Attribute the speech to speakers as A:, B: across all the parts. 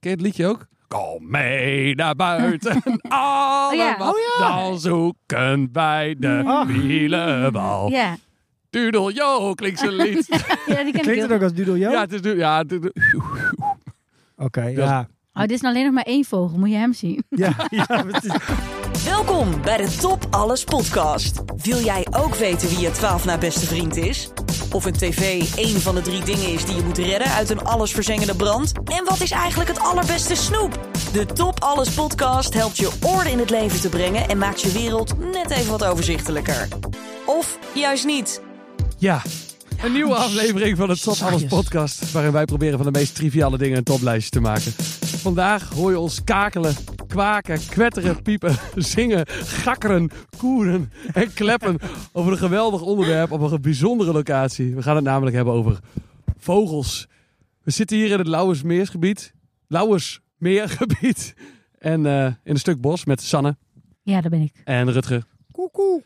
A: Ken je het liedje ook? Kom mee naar buiten, allemaal.
B: Oh
C: ja.
A: Dan zoeken wij de
C: Ah.
A: wielenbal.
B: Ja.
A: Doodle yo, klinkt zijn lied.
B: ja, die ken ik
C: Klinkt
B: heel
C: het ook als Doodle Jo?
A: ja, het is... nu- Ja, het is-
C: Oké, ja.
B: Oh, dit is nou alleen nog maar één vogel. Moet je hem zien?
C: Ja, ja, precies.
D: Welkom bij de Top Alles podcast. Wil jij ook weten wie je 12 na beste vriend is? Of een tv één van de drie dingen is die je moet redden uit een allesverzengende brand? En wat is eigenlijk het allerbeste snoep? De Top Alles podcast helpt je orde in het leven te brengen en maakt je wereld net even wat overzichtelijker. Of juist niet.
A: Ja. Een nieuwe aflevering van het Top Alles podcast, waarin wij proberen van de meest triviale dingen een toplijstje te maken. Vandaag hoor je ons kakelen, kwaken, kwetteren, piepen, zingen, gakkeren, koeren en kleppen over een geweldig onderwerp op een bijzondere locatie. We gaan het namelijk hebben over vogels. We zitten hier in het Lauwersmeersgebied, Lauwersmeergebied en eh, in een stuk bos met Sanne
B: Ja, daar ben ik.
A: en Rutger.
C: Koekoe.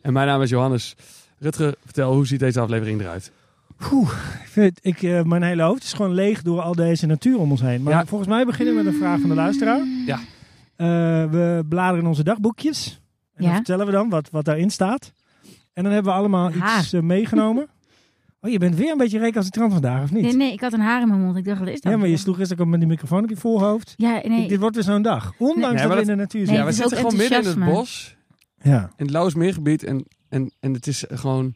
A: En mijn naam is Johannes. Rutger, vertel, hoe ziet deze aflevering eruit?
C: Ik vind, ik, eh, mijn hele hoofd is gewoon leeg door al deze natuur om ons heen. Maar
A: Ja.
C: volgens mij beginnen we met een vraag van de luisteraar.
A: Ja.
C: Eh, we bladeren onze dagboekjes. En dan
B: Ja.
C: vertellen we dan wat, wat daarin staat. En dan hebben we allemaal
B: Ja.
C: iets eh, meegenomen. Oh, je bent weer een beetje recalcitrant vandaag, of niet?
B: Nee, nee, ik had een haar in mijn mond. Ik dacht, wat is dat?
C: Ja, maar je sloeg eerst ook al met die microfoon op je voorhoofd.
B: Ja, nee.
C: Ik- dit wordt weer zo'n dag. Ondanks
A: Nee,
C: dat
A: maar
C: we in
A: dat-
C: de natuur
B: Nee,
C: zijn.
A: Dus ja, we
B: het
A: zitten
B: is ook
A: gewoon midden in het
B: enthousiasme.
A: bos,
C: Ja.
A: in het Lauwersmeergebied. En, en, en het is gewoon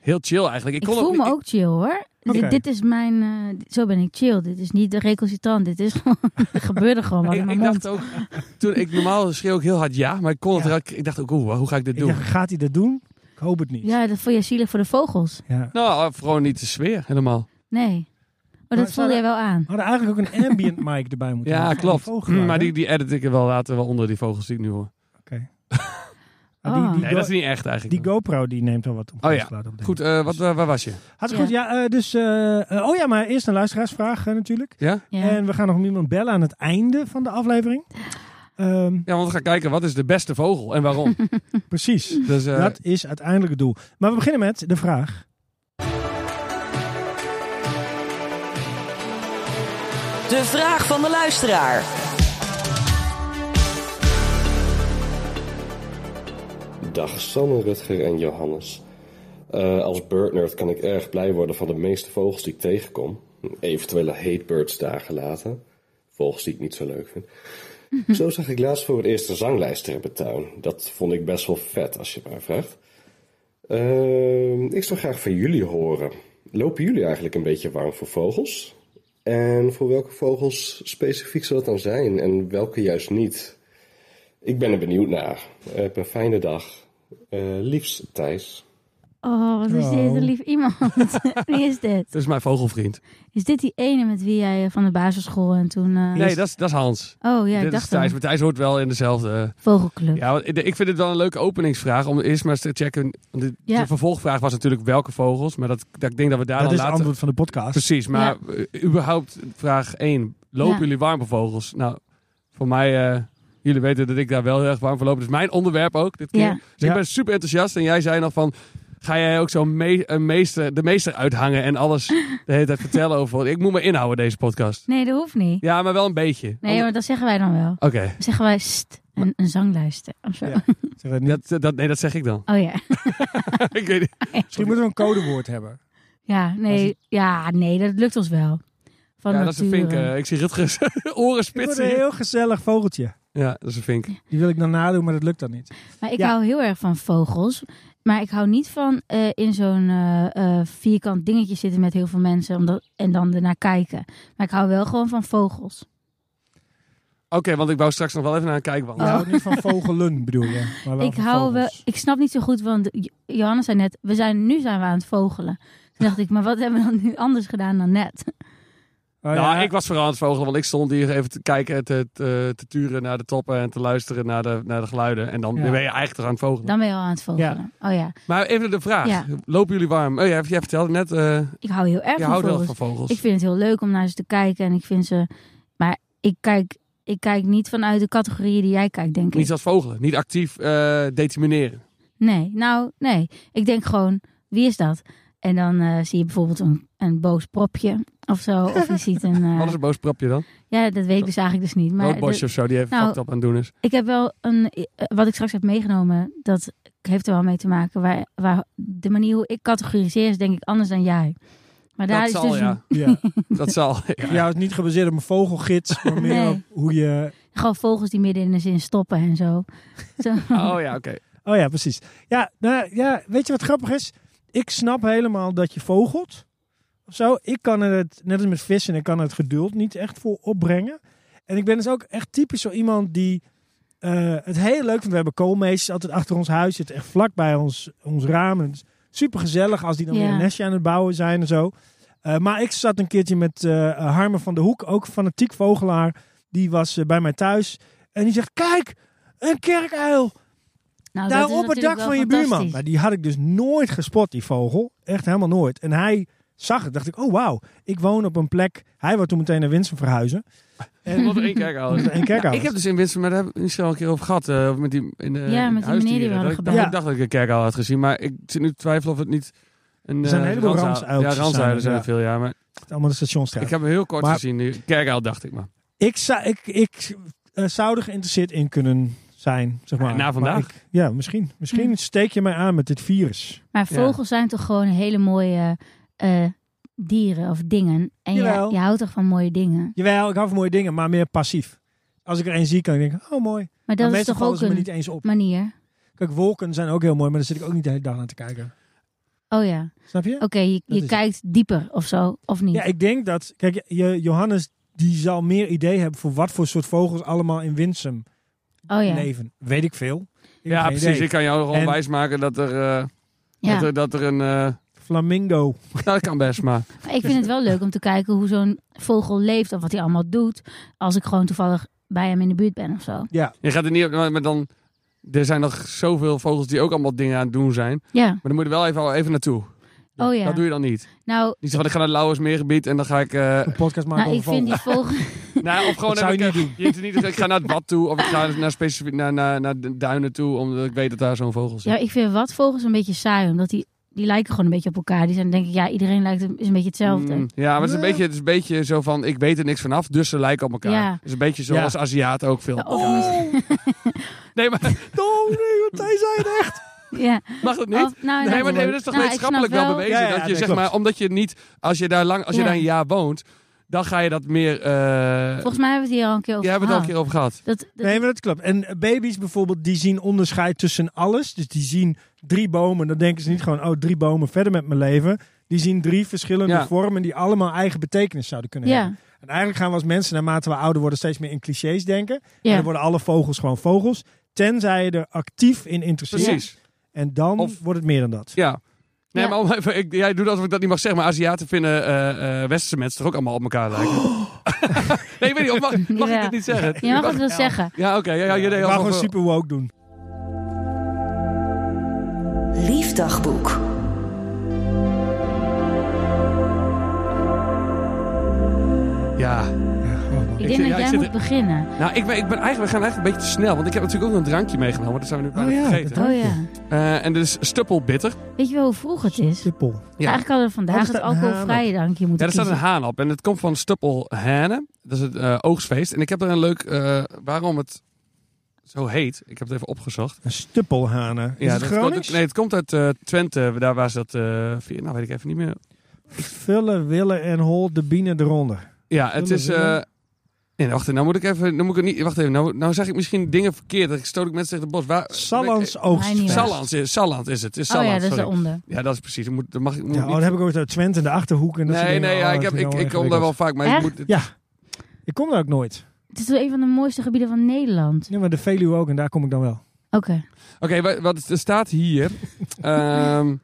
A: heel chill eigenlijk.
B: Ik,
A: kon
B: voel me
A: niet-
B: ook chill hoor.
C: Oké.
B: Dit, dit is mijn. eh, dit- zo ben ik chill. Dit is niet de recalcitrant. Dit is gewoon. er gebeurde gewoon wat
A: Ik,
B: in
A: ik,
B: mijn
A: ik
B: mond.
A: dacht ook, toen ik normaal schreeuw ik heel hard ja, maar ik kon het
C: Ja.
A: eruit- Ik dacht ook, oeh, hoe ga ik dit
C: Ik
A: doen?
C: dacht, gaat hij dat doen? Ik hoop het niet.
B: Ja, dat vond je zielig voor de vogels.
C: Ja.
A: Nou, eh, gewoon niet de sfeer helemaal.
B: Nee.
C: Maar
B: Maar dat voelde
C: zouden-
B: jij wel aan.
C: We hadden eigenlijk ook een ambient mic erbij moeten
A: Ja,
C: hebben.
A: klopt.
C: Een vogelaar,
A: Mm, maar
C: hè?
A: die, die edit ik er wel later wel onder, die vogels die ik nu hoor.
C: Ah, die,
B: Oh.
C: die,
A: Nee,
C: Go-
A: dat is niet echt
C: die
A: eigenlijk.
C: GoPro die neemt al wat om
A: Oh ja.
C: geluid op. denk ik.
A: Goed, eh, wat, waar, waar was je?
C: Hartstikke goed. Ja, eh, dus, eh, eh, oh ja, maar eerst een luisteraarsvraag eh, natuurlijk.
A: Ja?
B: Ja.
C: En we gaan nog iemand bellen aan het einde van de aflevering. Ehm,
A: Ja, want we gaan kijken, wat is de beste vogel en waarom?
C: precies.
B: Mm.
A: dus, eh,
C: Dat is uiteindelijk het doel. Maar we beginnen met de vraag.
D: De vraag van de luisteraar.
E: Dag Sanne, Rutger en Johannes. Eh, als birdnerd kan ik erg blij worden van de meeste vogels die ik tegenkom. Eventuele hatebirds daar gelaten. Vogels die ik niet zo leuk vind. Zo zag ik laatst voor het eerst een zanglijster in mijn tuin. Dat vond ik best wel vet, als je het mij vraagt. Ehm, ik zou graag van jullie horen. Lopen jullie eigenlijk een beetje warm voor vogels? En voor welke vogels specifiek zou dat dan zijn en welke juist niet? Ik ben er benieuwd naar. Heb een fijne dag. Eh, liefst Thijs.
B: Oh, wat is dit
C: Oh.
B: een lief iemand. Wie is dit?
A: dat is mijn vogelvriend.
B: Is dit die ene met wie jij eh, van de basisschool en toen... eh,
A: Nee, dat is, dat is Hans.
B: Oh ja, ik
A: dit is
B: dacht
A: Thijs,
B: al.
A: maar Thijs hoort wel in dezelfde...
B: Vogelclub.
A: Ja, want ik ik vind het wel een leuke openingsvraag om eerst maar eens te checken. want De,
B: Ja.
A: de vervolgvraag was natuurlijk welke vogels, maar dat, dat, ik denk dat we daar
C: dat
A: dan
C: is het
A: later...
C: antwoord van de podcast.
A: Precies, maar eh, überhaupt vraag 1. Lopen
B: Ja.
A: jullie warm voor vogels? Nou, voor mij, eh, jullie weten dat ik daar wel heel erg warm voor loop. Dus mijn onderwerp ook dit keer.
B: Ja.
A: Dus
C: Ja.
A: ik ben super enthousiast en jij zei nog van... Ga jij ook zo me- een meester, de meester uithangen en alles de hele tijd vertellen over... wat- Ik moet me inhouden deze podcast.
B: Nee, dat hoeft niet.
A: Ja, maar wel een beetje.
B: Nee, maar dat zeggen wij dan wel.
A: Oké,
B: Dan zeggen wij st en een zanglijster of zo.
C: Ja. Zeg dat niet.
A: dat, dat, nee, dat zeg ik dan.
B: Oh ja.
A: ik weet niet.
C: Misschien moeten we een codewoord hebben.
B: Ja, nee, ja, nee, dat lukt ons wel. Van
A: Ja, dat is een vink.
B: nature.
A: eh, ik zie Rutgers oren
C: Ik word
A: spitsen.
C: een heel gezellig vogeltje.
A: Ja, dat is een vink.
C: Die wil ik dan nadoen, maar dat lukt dan niet.
B: Maar ik
C: Ja.
B: hou heel erg van vogels. Maar ik hou niet van eh, in zo'n eh, eh, vierkant dingetje zitten met heel veel mensen omdat, en dan ernaar kijken. Maar ik hou wel gewoon van vogels.
A: Oké, want ik wou straks nog wel even naar een kijkband.
C: Je houdt niet van vogelen, bedoel je? maar wel
B: Oh. ik
C: van
B: hou wel,
C: vogels.
B: ik snap niet zo goed, want Jo- Johannes zei net, we zijn, nu zijn we aan het vogelen. Toen dacht ik, maar wat hebben we dan nu anders gedaan dan net?
C: Oh,
A: nou,
C: ja.
A: ik was vooral aan het vogelen, want ik stond hier even te kijken, en te, te, te turen naar de toppen en te luisteren naar de, naar de geluiden. En dan
C: Ja.
A: ben je eigenlijk toch aan het vogelen.
B: Dan ben je al aan het vogelen. Oh ja,
A: Maar even de vraag.
B: Ja.
A: Lopen jullie warm? Oh, jij, jij vertelde net, eh
B: ik hou heel erg
A: je
B: van
A: houdt wel
B: vogels.
A: van vogels.
B: Ik vind het heel leuk om naar ze te kijken en ik vind ze... Maar ik kijk, ik kijk niet vanuit de categorieën die jij kijkt, denk ik.
A: Niet als vogelen, niet actief eh, determineren.
B: Nee, nou, nee. Ik denk gewoon, wie is dat? En dan eh, zie je bijvoorbeeld een, een boos propje of zo. Of je ziet een... eh,
A: Wat is een boos prapje dan?
B: ja, dat weet ik dus eigenlijk dus niet. Maar
A: Roodbosje
B: dat-
A: of zo, die even
B: nou,
A: fucked up aan het doen is.
B: ik heb wel een... eh, Wat ik straks heb meegenomen, dat heeft er wel mee te maken. Waar, waar de manier hoe ik categoriseer is denk ik anders dan jij. Maar daar
A: dat
B: is
A: zal,
B: dus
A: ja.
B: een-
C: Ja.
A: Dat zal, ja.
C: ja, het is niet gebaseerd op een vogelgids, maar meer
B: Nee.
C: op hoe je...
B: gewoon vogels die midden in de zin stoppen en zo. Nou, zo.
A: Oh ja, oké.
C: Oh ja, precies. Ja, nou, ja, weet je wat grappig is? Ik snap helemaal dat je vogelt. Of zo. Ik kan er het, net als met vissen, ik kan er het geduld niet echt voor opbrengen. En ik ben dus ook echt typisch zo iemand die eh, het heel leuk vindt. We hebben koolmeesters altijd achter ons huis, zitten echt vlak bij ons, ons raam. En het is super gezellig als die dan
B: Ja.
C: weer een nestje aan het bouwen zijn en zo. Eh, maar ik zat een keertje met eh Harmen van de Hoek, ook een fanatiek vogelaar. Die was eh, bij mij thuis. En die zegt, kijk, een kerkuil.
B: Nou,
C: Daar
B: dat is
C: op het
B: natuurlijk
C: dak
B: wel
C: van je buurman.
B: fantastisch.
C: Maar die had ik dus nooit gespot, die vogel. Echt helemaal nooit. En hij zag het. Dacht ik, oh wauw. Ik woon op een plek. Hij wil toen meteen naar Winsum verhuizen. Oh,
A: Wat er één kerk houden.
C: En kijk
A: Ik heb dus in Winsum, maar daar hebben we misschien al een keer over gehad. eh, met die, in de,
B: die
A: in
B: meneer die we
A: huisdieren. Dat
B: hadden
A: ik, dacht,
C: gebeld.
A: ik dacht dat ik een kerk al had gezien, maar ik zit nu te twijfelen of het niet... Een,
C: Er zijn
A: eh,
C: een heleboel
A: randzuil-
C: ransuiltjes
A: Ja, ranzuilen
C: zijn,
A: zijn er
C: ja.
A: veel, ja. Maar
C: allemaal de stationstraat.
A: ik
C: Ik,
A: heb hem heel kort
C: Maar-
A: gezien nu. Kerkuil dacht ik maar.
C: zou, ik, ik eh, zou er geïnteresseerd in kunnen zijn, zeg maar.
A: Ja, na
C: Maar
A: vandaag.
C: ik- ja, misschien. Misschien
B: Hmm.
C: steek je mij aan met dit virus.
B: Maar
A: Ja.
B: vogels zijn toch gewoon hele mooie eh, dieren of dingen. En je,
C: Jawel.
B: je houdt toch van mooie dingen.
C: Jawel, ik hou van mooie dingen, maar meer passief. Als ik er één zie, kan ik denken, oh mooi.
B: Maar
C: Maar
B: dat is
C: meestal
B: toch
C: vallen
B: ook
C: ze me
B: een
C: niet eens op.
B: manier.
C: Kijk, wolken zijn ook heel mooi, maar daar zit ik ook niet de hele dag aan te kijken.
B: Oh ja,
C: Snap je?
B: oké, je,
C: Dat
B: je
C: is-
B: kijkt dieper of zo, of niet?
C: Ja, ik denk dat. Kijk, je, Johannes die zal meer idee hebben voor wat voor soort vogels allemaal in Winsum
B: oh ja,
C: leven. Weet ik veel. Ik heb
A: Ja,
C: geen
A: precies.
C: idee.
A: Ik kan jou gewoon
C: En-
A: wijsmaken dat er, eh,
B: ja.
A: dat er, dat er een... eh,
C: Flamingo.
A: nou, dat kan best, maar...
B: Maar ik vind het wel leuk om te kijken hoe zo'n vogel leeft of wat hij allemaal doet. Als ik gewoon toevallig bij hem in de buurt ben of zo.
A: Je gaat er niet op, maar maar dan... Er zijn nog zoveel vogels die ook allemaal dingen aan het doen zijn.
B: Ja,
A: Maar dan moet je er wel even, al even naartoe.
B: oh ja.
A: Dat doe je dan niet.
B: Nou,
A: Niet zo van, ik ga naar het Lauwersmeergebied en dan ga ik... eh,
C: Een podcast maken
B: nou ik
C: over
B: vind die
C: vogels.
B: vogel...
A: nou, of gewoon
C: Dat zou
A: heb
C: je
A: ik,
C: niet
A: eh, je hoeft niet, ik ga naar het bad toe of ik ga naar, specifiek, naar, naar, naar de duinen toe, omdat ik weet dat daar zo'n vogel zit.
B: Ja, ik vind wat vogels een beetje saai, omdat die, die lijken gewoon een beetje op elkaar. Die zijn denk ik, ja, iedereen lijkt een- is een beetje hetzelfde.
A: Mm, ja, maar het is, een beetje, het is een beetje zo van, ik weet er niks vanaf, dus ze lijken op elkaar.
B: Ja.
A: Het is een beetje zoals Aziaten ook veel.
B: Ja, oh. of mis-
A: Nee, maar
C: Oh nee, wat hij zei het echt.
B: ja.
A: mag dat niet?
B: Of- nou,
A: Nee,
B: nou,
A: maar nee, dat is toch
B: nou, ik
A: wetenschappelijk
B: snap
A: wel bewezen?
C: Ja, ja,
A: dat je,
C: nee,
A: zeg
C: klopt.
A: maar, omdat je niet, als je daar, lang, als je
B: Ja.
A: daar een jaar woont, dan ga je dat meer... eh
B: Volgens mij hebben we het hier al een keer over
A: Jij hebt het al een
B: gehad.
A: keer over gehad.
B: Dat, dat-
C: Nee, maar dat klopt. En eh, baby's bijvoorbeeld, die zien onderscheid tussen alles. Dus die zien drie bomen. Dan denken ze niet gewoon, oh, drie bomen verder met mijn leven. Die zien drie verschillende
A: Ja.
C: vormen die allemaal eigen betekenis zouden kunnen
B: ja,
C: hebben. En eigenlijk gaan we als mensen, naarmate we ouder worden, steeds meer in clichés denken. En
B: ja.
C: dan worden alle vogels gewoon vogels. Tenzij je er actief in interesseert.
A: Precies.
C: En dan
A: Of-
C: wordt het meer dan dat.
A: Ja. Nee,
B: Ja.
A: maar om even, ik, jij doet alsof ik dat niet mag zeggen, maar Aziaten vinden eh, eh, westerse mensen toch ook allemaal op elkaar lijken? nee, ik weet niet, of mag, mag ik
B: Ja.
A: dit niet zeggen?
B: Je mag het wel zeggen.
A: Ja, oké. ja, ja, je deed
C: ik wou
A: alsof-
C: gewoon super woke doen.
D: Liefdagboek.
A: Ja.
B: Ik
A: Ik-
B: denk
A: ja,
B: dat
A: ik
B: jij
A: zit
B: moet
A: er-
B: beginnen.
A: Nou, ik ben, ik ben eigenlijk, we gaan eigenlijk een beetje te snel, want ik heb natuurlijk ook nog een drankje meegenomen, dat zijn we nu bijna
C: Oh ja,
A: vergeten.
C: dat-
B: Oh ja.
A: Eh, en dit is stuppelbitter.
B: Weet je wel hoe vroeg het is?
C: Tippel.
A: Ja.
B: Eigenlijk hadden we vandaag
C: Oh, er
B: het
C: staat een haan
B: alcoholvrije drankje
A: Ja,
B: moeten
A: er staat een
B: kiezen.
A: haan op en het komt van Stuppelhanen. Dat is het eh, oogstfeest. En ik heb er een leuk, eh, waarom het zo heet, ik heb het even opgezocht.
C: Een stuppelhanen. Is het
A: dat
C: Gronings?
A: komt uit- nee, het komt uit eh, Twente. Daar was dat... eh vier, nou, weet ik even niet meer.
C: Vullen, willen en hol de bienen eronder.
A: Ja, het
C: Vullen,
A: is...
C: vullen.
A: eh, nee, wacht even. Nou moet ik even... Nou moet ik het niet, wacht even. Nou, nou zeg ik misschien dingen verkeerd. Dan stoot ik mensen tegen de bos. Waar,
C: Sallands
B: Mijn
C: oogstfeest.
B: nieuwe.
A: Salland is, Salland is het. Is
B: Oh
A: Salland,
B: ja, dat is
A: sorry.
B: eronder.
A: Ja, dat is precies. Dat Moet, dat mag, ik- moet
C: Ja, oh,
A: niet-
C: dat heb ik ooit uit Twente in de Achterhoek. En dat soort
A: nee,
C: dingen.
A: nee.
C: Oh,
A: Ja, ik,
C: dat
A: heb,
C: vind
A: ik,
C: wel
A: ik kom daar wel
C: ingewikkeld.
A: vaak. Maar ik
B: Echt?
A: moet... het-
C: Ja. Ik kom daar ook nooit.
B: Het is wel een van de mooiste gebieden van Nederland.
C: Ja, maar de Veluwe ook. En daar kom ik dan wel.
B: Oké.
A: Oké, wa- wat er staat hier... Ehm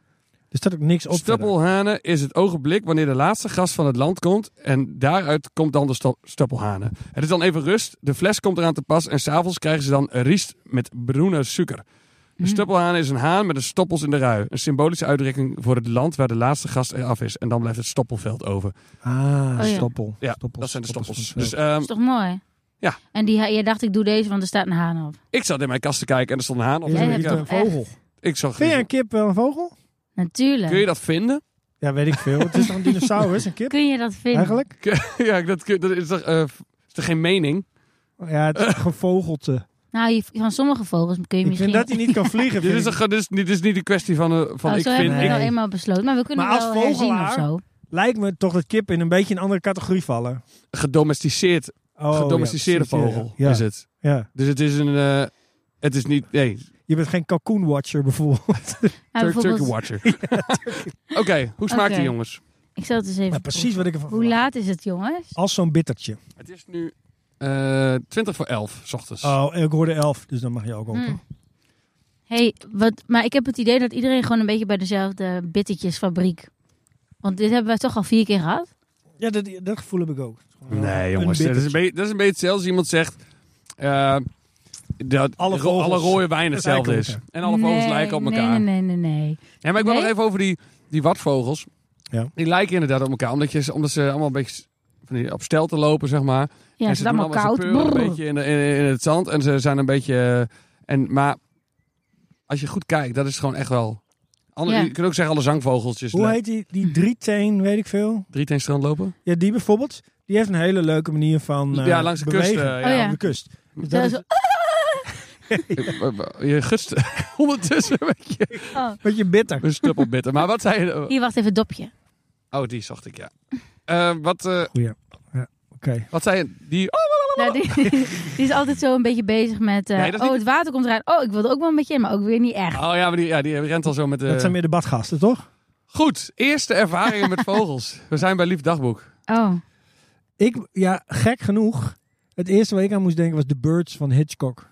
C: Dus staat ook niks op. verder.
A: Stuppelhanen is het ogenblik wanneer de laatste gast van het land komt. En daaruit komt dan de sto- stuppelhanen. Het is dan even rust, de fles komt eraan te pas. En s'avonds krijgen ze dan een riest met bruine suiker. De
C: Mhm.
B: Mm.
A: stuppelhaan is een haan met een stoppels in de rui. Een symbolische uitdrukking voor het land waar de laatste gast eraf is. En dan blijft het stoppelveld over.
C: Ah,
B: Oh ja.
C: stoppel.
A: Ja,
C: Stoppels,
A: dat zijn de stoppels.
C: van het
A: Dus
C: veld.
A: ehm,
B: is toch mooi?
A: Ja.
B: En die, ha- jij dacht, ik doe deze, want er staat een haan op.
A: ik zat in mijn kast te kijken en er stond een haan op.
B: Jij
A: Ik,
C: Is
B: hebt
A: eh,
C: het
B: toch
C: een vogel.
A: ik zag,
C: Vind jij een kip wel een vogel?
B: Natuurlijk.
A: kun je dat vinden?
C: Ja, weet ik veel. Het is toch een dinosaurus, een kip
B: Kun je dat vinden?
C: eigenlijk?
A: ja, dat, kun- dat is toch, eh, is toch geen mening?
C: Ja, het is een gevogelte.
B: Nou, je- van sommige vogels kun je
C: Ik
B: misschien...
C: vind dat hij niet kan vliegen.
A: Dit
C: vind
A: is,
C: ik.
A: een, dit, is, niet- dit is niet een kwestie van, eh, van
B: oh,
A: ik
B: zo
A: vind...
B: hebben we
C: Nee.
B: nou eenmaal besloten. Maar we kunnen
C: Maar als
B: wel herzien of
C: vogelaar-
B: zo. Nou,
C: Lijkt me toch dat kip in een beetje een andere categorie vallen.
A: Gedomesticeerd,
C: Oh,
A: gedomesticeerde
C: ja, precies, ja.
A: vogel
C: Ja,
A: is het.
C: ja.
A: Dus het is een... eh, het is niet... Nee,
C: Je bent geen cocoon watcher bijvoorbeeld.
B: Maar
A: Tur-
B: bijvoorbeeld,
A: Turkey Watcher. Oké, hoe smaakt die
B: Oké.
A: jongens?
B: ik zal het eens even
C: Ja, precies wat ik ervan
B: proeven. Hoe
C: verwacht.
B: laat is het, jongens?
C: Als zo'n bittertje.
A: Het is nu eh 20 voor 11, s ochtends.
C: Oh, ik hoorde elf, dus dan mag je ook open.
B: Hmm. hey, wat, maar ik heb het idee dat iedereen gewoon een beetje bij dezelfde bittertjesfabriek... Want dit hebben we toch al vier keer gehad?
C: Ja, dat, dat gevoel heb ik ook. Het is gewoon, eh,
A: Nee,
C: een
A: jongens. Dat is, een
C: bittertje.
A: beetje, dat is een beetje hetzelfde als iemand zegt... eh, dat alle,
C: Alle vogels
A: alle rode wijn
C: lijken
A: hetzelfde
C: op
A: is.
C: elkaar.
A: En alle vogels
B: Nee,
A: lijken op elkaar.
B: Nee, nee, nee, nee. nee.
A: Ja, maar ik wil
B: Nee?
A: nog even over die, die watvogels.
C: Ja.
A: Die lijken inderdaad op elkaar. Omdat, je, ze- omdat ze allemaal een beetje van die op stelten lopen, zeg maar.
B: Ja,
A: en
B: het
A: ze
B: is
A: doen
B: allemaal koud.
A: ze peuren
B: Brrr.
A: een beetje in, de- in, in het zand. En ze zijn een beetje... eh, En, maar als je goed kijkt, dat is gewoon echt wel... Alle,
B: Ja.
A: Je kunt ook zeggen alle zangvogeltjes.
C: Hoe heet die,
B: Hmm.
C: die drieteen, weet ik veel?
A: Drie teen strand lopen?
C: Ja, die bijvoorbeeld. Die heeft een hele leuke manier van eh,
A: ja, langs de kust.
C: bewegen.
A: eh,
B: Oh,
A: ja.
B: ja.
C: Aan de kust. Dus
B: Zo-
C: dat is-
B: zo-
A: Je gust ondertussen een beetje
B: oh.
C: Beetje bitter.
A: een stuppelbitter. Maar wat zei je...
B: Hier, wacht even, dopje.
A: Oh, die zocht ik, ja. Eh, wat, eh,
C: Oké.
A: wat zei je? Die... Oh,
B: Nou, die, die is altijd zo een beetje bezig met... eh,
A: Nee, dat is
B: oh,
A: niet-
B: het water komt eruit. Oh, ik wilde ook wel een beetje in, maar ook weer niet echt.
A: Oh ja, maar die, ja, die rent al zo met de...
C: Dat zijn meer de badgasten, toch?
A: Goed, eerste ervaringen met vogels. We zijn bij Lief Dagboek.
B: Oh,
C: Ik, ja, gek genoeg. Het eerste waar ik aan moest denken was The Birds van Hitchcock.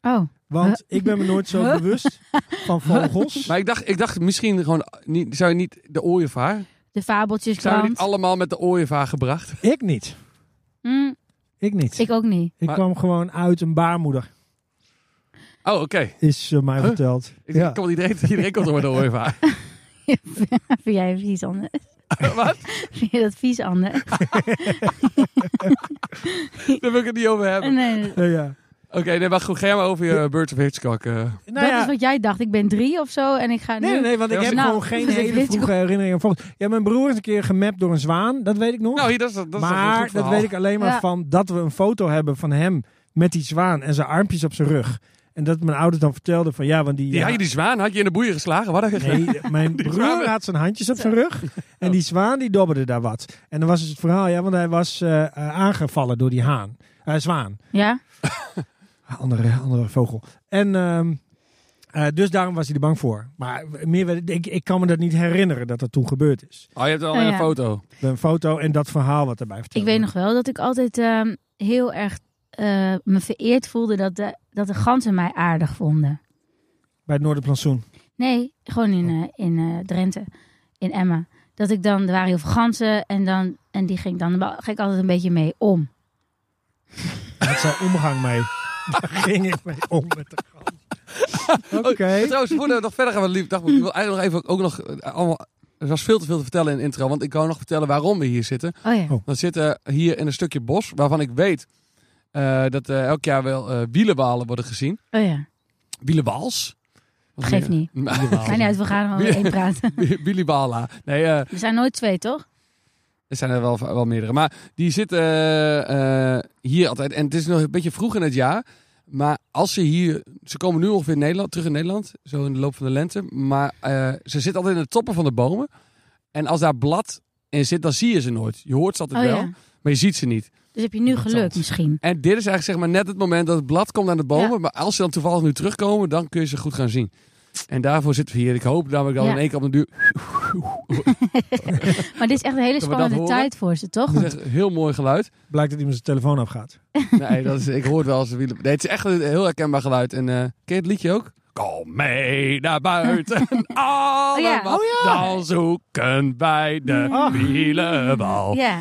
B: oh.
C: Want ik ben me nooit zo
B: Huh?
C: bewust van vogels.
A: Maar ik dacht, ik dacht misschien gewoon... Niet, zou je niet de ooievaar...
B: De fabeltjes
A: Zijn we niet allemaal met de ooievaar gebracht?
C: Ik niet. Ik niet.
B: Hmm,
C: Ik,
B: ik ook niet.
A: Maar-
C: kwam gewoon uit een baarmoeder,
A: Oh, oké.
C: is eh, mij
A: Huh?
C: verteld.
A: Ik
C: Ja.
A: kom iedereen, iedereen komt door met de ooievaar.
B: Vind jij het vies anders?
A: wat?
B: Vind je dat vies anders?
A: Daar wil ik het niet over hebben.
B: Nee,
C: Ja, ja.
A: Oké, nee, maar goed. Ga jij maar over je Birds of Hitchcock. eh.
C: Nou
B: dat
C: ja.
B: is wat jij dacht. Ik ben drie of zo en ik ga nu...
C: Nee, nee, nee, want ik
A: Ja,
C: heb
B: nou,
C: gewoon geen
B: dat
C: hele
B: weet je
C: vroege herinnering aan vogels. Ja, mijn broer is een keer gemapt door een zwaan, dat weet ik nog.
A: Nou, hier, dat is, dat is een
C: maar
A: goed
C: dat
A: verhaal.
C: weet ik alleen maar
B: Ja.
C: van dat we een foto hebben van hem met die zwaan en zijn armpjes op zijn rug. En dat mijn ouders dan vertelden van ja, want die... eh,
A: Die, had je die zwaan had je in de boeien geslagen? Wat had je gedaan?
C: Nee, mijn
A: zwaan-
C: broer had zijn handjes op zijn rug en die zwaan die dobberde daar wat. En dan was dus het verhaal, ja, want hij was eh, eh, aangevallen door die haan, eh, zwaan. Ah,
B: Ja?
C: Andere, andere vogel. En ehm, eh, dus daarom was hij er bang voor. Maar meer, weet ik- ik, ik kan me dat niet herinneren dat dat toen gebeurd is.
A: Oh, je hebt alleen
B: Oh,
A: een
B: ja.
A: foto.
C: Een foto en dat verhaal wat erbij
B: Ik
C: verteld
B: weet
C: werd.
B: nog wel dat ik altijd ehm, heel erg eh, me vereerd voelde dat de, dat de ganzen mij aardig vonden.
C: Bij het Noorderplantsoen.
B: Nee, gewoon in, eh, in eh, Drenthe, in Emma. Dat ik dan, er waren heel veel ganzen en, dan, en die ging ik dan wel- ging ik altijd een beetje mee om.
C: Daar had zij omgang mee. Daar ging ik mee om met de gans. Oké.
A: En trouwens, voordat we nog verder gaan met Lief Dagboek, ik wil eigenlijk nog even ook nog eh, allemaal. Er was veel te veel te vertellen in de intro, want ik kan nog vertellen waarom we hier zitten.
B: Oh ja.
C: Oh.
A: We zitten hier in een stukje bos waarvan ik weet eh, dat eh, elk jaar wel eh wielenwalen worden gezien.
B: Oh ja,
A: Wielenwaals? Wat
B: geeft niet.
A: meer?
C: Oh.
B: Maakt niet uit, we gaan er wel één praten.
A: Wielenwala. Nee, eh,
B: Er zijn nooit twee, toch?
A: er zijn er wel, wel meerdere. Maar die zitten eh, eh, hier altijd. En het is nog een beetje vroeg in het jaar. Maar als ze hier... Ze komen nu ongeveer in Nederland, terug in Nederland. Zo in de loop van de lente. Maar eh, ze zitten altijd in de toppen van de bomen. En als daar blad in zit, dan zie je ze nooit. Je hoort ze altijd
B: Oh
A: wel,
B: ja.
A: maar je ziet ze niet.
B: Dus heb je nu geluk misschien.
A: En dit is eigenlijk zeg maar net het moment dat het blad komt aan de bomen.
B: Ja.
A: Maar als ze dan toevallig nu terugkomen, dan kun je ze goed gaan zien. En daarvoor zitten we hier. Ik hoop namelijk dat we
B: Ja.
A: in één keer op de duur...
B: Maar dit is echt een
A: Kunnen we
B: hele
A: dat
B: spannende
A: horen?
B: tijd voor ze, toch?
A: Dat is echt een heel mooi geluid.
C: Blijkt dat iemand zijn telefoon afgaat.
A: Nee, dat is, ik hoor het wel als een wielen. Nee, het is echt een heel herkenbaar geluid. En eh, ken je het liedje ook? Kom mee naar buiten, allemaal.
B: Oh
A: Dan zoeken wij de
C: Ah.
A: wielenbal.
B: Mm. Ja.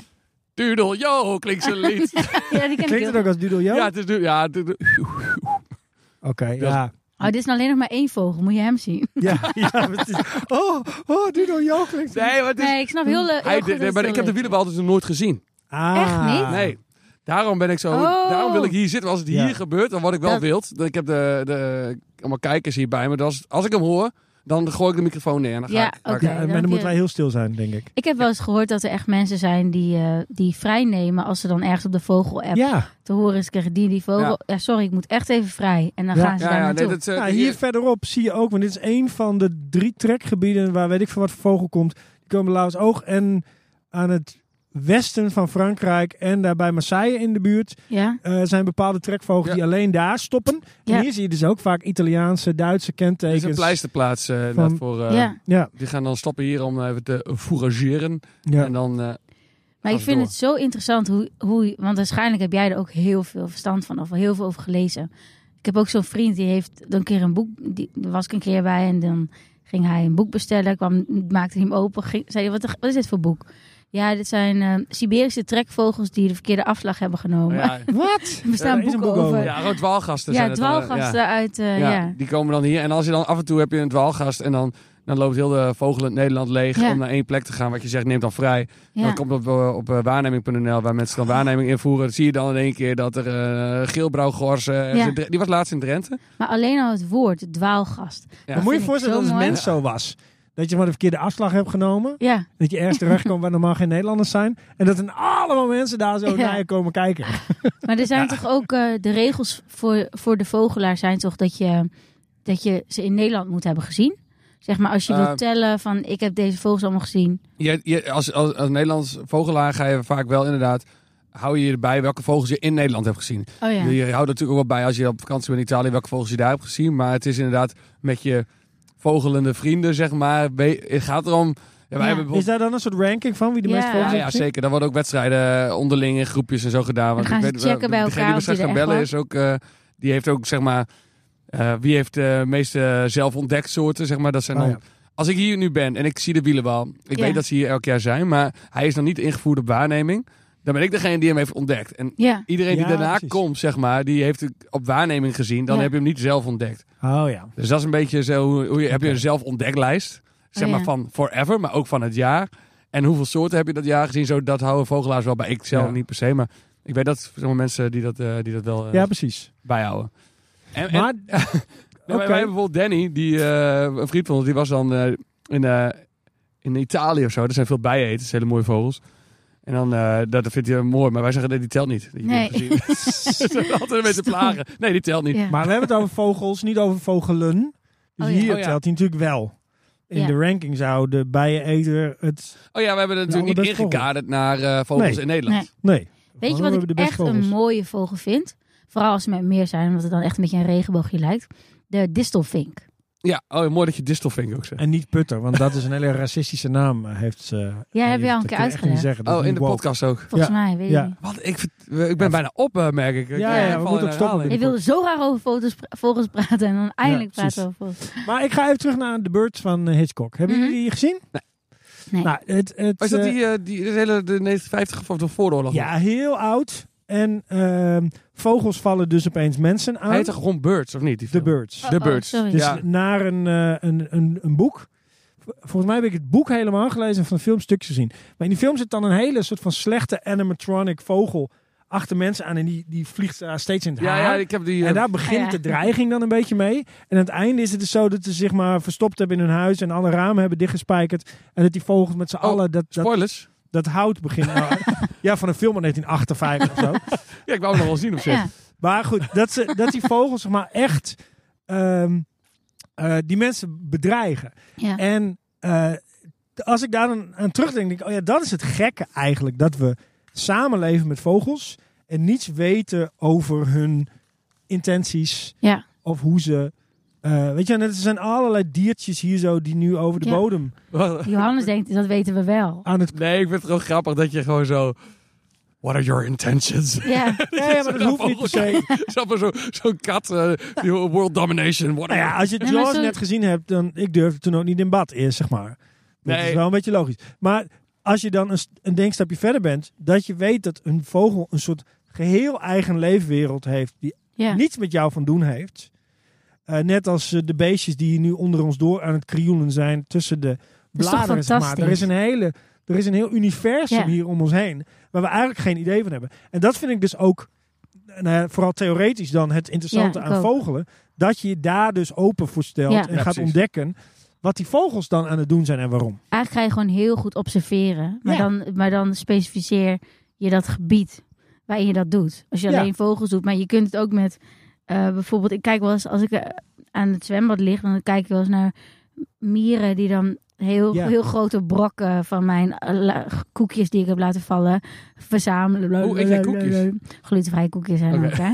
A: Doedeljo klinkt zijn lied.
B: ja, die ken ik
C: Klinkt het
B: heel
C: ook als Doodle Joe?
A: Ja, het is nu... Ja, het is nu-
C: Oké, ja.
B: Oh, dit is nou alleen nog maar één vogel. Moet je hem zien?
C: Ja, ja. precies. Oh, oh Doodle Joe klinkt...
A: nee, maar het is...
B: Nee, ik snap heel, le-
A: Dus
B: heel
A: mm, Hij-
B: goed dat
A: nee,
B: het
A: maar
B: zo
A: ik heb de
B: is.
A: wielenbal dus nog nooit gezien.
C: Ah.
B: Echt niet?
A: Nee. Daarom ben ik zo...
B: Oh.
A: Daarom wil ik hier zitten. Want Als het
C: Ja.
A: hier gebeurt, dan word ik wel
B: Dat-
A: wild. Ik heb de, de, allemaal kijkers hier bij me. Dus als, als ik hem hoor, Dan gooi ik de microfoon neer en dan ga
B: Ja,
A: ik. ga ik-
B: oké. dan
C: Ja, maar
B: heb
C: dan
B: je-
C: moeten wij heel stil zijn, denk ik.
B: Ik heb wel eens gehoord dat er echt mensen zijn die, eh die vrijnemen als ze dan ergens op de vogel-app
C: Ja,
A: Eh,
B: te horen is, krijgen die die vogel. Ja.
A: Ja.
B: sorry, ik moet echt even vrij. En dan
C: Ja.
B: gaan ze
A: Ja,
B: daar
A: ja,
B: naartoe.
A: nee, dat, eh,
C: nou, hier verderop zie je ook, want dit is één van de drie trekgebieden waar weet ik van wat voor vogel komt. Die komen Lauws Oog en aan het westen van Frankrijk en daarbij Marseille in de buurt
B: ja?
C: eh, zijn bepaalde trekvogels
A: Ja.
C: die alleen daar stoppen.
B: Ja.
C: En hier zie je dus ook vaak Italiaanse, Duitse
A: dit is
C: kentekens.
A: een pleisterplaats eh, inderdaad
C: Van-
A: voor. eh,
B: ja.
C: Ja,
A: Die gaan dan stappen hier om eh, even te fourageren.
C: ja.
A: En dan, eh,
B: Maar ik
A: Ga
B: vind
A: door.
B: het zo interessant hoe, hoe... Want waarschijnlijk heb jij er ook heel veel verstand van of heel veel over gelezen. Ik heb ook zo'n vriend die heeft dan een keer een boek... Die, daar was ik een keer bij en dan ging hij een boek bestellen. Kwam, maakte hij hem open. Ging, zei hij, wat, wat is dit voor boek? Ja, dit zijn eh, Siberische trekvogels die de verkeerde afslag hebben genomen.
A: ja,
C: Wat?
B: Er bestaan
C: Ja, er is
B: boeken
C: een boek over.
B: over.
A: ja, rood dwaalgasten
B: Ja,
A: zijn het dan, eh,
B: dwaalgasten uit... eh,
A: Ja,
B: ja.
A: die komen dan hier. En als je dan af en toe heb je een dwaalgast en dan, dan loopt heel de vogelend Nederland leeg
B: Ja.
A: om naar één plek te gaan. Wat je zegt, neem dan vrij.
B: Ja.
A: Dat komt op, eh, op eh, waarneming.nl, waar mensen dan waarneming invoeren. Dan zie je dan in één keer dat er eh geelbrouwgors... eh, ergens
B: Ja.
A: in Dre- die was laatst in Drenthe.
B: Maar alleen al het woord, dwaalgast.
A: Ja.
C: Dan moet je
B: vind ik
C: je voorstellen
B: zo
C: dat het
B: mooi.
C: mens zo was. Dat je maar de verkeerde afslag hebt genomen.
B: Ja,
C: Dat je ergens terecht komt waar normaal geen Nederlanders zijn. En dat dan allemaal mensen daar zo
B: Ja.
C: naar je komen kijken.
B: maar er zijn toch ook eh, de regels voor, voor de vogelaar zijn toch dat je, dat je ze in Nederland moet hebben gezien? Zeg maar als je
A: Eh.
B: wilt tellen van ik heb deze vogels allemaal gezien.
A: Je, je- als, als, als Nederlands vogelaar ga je vaak wel inderdaad... Hou je erbij welke vogels je in Nederland hebt gezien.
B: Oh ja.
A: Je houdt natuurlijk ook wel bij als je op vakantie bent in Italië welke vogels je daar hebt gezien. Maar het is inderdaad met je vogelende vrienden, zeg maar. we- Het gaat erom. Ja, wij
B: Ja.
A: hebben
C: Is
A: bijvoorbeeld.
C: daar dan een soort ranking van wie de
B: Ja.
C: meeste
A: Ja,
C: vogels heeft
A: ja,
C: gezien?
A: zeker. Daar worden ook wedstrijden eh, onderling in groepjes en zo gedaan. Want
B: gaan
A: ik
B: ze
A: weet,
B: checken
A: degene
B: bij elkaar
A: die
B: of
A: we straks
B: die
A: gaan
B: er echt
A: bellen is ook. eh, die heeft ook zeg maar. eh, wie heeft de meeste zelf ontdekt soorten? Zeg maar. dat zijn
C: Oh,
A: dan-
C: ja.
A: Als ik hier nu ben en ik zie de wielenwal. Ik
B: Ja.
A: weet dat ze hier elk jaar zijn. Maar hij is nog niet ingevoerd op waarneming. Dan ben ik degene die hem heeft ontdekt. En
B: Ja,
A: Iedereen die
C: Ja,
A: daarna
C: precies.
A: komt, zeg maar, die heeft het op waarneming gezien. Dan
B: Ja.
A: heb je hem niet zelf ontdekt.
C: Oh ja.
A: Dus dat is een beetje zo. Hoe, hoe je, heb je een zelf ontdeklijst? Zeg
B: Oh, ja.
A: maar van forever, maar ook van het jaar. En hoeveel soorten heb je dat jaar gezien? Zo, dat houden vogelaars wel bij. Ik zelf
C: Ja.
A: niet per se, maar ik weet dat sommige mensen die dat, eh, die dat wel eh,
C: Ja, precies.
A: bijhouden. En, en-
C: Maar
A: nou,
C: Oké.
A: Wij hebben bijvoorbeeld Danny, die, eh, een vriend van ons, die was dan eh, in, eh, in Italië of zo. Er zijn veel bijeneters, hele mooie vogels. En dan, eh, dat dat vindt hij mooi, maar wij zeggen dat die telt niet. Die
B: Nee.
A: hebben we gezien. Ze altijd een beetje plagen. Nee, die telt niet.
B: ja.
C: Maar we hebben het over vogels, niet over vogelen. Dus
B: Oh ja.
C: hier
A: Oh ja.
C: telt hij natuurlijk wel. In
B: Ja.
C: de ranking zou de bijeneter het...
A: Oh ja, we hebben het
C: Nou,
A: natuurlijk
C: maar
A: niet
C: dat is
A: ingekaderd naar eh, vogels
C: Nee.
A: in Nederland.
B: Nee.
C: Nee.
B: Weet je
C: We
B: wat
C: hebben
B: ik
C: de beste
B: echt
C: vogels.
B: een mooie vogel vind? Vooral als ze met meer zijn, omdat het dan echt een beetje een regenboogje lijkt. De distelvink.
A: Ja, oh, mooi dat je distelvink ook zegt.
C: En niet putter, want dat is een hele racistische naam. eh, Heeft ze,
B: Ja, heb
C: heeft-
B: je al een keer
C: dat kun je echt niet
B: uitgelegd.
C: zeggen. dat is
A: Oh, in
C: niet
A: de
C: woke.
A: podcast ook.
B: Volgens
C: Ja.
B: mij, weet
C: Ja.
B: je niet.
A: Wat, ik, vert- ik ben bijna op, eh, merk ik. Ik,
C: Ja,
A: eh,
C: ja, we
A: val
C: moeten
A: in
C: ook stoppen
A: herhaling.
B: Ik wilde zo graag over vogels, vogels praten en dan eindelijk
C: precies.
B: praten we over vogels.
C: Maar ik ga even terug naar de beurt van eh, Hitchcock. Hebben
B: Mhm.
C: jullie die gezien?
B: Nee.
C: Nou, het, het,
A: Was dat
C: eh,
A: die, eh, die dat hele de 1950 of de vooroorlog?
C: Ja, heel oud. En ehm, vogels vallen dus opeens mensen aan.
A: Hij heette gewoon Birds, of niet? Die
C: de
A: film?
C: birds.
B: Oh,
A: De
B: oh,
A: Birds.
B: sorry.
C: Dus
A: Ja.
C: naar een, eh, een, een, een boek. V- Volgens mij heb ik het boek helemaal gelezen en van de film stukjes gezien. Maar in die film zit dan een hele soort van slechte animatronic vogel achter mensen aan. En die, die vliegt daar steeds in het
A: Ja,
C: haar.
A: ja, ik heb die... eh,
C: En daar begint
B: Ja.
C: de dreiging dan een beetje mee. En aan het einde is het dus zo dat ze zich maar verstopt hebben in hun huis. En alle ramen hebben dichtgespijkerd. En dat die vogels
A: Oh,
C: met z'n allen dat, dat,
A: spoilers.
C: dat hout beginnen. ja, van een film uit 1958 of zo.
A: Ja, ik wou hem nog wel zien op zich.
B: Ja.
C: Maar goed, dat, ze, dat die vogels zeg maar echt ehm, eh, die mensen bedreigen.
B: Ja.
C: En eh, t- als ik daar dan aan terugdenk, denk ik, oh ja, dat is het gekke eigenlijk. Dat we samenleven met vogels en niets weten over hun intenties
B: Ja.
C: of hoe ze... eh, weet je, en er zijn allerlei diertjes hier zo die nu over de
B: Ja.
C: bodem
B: Johannes denkt, dat weten we wel.
C: aan het...
A: Nee, ik vind het gewoon grappig dat je gewoon zo... What are your intentions?
B: Ja,
C: Ja, ja, maar dat hoeft niet per se.
A: Snap maar, zo- zo'n kat, eh, die world domination,
C: Nou
A: whatever.
C: ja, als je
B: Nee, maar
C: Jaws
B: zo-
C: net gezien hebt, dan ik durfde toen ook niet in bad eerst, zeg maar. Dat
A: Nee.
C: is wel een beetje logisch. Maar als je dan een, st- een denkstapje verder bent, dat je weet dat een vogel een soort geheel eigen leefwereld heeft, die
B: ja.
C: niets met jou van doen heeft. Eh, net als eh, de beestjes die nu onder ons door aan het krioelen zijn tussen de
B: is toch
C: bladeren, zeg maar. Er is een hele, er is een heel universum
B: Ja.
C: hier om ons heen, waar we eigenlijk geen idee van hebben. En dat vind ik dus ook, eh, nou ja, vooral theoretisch dan, het interessante
B: Ja, ik
C: aan
B: ook.
C: vogelen, dat je je daar dus open voor stelt
B: Ja.
C: en
A: Ja,
C: gaat
A: precies.
C: ontdekken wat die vogels dan aan het doen zijn en waarom.
B: Eigenlijk ga je gewoon heel goed observeren. Maar,
C: Ja.
B: dan, maar dan specificeer je dat gebied waarin je dat doet. Als je
C: Ja.
B: alleen vogels doet. Maar je kunt het ook met eh, bijvoorbeeld... Ik kijk wel eens, als ik eh, aan het zwembad lig... dan kijk ik wel eens naar mieren die dan heel,
C: Ja.
B: heel grote brokken van mijn eh, la- koekjes die ik heb laten vallen verzamelen.
A: Oh, eet jij koekjes?
B: Glutenvrije koekjes zijn
A: Oké.
B: ook, hè?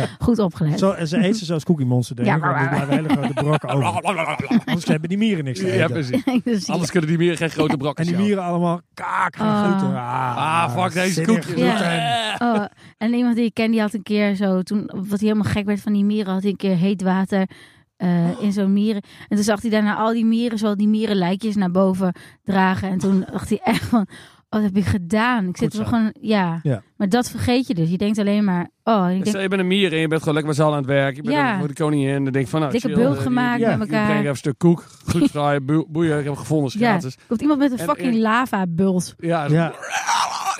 C: Ja.
B: Goed opgelet.
C: Zo, en ze eten ze zoals Cookie Monster deed.
B: Ja,
C: Ja, maar
B: maar-
C: blijven hele grote brokken over. Anders hebben die mieren niks te eten.
A: Ja, precies.
B: Dus ja.
A: Anders kunnen die mieren geen grote brokken
C: en die
A: sjouwen.
C: mieren allemaal kaak gaan
B: Ah.
C: groeten.
A: Ah, fuck deze
C: zin in
A: koekjes. Eh,
C: gluten.
A: Ja.
B: Oh, en iemand die ik ken, die had een keer zo, toen, wat hij helemaal gek werd van die mieren, had hij een keer heet water eh,
C: Oh.
B: in zo'n mieren. En toen zag hij daarna al die mieren, zoal die mierenlijkjes naar boven dragen. En toen dacht hij echt van, oh, dat heb ik gedaan. Ik zit
C: Goed
B: er
C: zo.
B: gewoon, ja.
C: Ja.
B: Maar dat vergeet je dus. Je denkt alleen maar, oh, ik
A: Stel,
B: denk,
A: dus je bent een mier en je bent gewoon lekker met z'n allen aan het werk. Je bent
B: Ja.
A: een- voor de koningin. Dan denk je van, nou,
B: dikke
A: chill,
B: bult
A: eh, die-
B: gemaakt met
C: ja, die
A: Ik breng
B: elkaar.
A: even een stuk koek, goed fraaie boe- boeien, ik heb gevonden,
B: Ja,
A: gratis.
B: komt iemand met een
A: En-
B: fucking
A: en-
B: lavabult.
A: Ja, Ah,
C: Ja.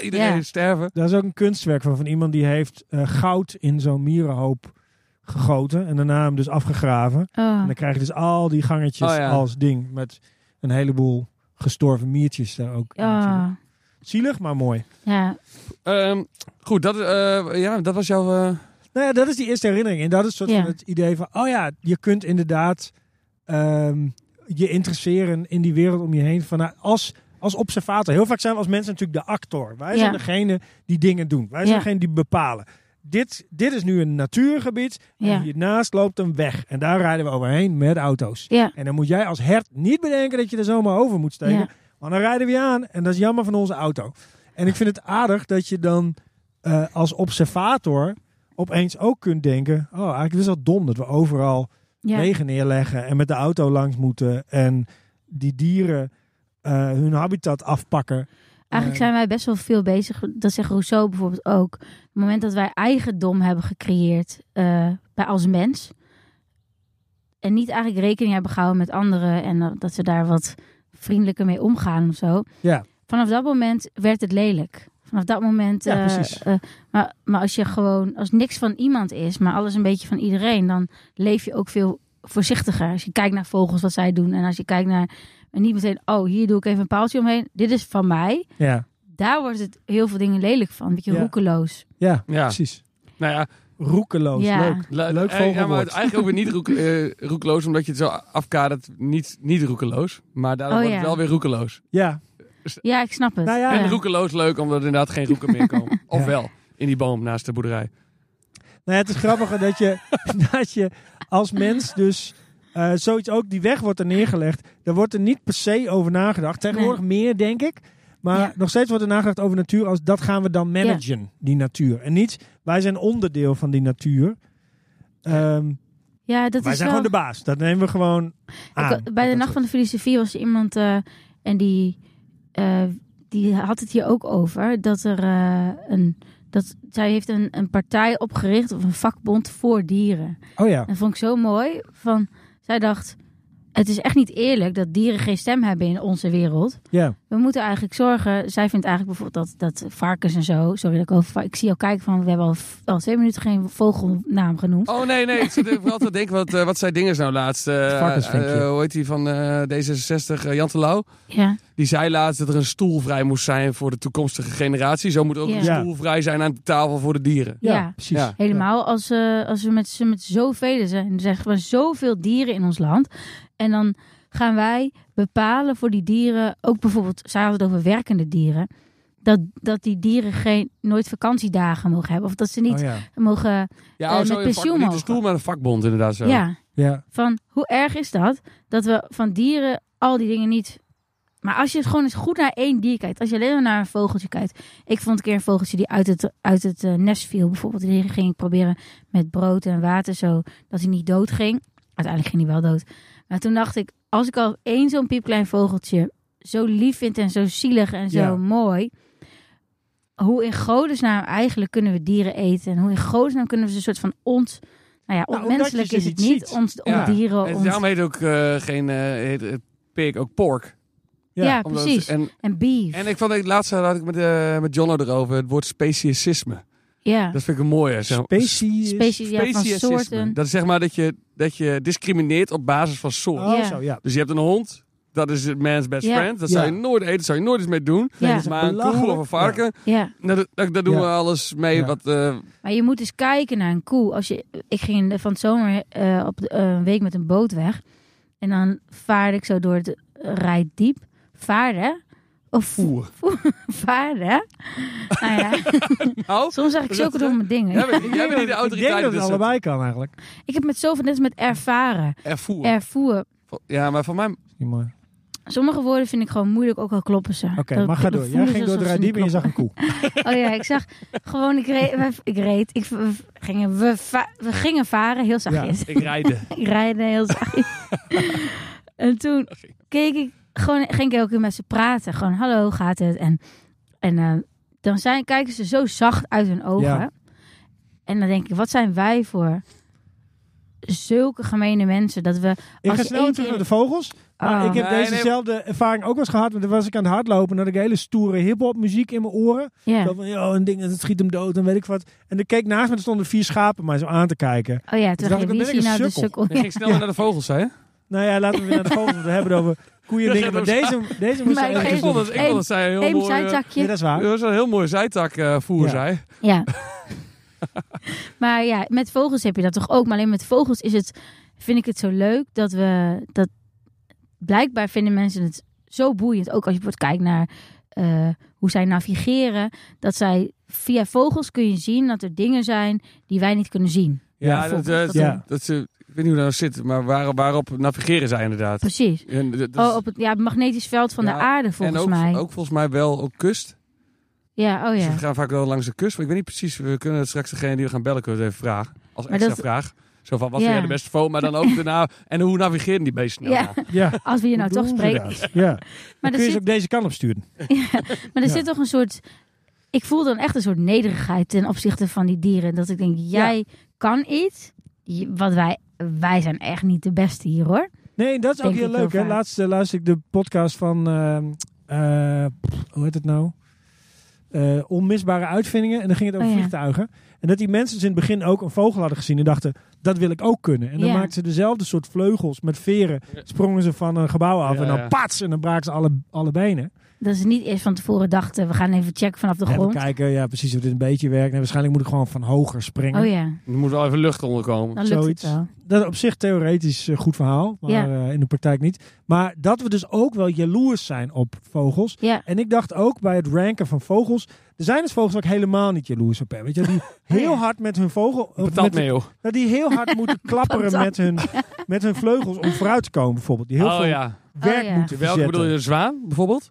A: iedereen
B: Ja.
A: sterven.
C: Daar is ook een kunstwerk van, van iemand die heeft eh, goud in zo'n mierenhoop gegoten. En daarna hem dus afgegraven.
B: Oh.
C: En dan krijg je dus al die gangetjes
A: Oh, ja.
C: als ding. Met een heleboel gestorven miertjes daar ook. in natuurlijk.
B: Oh.
C: Zielig, maar mooi.
B: Ja,
A: Ehm, goed, dat, eh, ja, dat was jouw... eh,
C: Nou ja, dat is die eerste herinnering. En dat is soort
B: Ja.
C: van het idee van... Oh ja, je kunt inderdaad ehm, je interesseren in die wereld om je heen. Van, nou, als, als observator. Heel vaak zijn we als mensen natuurlijk de actor. Wij
B: Ja.
C: zijn degene die dingen doen. Wij zijn
B: Ja.
C: degene die bepalen. Dit, dit is nu een natuurgebied. En
B: Ja.
C: hiernaast loopt een weg. En daar rijden we overheen met auto's.
B: ja,
C: En dan moet jij als hert niet bedenken dat je er zomaar over moet steken.
B: Ja.
C: Want dan rijden we je aan en dat is jammer van onze auto. En ik vind het aardig dat je dan eh, als observator opeens ook kunt denken... oh, eigenlijk is dat dom dat we overal
B: ja.
C: wegen neerleggen... en met de auto langs moeten en die dieren eh, hun habitat afpakken.
B: Eigenlijk
C: Eh,
B: zijn wij best wel veel bezig. Dat zegt Rousseau bijvoorbeeld ook. Op het moment dat wij eigendom hebben gecreëerd eh, bij als mens. En niet eigenlijk rekening hebben gehouden met anderen. En dat- dat ze daar wat vriendelijker mee omgaan of zo.
C: Ja.
B: Vanaf dat moment werd het lelijk. Vanaf dat moment.
C: Ja,
B: eh,
C: precies.
B: eh, maar, maar als je gewoon, als niks van iemand is, maar alles een beetje van iedereen, dan leef je ook veel voorzichtiger. Als je kijkt naar vogels wat zij doen. En als je kijkt naar. En niet meteen, oh, hier doe ik even een paaltje omheen. Dit is van mij
C: ja,
B: daar wordt het heel veel dingen lelijk van. Een beetje
C: Ja.
B: roekeloos.
C: ja,
A: ja,
C: precies.
A: nou ja.
C: Roekeloos,
B: Ja.
C: leuk.
A: le-
C: Leuk
A: eh, ja, maar
C: vogelwoord.
A: het- eigenlijk ook weer niet roek, eh, roekeloos, omdat je het zo afkadert. Niet, niet roekeloos, maar daardoor
B: Oh,
A: wordt het wel
B: ja.
A: weer roekeloos.
C: Ja,
B: Ja, ik snap het.
C: Nou ja,
A: En
B: ja.
A: roekeloos leuk, omdat er inderdaad geen roeken meer komen. Of
C: Ja.
A: wel, in die boom naast de boerderij.
C: Nou, ja, het is grappig dat je, dat je als mens dus eh, zoiets ook, die weg wordt er neergelegd. Daar wordt er niet per se over nagedacht. Tegenwoordig meer, denk ik. Maar
B: Ja.
C: nog steeds wordt er nagedacht over natuur als dat gaan we dan managen, die natuur. En niet, wij zijn onderdeel van die natuur. Ehm,
B: Ja, dat
C: wij
B: is
C: zijn
B: wel...
C: gewoon de baas. Dat nemen we gewoon aan.
B: Ik- bij de
C: Dat
B: Nacht van de Filosofie was er iemand eh, en die, eh, die had het hier ook over. Dat er eh, een. Dat, zij heeft een, een partij opgericht of een vakbond voor dieren.
C: soort- Oh ja.
B: En dat vond ik zo mooi. Van, zij dacht, het is echt niet eerlijk dat dieren geen stem hebben in onze wereld.
C: ja.
B: We moeten eigenlijk zorgen. Zij vindt eigenlijk bijvoorbeeld dat, dat varkens en zo. Sorry dat ik over. va- Ik zie jou kijken van. We hebben al, v- al twee minuten geen vogelnaam genoemd.
A: Oh nee, nee. Ik zit even altijd te denken, wat, eh, wat zei Dingers nou laatst? eh,
C: Varkensvinkje.
A: eh, hoe heet die van eh, D66, eh, Jan Terlouw?
B: Ja.
A: Die zei laatst dat er een stoel vrij moest zijn voor de toekomstige generatie. Zo moet ook
B: Ja.
A: een stoel vrij zijn aan de tafel voor de dieren.
C: Ja,
B: Ja.
C: precies.
A: Ja.
B: Helemaal als, eh, als we met, z'n- met zoveel zijn. Er zijn gewoon zoveel dieren in ons land. En dan gaan wij bepalen voor die dieren. Ook bijvoorbeeld. Zij had het over werkende dieren. Dat, dat die dieren geen, nooit vakantiedagen mogen hebben. Of dat ze niet
C: Oh ja.
B: mogen.
A: Ja,
B: Eh,
A: oh,
B: met
A: zo een
B: pensioen
A: vak, niet een
B: mogen.
A: stoel, maar een vakbond inderdaad zo.
B: Ja.
C: Ja.
B: van hoe erg is dat dat we van dieren al die dingen niet. Maar als je het gewoon eens goed naar één dier kijkt, als je alleen maar naar een vogeltje kijkt. Ik vond een keer een vogeltje die uit het, uit het eh, nest viel, bijvoorbeeld. Die ging ik proberen met brood en water zo dat hij niet dood ging. Uiteindelijk ging hij wel dood. Maar toen dacht ik, als ik al één zo'n piepklein vogeltje zo lief vind en zo zielig en zo
C: Ja.
B: mooi. Hoe in godesnaam eigenlijk kunnen we dieren eten? En hoe in godesnaam kunnen we ze een soort van ont... Nou ja,
C: omdat je
B: onmenselijk
C: ze
B: is het
C: niet
B: niet.
C: ziet.
B: Ons,
A: Ja.
B: dieren,
A: En
B: ont-
A: daarom heet ook eh, geen eh, heet, het pig, ook pork.
B: Ja,
C: Ja,
A: Omdat-
B: precies.
A: En,
B: En beef.
A: en ik vond het laatst had ik met, eh met Jono erover, het woord speciesisme.
B: Ja.
A: Dat vind ik een mooie. Zeg maar.
C: Species.
B: Species ja, van
A: Speciesisme.
B: soorten.
A: Dat is zeg maar dat je, dat je discrimineert op basis van soort.
C: Oh,
B: Ja.
C: zo, ja.
A: Dus je hebt een hond. Dat is het man's best
B: Ja.
A: friend. Dat
C: Ja.
A: zou je nooit eten. zou je nooit iets mee doen.
B: Ja.
C: is
A: Maar een koe
C: belachelijk.
A: of een varken.
B: Ja.
A: Nou, dat- dat- daar doen
C: Ja.
A: we alles mee.
C: Ja.
A: Wat, eh,
B: Maar je moet eens kijken naar een koe. Als je, ik ging van het zomer eh, op de- eh, een week met een boot weg. En dan vaarde ik zo door het Rijdiep. Vaarde. Of
C: Voer.
B: vaarde. Nou ja,
A: nou,
B: soms zeg ik zulke domme dingen.
A: jij bent, jij bent niet de
C: Ik denk
A: autoriteit. dus, eh,
C: dat
A: in
C: het
A: dit soort-
C: allebei kan eigenlijk.
B: Ik heb met zoveel, net als met ervaren.
A: Ervoer.
B: Ervoer.
A: Ja, maar van mij...
C: Niet mooi.
B: Sommige woorden vind ik gewoon moeilijk, ook al kloppen ze.
C: Oké,
B: Dat-
C: maar ga
B: dat dus
C: door. Jij
B: voelen ze
C: ging door de
B: alsof ze
C: radiep en je
B: niet
C: zag een koe.
B: kloppen. Oh ja, ik zag gewoon, ik reed, ik reed, ik, we, gingen, we, va- we gingen varen, heel zachtjes.
A: Ik rijden.
B: Ik rijden heel zachtjes. en toen keek ik, gewoon, ging ik elke keer met ze praten. Gewoon, hallo, hoe gaat het? En, en eh, dan zijn, kijken ze zo zacht uit hun ogen.
C: Ja.
B: En dan denk ik, wat zijn wij voor zulke gemene mensen dat we...
C: Ik
B: Als
C: ga
B: je
C: snel
B: één
C: weer terug
B: keer-
C: naar de vogels. Maar
B: Ah.
C: ik heb
A: Nee, nee.
C: dezezelfde ervaring ook wel eens gehad. Want dan was ik aan het hardlopen en had ik hele stoere hip-hop muziek in mijn oren.
B: Ja.
C: Zo van, joh, een ding, dat schiet hem dood en weet ik wat. En er keek naast me, er stonden vier schapen mij zo aan te kijken.
B: Oh ja, toen
C: Toen dacht
B: dacht
C: ik,
B: je,
C: dan
B: wie
C: ben
B: is
C: ik
B: hier nou
C: een
B: de
C: sukkel.
B: sukkel?
A: Ik ging snel weer naar de vogels, hè?
C: Nou ja, laten we weer naar de vogels, want we hebben het over koeien dingen. Maar deze, deze moest
B: Maar
C: wel
B: ik
C: even
A: Ik
B: geef-
A: vond
C: doen.
A: dat, ik vond dat zij een heel
B: Eén
A: mooi... eh,
C: Ja,
B: zijtakje.
C: dat is waar.
A: Dat was een heel mooi zijtakvoer,
C: Ja.
A: zei.
B: Ja. maar ja, met vogels heb je dat toch ook. Maar alleen met vogels is het, vind ik het zo leuk dat we dat. Blijkbaar vinden mensen het zo boeiend. Ook als je bijvoorbeeld kijkt naar eh, hoe zij navigeren. Dat zij via vogels kun je zien dat er dingen zijn die wij niet kunnen zien.
A: Ja, dat,
B: vond
A: eh,
B: ik
A: dat,
B: dat
C: wel.
A: dat ze, ik weet niet hoe dat nou zit, maar waar, waarop navigeren zij inderdaad.
B: Precies.
A: En, dat is-
B: Oh, op het, ja, het magnetisch veld van
A: Dus Ja,
B: de aarde volgens
A: en ook,
B: mij.
A: ook volgens mij wel ook kust.
B: Ja, oh
A: Dus
B: ja.
A: we gaan vaak wel langs de kust. Maar ik weet niet precies, we kunnen het straks degene die we gaan bellen kunnen we het even vragen. Als
B: Maar
A: extra
B: dat-
A: vraag. Zo van, wat
B: Ja.
A: vind jij de beste vogel? Maar dan ook daarna, en hoe navigeren die beesten nou?
B: Ja,
C: Ja.
B: als we hier nou
C: Hoe
B: toch
C: doen ze
B: spreken.
C: dat? Ja.
B: Maar er
C: Dan kun je
B: zit
C: ze op deze kant op sturen.
B: Maar er
C: Ja.
B: zit toch een soort. Ik voel dan echt een soort nederigheid ten opzichte van die dieren. Dat ik denk, jij kan iets. je- Wat wij, wij zijn echt niet de beste hier hoor.
C: Nee, dat is ook
B: Denk
C: heel
B: ik heel
C: leuk. Hè?
B: vaak.
C: Laatst eh, luisterde ik de podcast van, ehm, eh, pff, hoe heet het nou? Eh, onmisbare uitvindingen. En dan ging het over
B: Oh ja.
C: vliegtuigen. En dat die mensen dus in het begin ook een vogel hadden gezien en dachten, dat wil ik ook kunnen. En dan
B: Ja.
C: maakten ze dezelfde soort vleugels met veren. Sprongen ze van een gebouw af
A: Ja,
C: en dan
A: ja.
C: pats en dan braken ze alle, alle benen.
B: Dat ze niet eerst van tevoren dachten, we gaan even checken vanaf de
C: En we
B: grond.
C: kijken, ja precies hoe dit een beetje werkt. En waarschijnlijk moet ik gewoon van hoger springen.
B: Oh ja,
A: Er moet wel even lucht onderkomen.
B: dan lukt
C: Zoiets.
B: het wel.
C: Dat is op zich theoretisch een goed verhaal, maar
B: Ja.
C: eh, in de praktijk niet. Maar dat we dus ook wel jaloers zijn op vogels.
B: Ja,
C: En ik dacht ook bij het ranken van vogels. Er zijn dus vogels waar ik helemaal niet jaloers op ben. Weet je, die heel hard met hun vogel. of
A: Patat
C: met-
A: mee, joh.
C: nou, die heel hard moeten klapperen met hun, met hun vleugels om vooruit te komen, bijvoorbeeld. Die heel
A: Oh
C: veel
A: ja.
C: werk
B: Oh, ja.
A: Welke
C: moeten verzetten.
A: bedoel je, de zwaan bijvoorbeeld?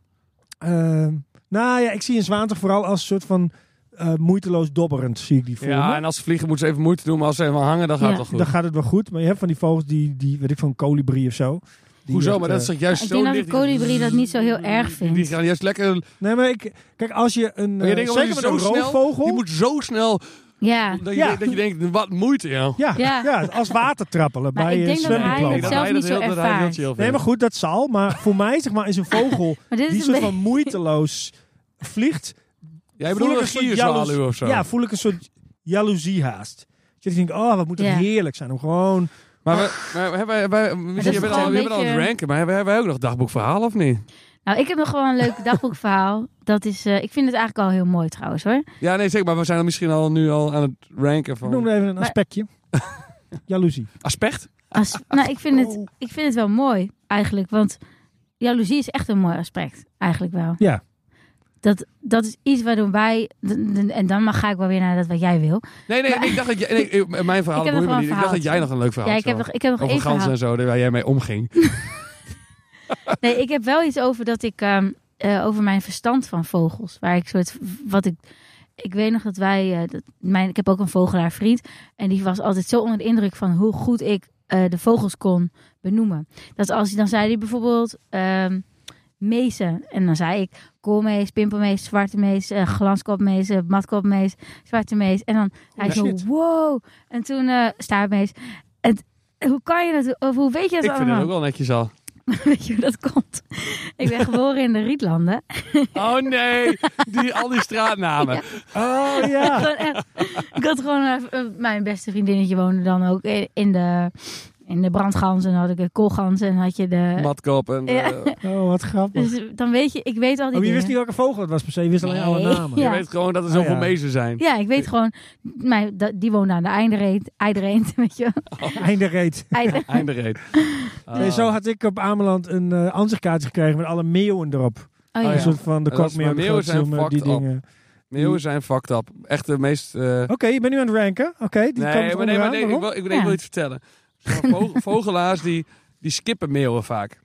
C: Ehm, nou ja, ik zie een zwaan toch vooral als een soort van eh, moeiteloos dobberend, zie ik die voor
A: Ja,
C: me.
A: en als ze vliegen moeten ze even moeite doen. Maar als ze helemaal hangen, dan gaat
B: Ja.
A: het wel
C: Dan
A: goed.
C: gaat het wel goed. Maar je hebt van die vogels die, die weet ik van kolibrie of zo. Die
A: Hoezo?
C: echt,
A: Maar dat
C: eh,
A: is toch juist
B: ik
A: zo
B: denk dat de
A: licht-
B: kolibrie dat niet zo heel erg
A: Die
B: vindt.
A: gaan juist lekker...
C: Nee, maar ik... Kijk, als je een...
A: Maar je
C: eh,
A: denkt, oh,
C: zeker
A: die
C: met
A: is
C: een
A: zo snel,
C: roofvogel...
A: Die moet zo snel
B: Ja,
A: dat je,
C: Ja.
A: dat je denkt, wat moeite, joh.
C: Ja, ja.
B: Ja.
C: als watertrappelen
B: Maar
C: bij
B: ik
C: eh,
B: denk dat hij
C: zwemdiploma.
B: het zelf
A: hij
B: niet
A: dat
B: zo
A: heel- dat hij dat
B: ervaart.
A: heel
C: Nee,
A: vindt.
C: maar goed, dat zal. Maar voor mij zeg maar, is een vogel
B: maar dit
C: die
B: is een
C: soort
B: beetje...
C: van moeiteloos vliegt.
A: Jij
C: voel
A: bedoelt
C: ik
A: een
C: soort
A: gierzwaluw
C: jaloes-
A: of zo?
C: Ja, voel ik een soort jaloezie haast. Dat je denkt, oh, wat moet het
B: Ja.
C: heerlijk zijn om gewoon...
A: Maar we, maar we hebben, wij, misschien hebben we
B: gewoon
A: al,
B: een
A: we hebben al aan het
B: beetje-
A: ranken, maar hebben, hebben wij ook nog dagboekverhalen of niet?
B: Nou, ik heb nog wel een leuk dagboekverhaal. Dat is, eh, ik vind het eigenlijk al heel mooi trouwens hoor.
A: Ja, nee, zeg maar, we zijn er misschien al nu al aan het ranken
C: Ik
A: van...
C: noem er even een
B: Maar-
C: aspectje. jaloezie.
A: Aspect?
B: Als, nou, ik vind,
C: Oh.
B: het, ik vind het wel mooi eigenlijk. Want jaloezie is echt een mooi aspect. Eigenlijk wel.
C: Ja.
B: Dat, dat is iets waardoor wij. d- d- En dan mag, ga ik wel weer naar dat wat jij wil.
A: Nee, nee, ik dacht dat jij... Nee, ik- mijn verhaal
B: Ik
A: boeit
B: heb nog
A: me
B: wel
A: niet.
B: een
A: Ik dacht dat jij nog een leuk verhaal
B: ja, ik heb
A: had.
B: nog, ik heb nog
A: Nou, Over
B: één
A: ganzen
B: verhaal.
A: en zo, daar waar jij mee omging.
B: Nee, ik heb wel iets over dat ik. ehm, eh, over mijn verstand van vogels. Waar ik soort. Wat ik. Ik weet nog dat wij. eh, dat mijn, ik heb ook een vogelaar vriend. En die was altijd zo onder de indruk van hoe goed ik eh, de vogels kon benoemen. Dat als hij dan zei, hij bijvoorbeeld. ehm mezen. En dan zei ik koolmees, pimpelmees, zwarte mees, eh, glanskopmees, eh, matkopmees, zwarte mees. En dan hij zo,
C: shit.
B: wow. En toen eh staartmees. En, t- hoe kan je dat? Of hoe weet je dat
A: Ik vind
B: allemaal?
A: het ook wel netjes al.
B: Weet je hoe dat komt? Ik ben geboren in de Rietlanden.
A: Oh nee, die, al die straatnamen.
C: Oh ja.
B: Gewoon echt. Ik had gewoon eh, eh, mijn beste vriendinnetje woonde dan ook in- in de, in de brandgans. En dan had ik de koolgans en had je de...
A: Matkap en...
B: Ja.
A: eh,
C: Oh, wat grappig.
B: Dus dan weet je, ik weet al die
C: Oh, je wist niet
B: dingen.
C: welke vogel het was per se. Je wist alleen alle
B: Nee.
C: namen.
A: je
B: Ja.
A: weet gewoon dat er zoveel
C: Oh, ja.
A: mezen zijn.
B: Ja, ik weet gewoon, mijn, dat- die woonde aan de Eidereet, Eidereet, weet je wel.
C: Einde reet.
B: Eider-
A: Eindereed. Oh.
C: Nee, zo had ik op Ameland een eh ansichtkaartje gekregen met alle meeuwen erop.
B: Oh ja.
A: Oh
C: Een
A: ja.
C: soort van de
A: En dat is-
C: kokmeeuw,
A: maar
C: de
A: meeuwen zijn
C: grootzoemer, die
A: fucked up.
C: dingen.
A: Meeuwen zijn fucked up. Echt de meest... eh,
C: Oké, je bent nu aan het ranken. Oké, die kan
A: nee,
C: het
A: maar nee, maar
C: Oh, onderaan.
A: nee, ik
C: Waarom?
A: wil, ik, wil-
B: Ja.
A: ik wil iets vertellen. Vog- Vogelaars die, die skippen meeuwen vaak.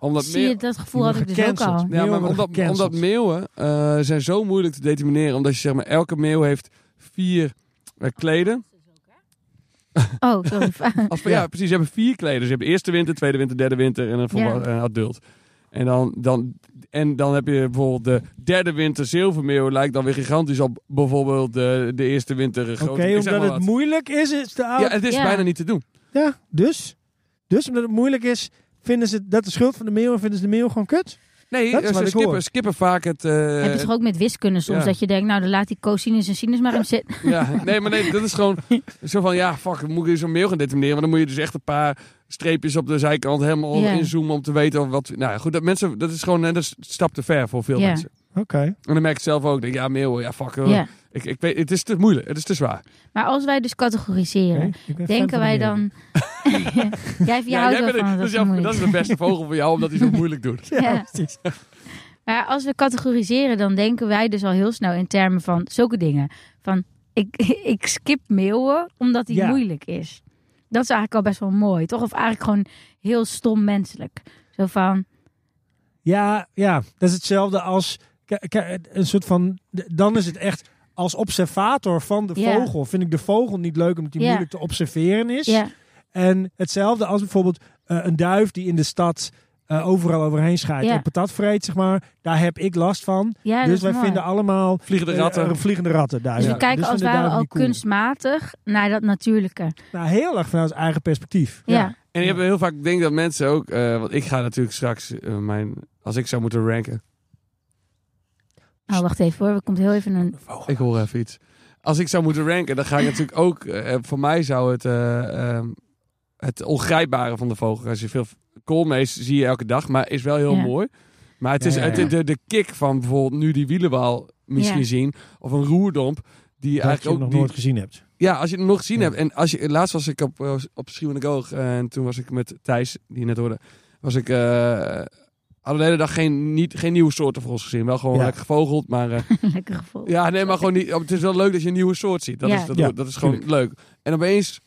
A: Omdat
B: Zie je,
A: meeuwen...
B: dat gevoel had ik dus ook
C: Gecanceld.
B: al.
A: Ja, maar
C: Meeuwen worden
A: omdat,
C: gecanceld.
A: omdat meeuwen eh, zijn zo moeilijk te determineren. Omdat je zeg maar, elke meeuw heeft vier eh, kleden.
B: Oh, sorry.
A: Of, ja. precies. Ze hebben vier kleden. Ze hebben eerste winter, tweede winter, derde winter en een volwa- een adult. En dan, dan, en dan heb je bijvoorbeeld de derde winter zilvermeeuw. Lijkt dan weer gigantisch op bijvoorbeeld de, de eerste winter. eh,
C: Oké,
A: grote- ik zeg
C: omdat
A: maar
C: het
A: wat.
C: moeilijk is, is de oud.
A: Ja,
C: Ja,
A: het is
B: Ja.
A: bijna niet te doen.
C: dus? Dus omdat het moeilijk is, vinden ze dat de schuld van de meeuw en vinden ze de meeuw gewoon kut?
A: Nee,
C: Dat is
A: eh,
C: wat
A: ze
C: ik hoor.
A: skippen, skippen vaak het... eh,
B: Heb je toch ook met wiskunde soms,
A: ja.
B: dat je denkt, nou, dan laat die cosinus en sinus maar in zitten.
A: Ja, nee, maar nee, dat is gewoon zo van, ja, fuck, moet ik zo'n mail gaan determineren? Maar dan moet je dus echt een paar streepjes op de zijkant helemaal
B: Ja.
A: inzoomen om te weten of wat... Nou ja, goed, dat mensen, dat is gewoon net een stap te ver voor veel
B: Ja.
A: mensen.
C: Oké.
A: En dan merk ik zelf ook, denk, ja, mail, ja, fuck, hoor.
B: Ja.
A: ik, ik weet, het is te moeilijk, het is te zwaar.
B: Maar als wij dus categoriseren,
C: Oké, ik ben fan van
B: denken
C: de
B: wij
C: meeuw.
B: dan... jij jij houdt wel
A: bent-
B: van,
A: dat,
B: dat
A: is jouw-
B: moeilijk.
A: dat is de beste vogel voor jou, omdat hij zo moeilijk doet.
C: Ja,
B: Ja.
C: precies.
B: Maar als we categoriseren, dan denken wij dus al heel snel in termen van zulke dingen. Van ik, ik skip meeuwen omdat die
C: Ja.
B: moeilijk is. Dat is eigenlijk al best wel mooi, toch? Of eigenlijk gewoon heel stom menselijk. Zo van,
C: Ja, ja, dat is hetzelfde als k- k- een soort van. Dan is het echt als observator van de
B: Ja.
C: vogel. Vind ik de vogel niet leuk omdat die
B: Ja.
C: moeilijk te observeren
A: Dus-
C: is.
B: ja,
C: En hetzelfde als bijvoorbeeld eh, een duif die in de stad eh, overal overheen schijnt
B: Ja.
C: en patat vreet, zeg maar. Daar heb ik last van.
B: ja dat
C: dus
B: is
C: wij
B: mooi.
C: vinden allemaal
A: Vliegende
C: eh,
A: ratten.
C: eh, vliegende ratten daar.
B: Dus we
A: Ja,
B: kijken als het
C: waren
B: ware al kunstmatig naar dat natuurlijke.
C: Nou, heel erg vanuit ons eigen perspectief.
B: Ja,
A: En ik heb heel vaak, ik denk dat mensen ook, eh, want ik ga natuurlijk straks eh, mijn, als ik zou moeten ranken,
B: Nou, wacht even hoor. Er komt heel even een...
A: Ik hoor even iets. Als ik zou moeten ranken, dan ga ik natuurlijk ook... eh, voor mij zou het eh, ehm, het ongrijpbare van de vogel... Als je veel koolmees zie je elke dag, maar is wel heel
B: Ja.
A: mooi. Maar het
C: Ja,
A: is
C: ja,
A: het-
C: ja.
A: de, de kick van bijvoorbeeld nu die wielenwaal misschien
B: Ja.
A: zien. Of een roerdomp. Die
C: Dat je hem
A: eigenlijk
C: nog
A: ook die-
C: nooit gezien hebt.
A: ja, als je het nog gezien
C: Ja.
A: hebt. En als je, laatst was ik op, eh, op Schreeuwende Goog. eh, en toen was ik met Thijs, die je net hoorde. Was ik... eh hadden de hele dag geen, niet, geen nieuwe soorten vogels gezien. Wel gewoon
C: Ja.
A: lekker gevogeld, maar... eh,
B: Lekker gevoel.
A: ja, nee, maar gewoon niet. Het is wel leuk dat je een nieuwe soort ziet. Dat,
B: Ja.
A: is, dat,
C: Ja,
A: dat is gewoon leuk. En opeens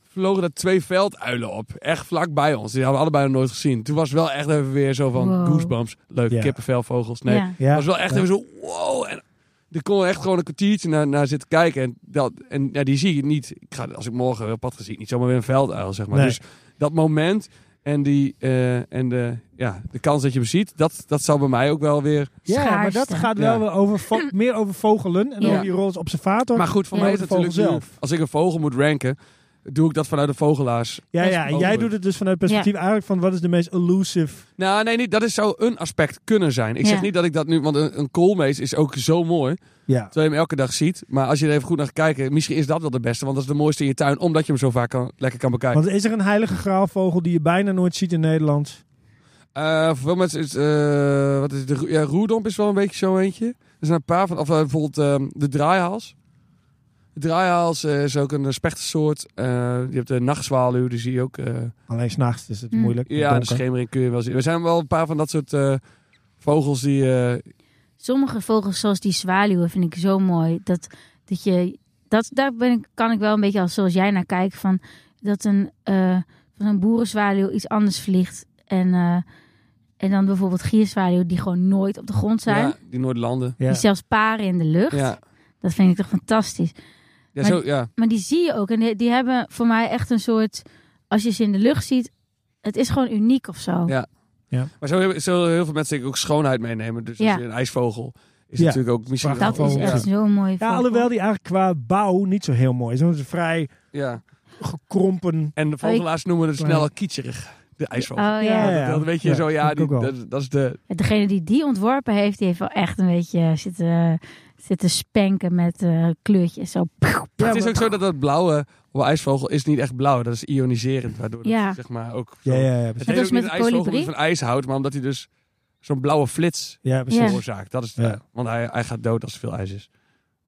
A: vlogen er twee velduilen op. Echt vlak bij ons. Die hadden we allebei nog nooit gezien. Toen was wel echt even weer zo van
B: Wow.
A: goosebumps. Leuk,
C: Ja.
A: kippenvelvogels. Nee,
B: Ja.
C: Ja.
A: was wel echt
C: Ja.
A: even zo wow. En er kon echt gewoon een kwartiertje naar, naar zitten kijken. En, dat, en ja, die zie je niet. Ik ga, als ik morgen weer op pad ga, zie ik niet zomaar weer een velduil, zeg maar.
C: Nee.
A: Dus dat moment... En, die, eh, en de, ja, de kans dat je hem ziet, dat, dat zou bij mij ook wel weer...
C: Ja, maar dat
B: Schaarste.
C: gaat wel
A: Ja.
C: weer over vo- meer over vogelen en
B: Ja.
C: over je rol als observator.
A: Maar goed, voor
B: Ja,
A: mij is
C: de
A: het
C: vogel
A: natuurlijk nu,
C: zelf.
A: als ik een vogel moet ranken, doe ik dat vanuit de vogelaars.
C: ja, ja, en jij
A: mogelijk.
C: doet het dus vanuit het perspectief eigenlijk van wat is de meest elusive.
A: Nou, nee, niet, dat is, zou een aspect kunnen zijn. Ik
B: Ja.
A: zeg niet dat ik dat nu, want een, een koolmees is ook zo mooi,
C: Ja.
A: terwijl je hem elke dag ziet. Maar als je er even goed naar gaat kijken, misschien is dat wel de beste, want dat is de mooiste in je tuin, omdat je hem zo vaak kan, lekker kan bekijken.
C: Want is er een heilige graalvogel die je bijna nooit ziet in Nederland?
A: Eh, voor veel mensen is, eh, wat is het? de roe- ja, roerdomp is wel een beetje zo eentje. Er zijn een paar van, of eh, bijvoorbeeld ehm, de draaihals. De draaihals eh, is ook een eh, spechtensoort. Eh, je hebt de nachtzwaluw, die zie je ook. eh,
C: Alleen s'nachts is het
B: Hmm.
C: moeilijk.
A: Ja, in de
C: donker.
A: schemering kun je wel zien. Er zijn wel een paar van dat soort eh, vogels die... eh,
B: Sommige vogels, zoals die zwaluwen, vind ik zo mooi. Dat, dat je, dat, daar ben ik, kan ik wel een beetje als zoals jij naar kijken. Van, dat een, eh, van een boerenzwaluw iets anders vliegt. En, eh, en dan bijvoorbeeld gierzwaluwen die gewoon nooit op de grond zijn.
A: ja, die nooit landen.
C: Ja.
B: Die zelfs paren in de lucht.
A: Ja.
B: Dat vind ik toch fantastisch.
A: Ja,
B: Maar-
A: zo, ja.
B: Maar die zie je ook. En die, die hebben voor mij echt een soort... Als je ze in de lucht ziet, het is gewoon uniek of zo.
A: Ja. Maar zo hebben- zullen heel veel mensen denk ik ook schoonheid meenemen. Dus als
B: Ja.
A: je een ijsvogel is
C: Ja.
A: natuurlijk ook misschien...
C: Dat
B: Dat is
A: wel-
B: echt
A: Ja.
B: zo mooi.
C: Ja, alhoewel die eigenlijk qua bouw niet zo heel mooi is. Want het is vrij
A: ja.
C: gekrompen.
A: En de vogelaars noemen het snel al kietserig. De ijsvogel.
B: Oh
C: Ja,
B: ja.
C: ja.
A: Dat weet je zo,
C: vind
A: ja,
C: ik
A: die,
C: ook wel.
A: dat, dat is de...
B: Degene die die ontworpen heeft, die heeft wel echt een beetje eh, zitten, zitten spanken met eh, kleurtjes. Zo.
A: het is ook zo dat dat blauwe op een ijsvogel is niet echt blauw. Dat is ioniserend, waardoor het,
B: Ja.
A: zeg maar ook... zo-
C: Ja, ja, ja,
A: Het
C: precies.
B: Net
A: heet
B: als
A: ook niet
B: met
A: een
B: de
A: ijsvogel
B: kolibrie.
A: die van ijs houdt, maar omdat hij dus zo'n blauwe flits
C: Ja, precies.
B: Ja.
A: veroorzaakt. Dat is het,
C: Ja.
A: eh, Want hij, hij gaat dood als er veel ijs is.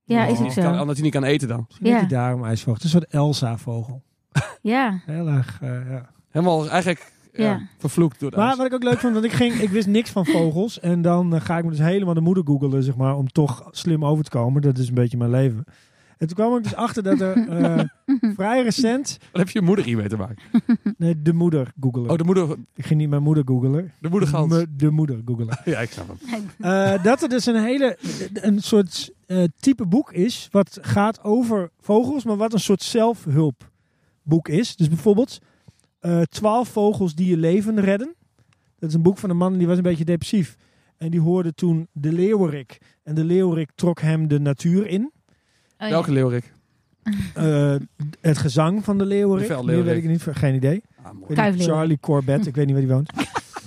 B: Ja, is
A: Omdat
B: ook
A: hij kan-
B: zo.
A: Omdat hij niet kan eten dan.
C: Misschien heet
B: Ja.
C: die daarom ijsvogel. Het is een soort Elsa-vogel.
B: Ja,
C: Heel erg, eh, ja.
A: Helemaal eigenlijk ja,
B: Ja.
A: vervloekt door de
C: Maar
A: ijs.
C: wat ik ook leuk vond, want ik, ging, ik wist niks van vogels. En dan eh, ga ik me dus helemaal de moeder googelen, zeg maar, om toch slim over te komen. Dat is een beetje mijn leven. En toen kwam ik dus achter dat er eh, vrij recent...
A: Wat heb je moeder hiermee te maken?
C: Nee, de moeder googelen.
A: Oh, de moeder,
C: Ik ging niet mijn moeder googelen.
A: de moedergans.
C: Me- De moeder googelen.
A: Ja, ik snap
B: Oh,
A: hem.
C: Eh, dat er dus een hele een soort eh, type boek is wat gaat over vogels, maar wat een soort zelfhulpboek is. Dus bijvoorbeeld eh, twaalf vogels die je leven redden. Dat is een boek van een man die was een beetje depressief en die hoorde toen de leeuwerik en de leeuwerik trok hem de natuur in.
B: Oh, ja.
A: Welke leeuwrik?
C: Eh, het gezang van de leeuwerik.
A: De
C: Meer
A: veldleeuwerik.
C: weet ik niet, geen idee. Ik
A: Ah, mooi.
C: weet niet,
B: Kuifleeuwerik.
C: Charlie Corbett, ik weet niet waar die woont.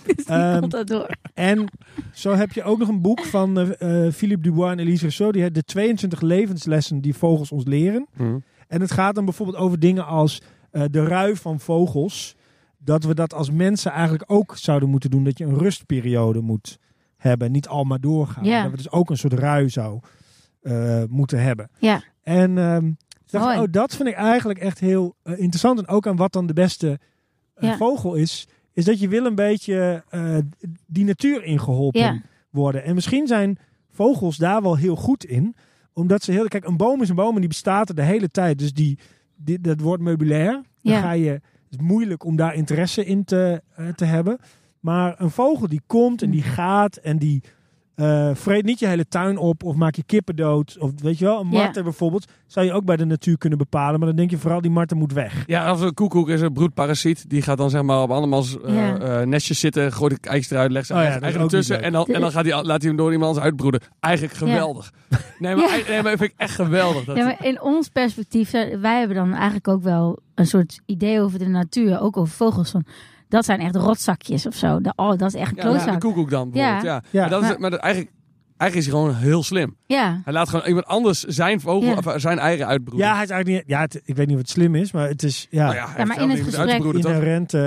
B: Dus die
C: Ehm,
B: komt dat door.
C: En zo heb je ook nog een boek van eh, eh, Philippe Dubois en Elise Rousseau. Die heet de 22 levenslessen die vogels ons leren.
A: Hm.
C: En het gaat dan bijvoorbeeld over dingen als eh, de rui van vogels. Dat we dat als mensen eigenlijk ook zouden moeten doen. Dat je een rustperiode moet hebben. Niet al maar doorgaan.
B: Ja.
C: Dat we dus ook een soort rui zou eh, moeten hebben.
B: Ja.
C: En ehm, ik dacht,
B: Mooi.
C: oh, dat vind ik eigenlijk echt heel eh, interessant. En ook aan wat dan de beste eh,
B: Ja.
C: vogel is. Is dat je wil een beetje eh, die natuur ingeholpen
B: Ja.
C: worden. En misschien zijn vogels daar wel heel goed in. Omdat ze heel... Kijk, een boom is een boom en die bestaat er de hele tijd. Dus die, die- dat wordt meubilair. Dan
B: Ja.
C: ga je... Het is moeilijk om daar interesse in te, eh, te hebben. Maar een vogel die komt en die
B: Mm.
C: gaat en die... eh, vreet niet je hele tuin op of maak je kippen dood. Of weet je wel, een
B: Ja.
C: marter bijvoorbeeld zou je ook bij de natuur kunnen bepalen. Maar dan denk je vooral die marter moet weg.
A: Ja, of een koekoek is een broedparasiet. Die gaat dan zeg maar op andermans eh,
B: Ja.
A: eh, nestjes zitten, gooit de eitjes eruit, legt zijn
C: Oh ja,
A: eigen,
C: dat is
A: eigen
C: ook
A: ertussen.
C: niet
A: En dan, en dan gaat hij, laat hij hem door iemand anders uitbroeden. Eigenlijk geweldig. Nee, maar, nee, maar vind ik echt geweldig. Dat,
B: Ja, maar in ons perspectief, zijn- wij hebben dan eigenlijk ook wel een soort idee over de natuur, ook over vogels. Van, dat zijn echt rotzakjes of zo. De- oh, dat is echt
A: Ja, maar de
B: klootzak.
A: koekoek dan bijvoorbeeld. Ja.
B: Ja.
C: Ja.
A: Maar, dat is,
B: Maar-
A: maar dat, eigenlijk, eigenlijk is hij gewoon heel slim.
B: Ja,
A: Hij laat gewoon iemand anders zijn vogel,
B: Ja.
A: of eh, zijn eieren uitbroeden.
C: Ja, hij is eigenlijk niet, ja het- ik weet niet of het slim is, maar het is ja,
A: Nou ja, hij heeft
B: maar in
A: zelf
B: het
A: niet
B: gesprek-
A: uitgebroeden, toch?
C: inherent. eh,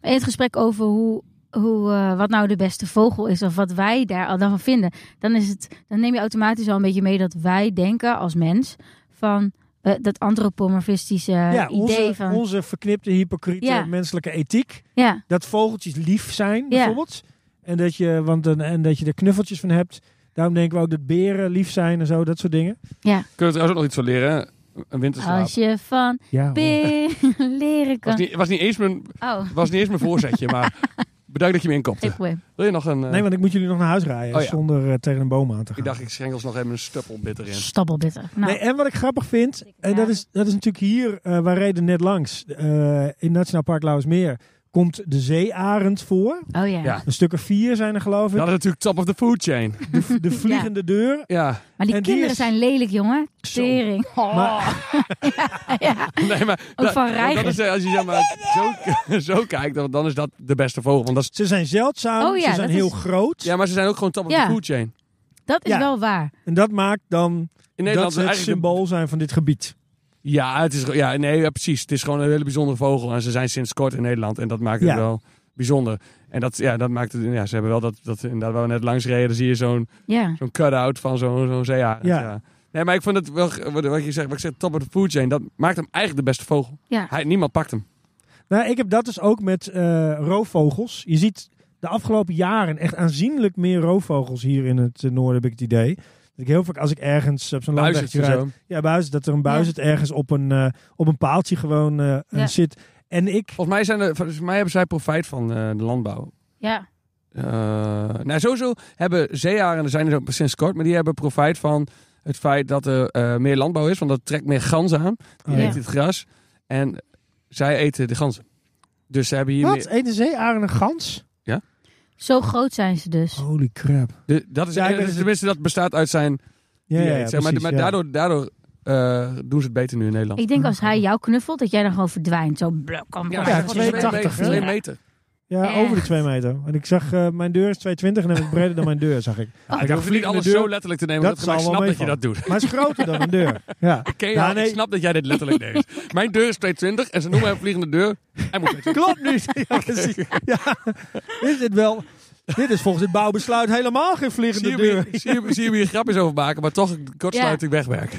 B: in het gesprek over hoe, hoe, eh, wat nou de beste vogel is of wat wij daar al dan van vinden, dan, is het, dan neem je automatisch al een beetje mee dat wij denken als mens van eh, dat antropomorfistische
C: ja,
B: Eh, idee
C: onze,
B: van.
C: onze verknipte, hypocriete
B: Ja.
C: menselijke ethiek.
B: Ja,
C: Dat vogeltjes lief zijn,
B: Ja.
C: bijvoorbeeld. En dat, je, want, dan- en dat je er knuffeltjes van hebt. Daarom denken we ook dat beren lief zijn en zo, dat soort dingen.
A: Kunnen we trouwens ook nog iets van leren? hè? Een winterslaap.
B: als je van
C: Ja,
B: beren leren
A: was,
B: kan.
A: niet, was, niet eens mijn,
B: Oh,
A: was niet eens mijn voorzetje, maar bedankt dat je me
B: geen
A: inkopte.
B: probleem.
A: Wil je nog een... eh,
C: nee, want ik moet jullie nog naar huis rijden
A: Oh ja.
C: zonder eh, tegen een boom aan te gaan.
A: Ik dacht, ik schenkel nog even een stuppelbitter in.
B: Stabbelbitter. Nou,
C: Nee, en wat ik grappig vind, en dat is, dat is natuurlijk hier, eh wij reden net langs, eh, in Nationaal Park Lauwersmeer, komt de zeearend voor.
B: oh ja.
A: Ja.
C: Een stuk of vier zijn er geloof ik.
A: Dat is natuurlijk top of the food chain.
C: De, de vliegende deur.
A: Ja,
B: Maar die
C: En die
B: kinderen
C: is-
B: zijn lelijk, jongen.
C: Zo.
B: Tering.
C: Maar,
B: Ja.
A: nee, maar
B: Ook
A: da-
B: van reiger.
A: dat is, eh, als je zeg maar zo, zo kijkt, dan, dan is dat de beste vogel. Want dat is,
C: ze zijn zeldzaam,
B: Oh ja,
C: ze zijn
B: dat
C: heel
B: is-
C: groot.
A: ja, maar ze zijn ook gewoon top of
B: Ja.
A: the food chain.
B: Dat is
C: Ja.
B: wel waar.
C: En dat maakt dan
A: In
C: dat
A: Nederland
C: ze
A: is
C: het
A: eigenlijk... de-
C: symbool zijn van dit gebied.
A: ja, het is, ja, nee, ja, precies. Het is gewoon een hele bijzondere vogel. En ze zijn sinds kort in Nederland. En dat maakt het
C: Ja.
A: wel bijzonder. En dat, ja, dat maakt het... Ja, ze hebben wel dat... dat inderdaad, waar we net langs reden, zie je zo'n
B: Ja.
A: zo'n cut-out van zo'n zo'n zeearend.
C: Ja.
A: Ja. Nee, maar ik vond het wel... Wat, wat je zegt, wat ik zeg, top of the food chain. Dat maakt hem eigenlijk de beste vogel.
B: ja.
A: Hij, niemand pakt hem.
C: Nou, ik heb dat dus ook met eh, roofvogels. Je ziet de afgelopen jaren echt aanzienlijk meer roofvogels hier in het eh, noorden, heb ik het idee. Dat ik heel vaak, als ik ergens op zo'n landwegje
A: Luistertje
C: rijd,
A: zo.
C: Ja, buizerd. Dat er een buizerd ergens op een, eh, op een paaltje gewoon eh,
B: Ja.
C: zit. En ik...
A: Volgens mij, zijn er, volgens mij hebben zij profijt van eh, de landbouw.
B: ja.
A: Eh, nou, sowieso hebben zeearenden, zijn er zo sinds kort, maar die hebben profijt van het feit dat er eh, meer landbouw is. Want dat trekt meer ganzen aan. Die
C: Oh,
B: Ja.
A: eten het gras. En zij eten de ganzen. Dus ze hebben hier
C: Wat?
A: meer...
C: Eet een zeearend een gans?
B: Zo groot zijn ze dus.
C: Holy crap.
A: de- dat is,
C: Ja, ik weet
A: eh,
C: het.
A: tenminste, dat bestaat uit zijn...
C: Ja, ja, ja,
A: dieet, zeg maar,
C: precies,
A: maar
C: ja.
A: daardoor, daardoor eh, doen ze het beter nu in Nederland.
B: Ik denk als hij jou knuffelt, dat jij dan gewoon verdwijnt. Zo blok. Kom,
C: Ja,
B: kom,
A: het is
B: kom,
C: 2,80,
A: twee meter,
C: hè?
A: twee meter.
C: Ja,
B: Echt?
C: over de 2 meter. Want ik zag, eh, mijn deur is 2,20 en dan heb ik breder dan mijn deur, zag ik.
A: Ah, ik hoef niet alles zo letterlijk te nemen.
C: Dat
A: Dat, maar ik
C: zal wel
A: snap dat je
C: meevallen.
A: dat doet.
C: Maar het is groter dan een deur. Ja.
A: Ken je
C: Ja,
A: haar?
C: nee.
A: Ik snap dat jij dit letterlijk neemt. Mijn deur is 220 en ze noemen hem vliegende deur. Hij moet 220.
C: Klopt niet. Ja, precies. Ja. Is dit wel... Dit is volgens het bouwbesluit helemaal geen
A: Zie
C: vliegende
A: je hem
C: deur.
A: hier- zie je- zie je hem hier grapjes over maken, maar toch een kortsluiting wegwerken.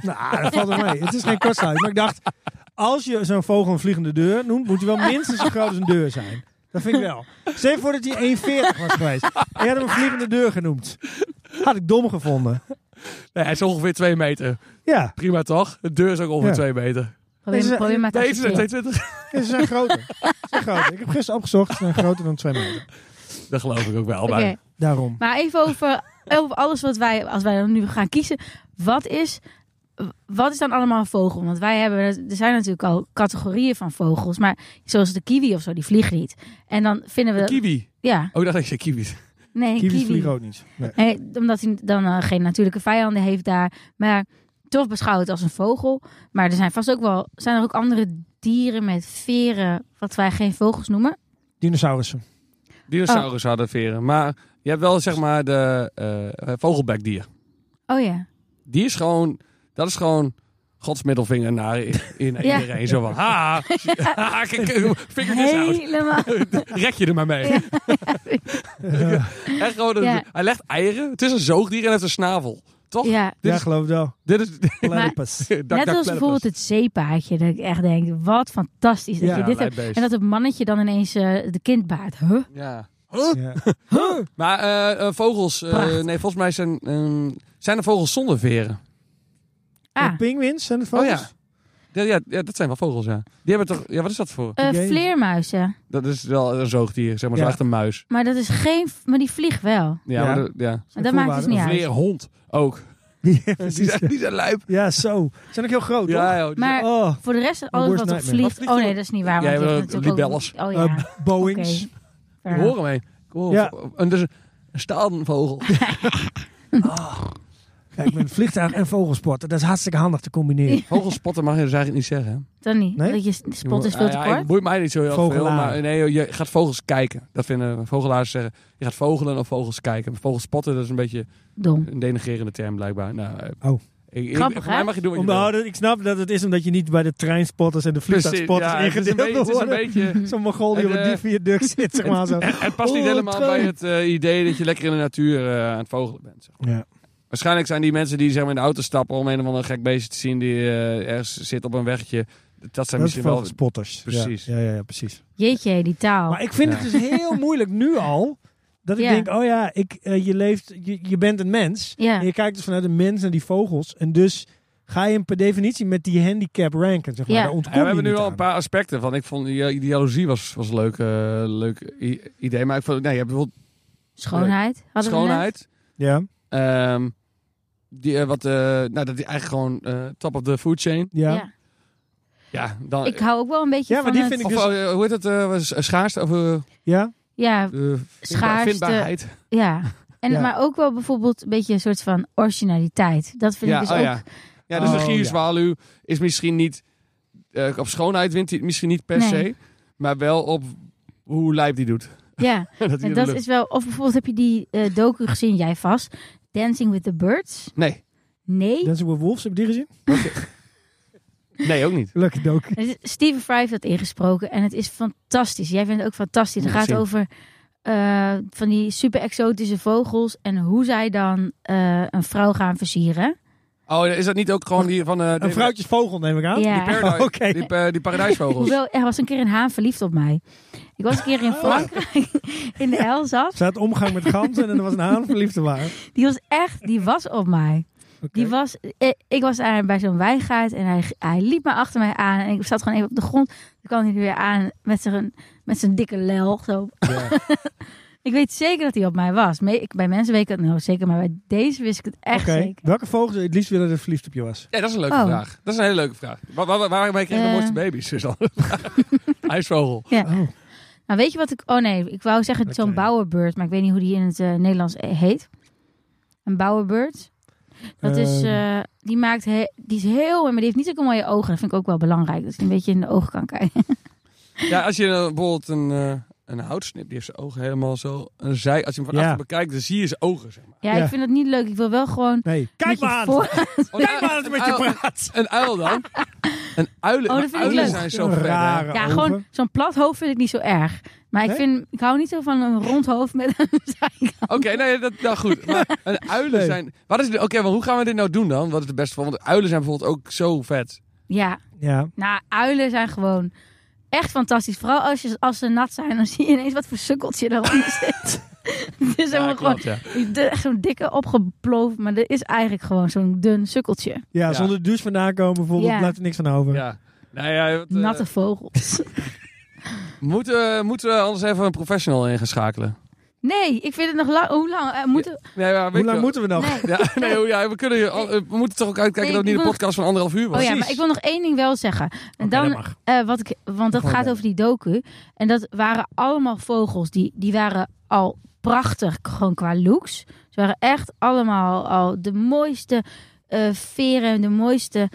C: Nou, dat valt wel mee. Het is geen kortsluiting. Maar ik dacht, als je zo'n vogel een vliegende deur noemt, moet hij wel minstens zo groot als een deur zijn. Dat vind ik wel. Stel je voor dat hij 1,40 was geweest. En je had hem een vliegende deur genoemd. Had ik dom gevonden.
A: Nee, hij is ongeveer 2 meter.
C: Ja,
A: Prima toch? De deur is ook ongeveer
C: Ja.
A: 2 meter.
B: Probeer, probeer maar te
A: Deze zijn
B: accepteren.
A: 220.
C: ze zijn groter. Ze zijn groter. Ik heb gisteren opgezocht, ze zijn groter dan 2 meter.
A: Dat geloof ik ook wel.
B: Oké,
A: Maar
C: Daarom.
B: Maar even over, over alles wat wij, als wij dan nu gaan kiezen. Wat is, wat is dan allemaal een vogel? Want wij hebben, er zijn natuurlijk al categorieën van vogels. Maar zoals de kiwi of zo, die vliegt niet. En dan vinden we...
A: Kiwi.
B: Ja,
A: Oh, ik dacht dat je kiwi.
B: nee,
C: Kiwis
B: kiwi.
C: vliegen ook niet. Nee.
B: Nee, omdat hij dan eh, geen natuurlijke vijanden heeft daar. Maar toch beschouwd als een vogel. Maar er zijn vast ook wel. Zijn er ook andere dieren met veren. wat wij geen vogels noemen?
C: Dinosaurussen.
A: Dinosaurus hadden veren. Maar je hebt wel zeg maar de eh, vogelbekdier.
B: Oh ja.
A: Die is gewoon, dat is gewoon Gods middelvinger naar i- in
B: Ja.
A: iedereen. Zo van, ha, ha, kijk, eh, figure this out.
B: Helemaal.
A: Rek je er maar mee.
B: Ja.
A: Echt gewoon een-
B: Ja.
A: Hij legt eieren. Het is een zoogdier en heeft een snavel. Toch?
B: Ja.
A: Dit
C: Ja,
A: is-
C: geloof ik wel.
A: Dit is...
C: Platypus.
A: Dak,
B: Net
A: dak,
B: als bijvoorbeeld het zeepaardje. Dat ik echt denk, wat fantastisch dat
C: Ja,
B: je dit hebt.
A: lijpbeest.
B: En dat het mannetje dan ineens eh, de kindbaard. Huh?
A: Ja. Huh?
C: Ja.
A: Maar eh, eh, vogels... eh,
B: Prachtig.
A: nee, volgens mij zijn, ehm, zijn er vogels zonder veren.
B: Ah,
C: En Pinguïns zijn het vogels?
A: Oh ja. Ja, ja, ja, dat zijn wel vogels, ja. Die hebben toch... Ja, wat is dat voor?
B: eh,
C: Jee.
B: vleermuizen.
A: Dat is wel een zoogdier, zeg maar.
C: Ja.
A: Zo echt een muis.
B: Maar dat is geen... Maar die vliegt wel.
A: Ja,
C: Ja.
A: maar dat- ja.
C: Zijn
B: En dat maakt
C: voelbare.
B: dus niet
A: Een
B: uit.
A: vleerhond ook.
C: Ja,
A: Die
C: precies.
A: zijn, die zijn lijp.
C: Ja, zo. Ze zijn ook heel groot, toch?
A: Ja, joh. Die
B: Maar
C: Oh,
B: Voor de rest, alles
C: worst
B: wat op
C: nightmare.
A: Wat
B: vliegt.
A: vliegt
B: Oh
A: er-
B: nee, dat is niet waar.
A: Jij
B: Want je
A: wil
B: hebt natuurlijk
A: libelles.
B: Ook... Oh ja.
C: eh, Boeings.
B: Oké. Fair
A: zijn-
B: enough.
A: horen mee. Cool.
C: Ja.
A: En dus een staanvogel.
C: Kijk, met vliegtuig en vogelsporten, dat is hartstikke handig te combineren.
A: Vogelspotten mag je dus eigenlijk niet zeggen. hè?
B: Dan niet.
C: Nee?
B: Dat je spot is veel
A: Nou
B: te
A: ja,
B: kort.
A: het boeit mij niet zo heel veel.
C: Vogelaar.
A: Maar nee, je gaat vogels kijken. Dat vinden vogelaars zeggen. Je gaat vogelen of vogels kijken. Vogels spotten, dat is een beetje
B: Dom.
A: een denigerende term blijkbaar. Nou, eh,
C: Oh.
A: Ik, ik,
B: Grappig,
A: voor mij
B: hè?
A: mag je doen wat je wil.
C: Omdat, ik snap dat het is omdat je niet bij de treinspotters en de vliegtuigspotters
A: ja, het is een
C: ingedeeld
A: beetje-
C: wordt.
A: het is een beetje...
C: Zo'n mogol die
A: En,
C: op een
A: eh,
C: die viaduct zit, zeg maar zo.
A: Het past niet
C: Oh,
A: helemaal
C: trein.
A: bij het eh, idee dat je lekker in de natuur eh, aan het vogelen bent. zeg.
C: Ja.
A: Waarschijnlijk zijn die mensen die zeg maar, in de auto stappen om een of ander gek beestje te zien die eh, ergens zit op een wegje. Dat zijn
C: Dat is
A: misschien wel...
C: vogelspotters.
A: Precies.
C: Ja, ja, ja, precies.
B: Jeetje, die taal.
C: Maar ik vind
A: Ja.
C: het dus heel moeilijk nu al. Dat ik
B: Oh. Ja.
C: denk, oh ja, ik, eh, je, leeft, je, je bent een mens.
B: Ja.
C: En je kijkt dus vanuit een mens naar die vogels. En dus ga je hem per definitie met die handicap ranken. Zeg maar.
B: Ja.
C: Daar ontkom
A: Ja, we
C: je
A: hebben nu
C: niet
A: al
C: aan.
A: een paar aspecten van. Ik vond die, die jaloezie was, was een leuk, eh, leuk i- idee. Maar ik vond, nee, je hebt bijvoorbeeld
B: Schoonheid. Hadden
A: schoonheid.
C: Ja,
A: Ehm, die, eh, wat, eh, nou, dat die eigenlijk gewoon eh, top of the food chain.
B: We
C: ja.
B: net?
C: ja.
A: Ja, dan,
B: Ik hou ook wel een beetje
C: Ja, maar
B: van
C: die
B: het-
C: vind ik
A: of
C: dus-
A: eh, hoe heet dat? eh, was- schaarste? Of eh,
B: Ja,
A: eh, vindbaar-
B: Schaarste.
A: vindbaarheid?
B: ja. En,
C: Ja.
B: Maar ook wel bijvoorbeeld een beetje een soort van originaliteit. Dat vind
A: ja,
B: ik dus
A: oh
B: ook...
A: ja. Ja, dus
C: Oh,
A: de gierzwaluw is misschien niet... eh, op schoonheid wint hij het misschien niet per
B: Nee.
A: se. Maar wel op hoe lijp die doet.
B: Ja,
A: dat die
B: en
A: in de
B: dat
A: lucht-
B: is wel... Of bijvoorbeeld heb je die eh, docu gezien, jij vast. Dancing with the Birds?
A: Nee.
B: Nee.
C: Dancing with Wolves, heb je die gezien?
A: nee, ook niet.
C: Lekker dook.
B: Het is- Steven Fry heeft dat ingesproken en het is fantastisch. Jij vindt het ook fantastisch.
A: Moet
B: Het
A: ik
B: gaat
A: zien.
B: over eh, van die super exotische vogels en hoe zij dan eh, een vrouw gaan versieren.
A: Oh, is dat niet ook gewoon die van... eh
C: Een
A: de-
C: vrouwtjesvogel neem ik aan.
B: Ja.
A: Die, paradise,
C: Oh, oké.
A: die, pa- die paradijsvogels.
B: Hoewel, er was een keer een haan verliefd op mij. Ik was een keer
A: Oh.
B: in Frankrijk, in de Elzas.
C: Ze had omgang met ganzen en er was een haan verliefd te waren.
B: Die was echt, die was op mij. Die was, eh, ik was daar bij zo'n wijngaard en hij, hij liep me achter mij aan. En ik zat gewoon even op de grond. Toen kwam hij er weer aan met zijn, met zijn dikke lel. Zo. ik weet zeker dat hij op mij was. Me- ik- bij mensen weet ik dat nou zeker, maar bij deze wist ik het echt
C: Oké.
B: zeker.
C: Welke vogel zou je het liefst willen dat er verliefd op je was?
A: Ja, dat is een leuke
B: Oh.
A: vraag. Dat is een hele leuke vraag. Waar, waar, waarmee krijg je
B: Eh.
A: de mooiste baby's? Is dan de vraag. IJsvogel.
C: Oh,
B: Nou, weet je wat ik... Oh nee, ik wou zeggen
C: Oké.
B: zo'n bouwerbeurt, maar ik weet niet hoe die in het eh, Nederlands eh, heet. Een bouwerbeurt. Dat is,
C: Ehm,
B: eh, die, maakt he- die is heel, maar die heeft niet zulke mooie ogen. Dat vind ik ook wel belangrijk, dat je een beetje in de ogen kan kijken.
A: Ja, als je eh, bijvoorbeeld een, eh, een houtsnip, die heeft zijn ogen helemaal zo. Een zij, als je hem van
C: Ja.
A: achter bekijkt, dan zie je zijn ogen. Zeg maar.
B: Ja,
C: Ja.
B: ik vind dat niet leuk. Ik wil wel gewoon...
C: Nee,
B: met
C: kijk
B: je
C: maar aan.
B: voor-
A: Oh,
C: Kijk
A: nou,
C: maar aan dat het
A: een
C: met je
A: uil-
C: praat.
A: Een uil dan? Een uilen, maar
B: Oh, dat vind ik
A: uilen
B: leuk.
A: zijn zo ver, hè?
C: Rare
B: Ja,
C: ogen.
B: gewoon zo'n plat hoofd vind ik niet zo erg. Maar ik,
C: Nee?
B: vind, ik hou niet zo van een rond hoofd met een zijkant.
A: Oké, nee, dat, nou goed. Maar een uilen
C: Nee.
A: zijn... Wat is, de- Oké, maar hoe gaan we dit nou doen dan? Wat is de beste van? Want uilen zijn bijvoorbeeld ook zo vet.
B: Ja,
C: Ja.
B: nou, uilen zijn gewoon echt fantastisch. Vooral als, je, als ze nat zijn, dan zie je ineens wat voor sukkeltje eronder zit. Het is helemaal gewoon
A: ja.
B: de- echt zo'n dikke opgeploofd, maar dat is eigenlijk gewoon zo'n dun sukkeltje.
C: Ja,
A: Ja.
C: zonder de douche vandaan komen bijvoorbeeld,
B: Ja.
C: blijft er niks van over.
A: ja. Nou ja, wat, eh,
B: Natte vogels.
A: moeten, we- moeten we anders even een professional in gaan schakelen?
B: Nee, ik vind het nog lang. Hoe lang? eh, moeten,
A: Nee, maar
C: Hoe lang moeten we nog?
B: nee.
A: Ja, nee, hoe- ja, we, kunnen, hier al- eh, we moeten toch ook uitkijken
B: Nee,
A: dat het
B: ik
A: niet een
B: wil-
A: podcast van anderhalf uur was.
B: Oh ja, maar
C: Precies.
B: ik wil nog één ding wel zeggen. En dan,
C: dat mag.
B: eh, wat ik, want dat
C: Gooi
B: gaat
C: dan.
B: over die docu. En dat waren allemaal vogels. Die, die waren al prachtig, gewoon qua looks. Ze waren echt allemaal al de mooiste eh, veren, de mooiste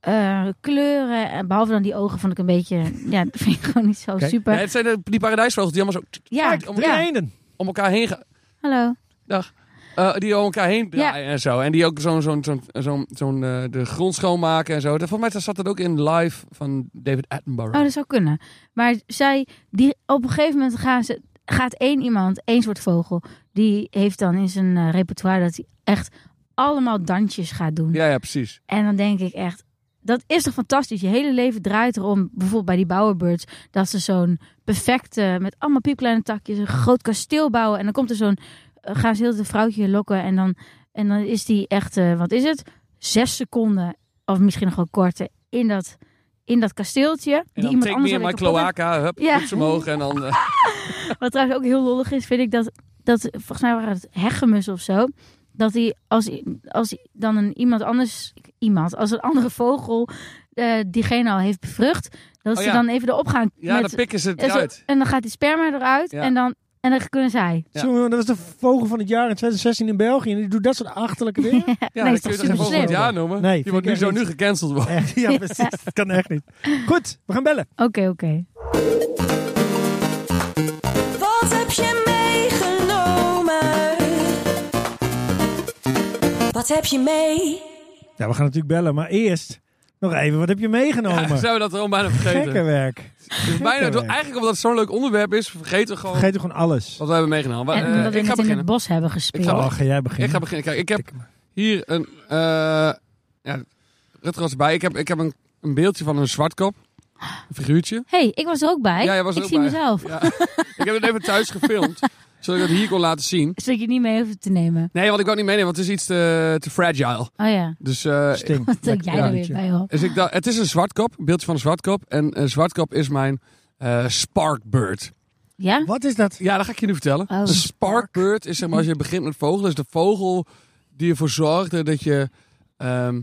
B: eh, kleuren. En behalve dan die ogen vond ik een beetje... Ja, dat vind ik gewoon niet zo
C: Oké.
B: super.
A: Nee, het zijn de- die paradijsvogels die allemaal zo
B: ja,
A: kijk,
C: Drie
B: ja.
C: eenden.
A: om elkaar heen gaan.
B: hallo.
A: Dag. Eh, die om elkaar heen draaien en zo. En die ook zo'n zo'n zo'n zo'n zo'n, eh, de grond schoonmaken en zo. Dat- Volgens mij zat dat ook in live van David Attenborough.
B: Oh, dat zou kunnen. Maar zij, die, op een gegeven moment gaan ze, gaat één iemand, één soort vogel, die heeft dan in zijn eh, repertoire dat hij echt allemaal dansjes gaat doen.
A: Ja, ja, precies.
B: En dan denk ik echt, dat is toch fantastisch? Je hele leven draait erom, bijvoorbeeld bij die bowerbirds, dat ze zo'n perfecte, met allemaal piepkleine takjes, een groot kasteel bouwen. En dan komt er zo'n, eh, gaan ze heel het vrouwtje lokken en dan, en dan is die echt, eh, wat is het? Zes seconden, of misschien nog wel korter, in dat, in dat kasteeltje.
A: En
B: die
A: dan
B: iemand
A: take me
B: anders
A: in
B: had
A: my
B: kapot heeft
A: cloaca. Hup,
B: Ja.
A: hups omhoog. En dan... eh,
B: wat trouwens ook heel lollig is, vind ik dat, dat volgens mij waren het heggemussen of zo. Dat hij, als, als dan een iemand anders, iemand, als een andere vogel eh, diegene al heeft bevrucht, dat
A: Oh
B: ze
A: ja.
B: dan even erop gaan.
A: ja,
B: met-
A: dan pikken ze het
B: en, zo-
A: eruit.
B: en dan gaat die sperma eruit
A: Ja.
B: en, dan, en dan kunnen zij.
A: Ja.
C: Zo, dat was de vogel van het jaar in 2016 in België. En die doet dat soort achterlijke dingen.
A: Ja,
B: nee,
A: dan kun
B: is toch
A: je het
B: super
A: gewoon het
B: slim.
A: jaar noemen. die
C: Nee, vind
A: wordt
C: ik
A: nu zo
C: echt
A: nu gecanceld worden.
C: Echt, ja, precies. Dat kan echt niet. Goed, we gaan bellen.
B: Oké, oké.
D: Wat heb je meegenomen? Wat heb je mee?
C: Ja, we gaan natuurlijk bellen. Maar eerst nog even, wat heb je
A: Ja,
C: meegenomen?
A: zijn we dat er al bijna vergeten.
C: Gekke werk.
A: Dus bijna,
C: Gekke werk.
A: eigenlijk omdat het zo'n leuk onderwerp is, vergeten we gewoon
C: Vergeet toch gewoon alles.
A: wat we hebben meegenomen. Maar,
B: En
A: eh,
B: omdat we
A: ik ga
B: het in het
A: beginnen.
B: bos hebben gespeeld.
A: Ik ga-
C: Oh, ga jij
A: Ik ga
C: beginnen?
A: beginnen. Kijk, ik heb hier een. eh ja, Rutger was bij. Ik heb, ik heb een, een beeldje van een zwartkop. Een figuurtje.
B: hey, ik was er ook bij.
A: Ja, jij was er
B: ik
A: ook
B: zie
A: bij.
B: mezelf.
A: Ja. ik heb het even thuis gefilmd. zodat ik het hier kon laten zien.
B: Zodat je het niet mee hoeft te nemen.
A: Nee, want ik wou het niet meenemen, want het is iets te, te fragile.
B: Oh ja,
A: Dus, eh,
C: Sting.
B: wat denk
C: Lekker
B: jij er weer
C: liedje.
B: bij op?
A: dus ik dacht, het is een zwartkop. Een beeldje van een zwartkop. En een zwartkop is mijn eh, sparkbird.
B: Ja?
C: Wat is dat?
A: Ja, dat ga ik je nu vertellen.
B: Oh.
A: Een sparkbird is zeg maar als je begint met vogelen, is de vogel die ervoor zorgde dat je, ehm,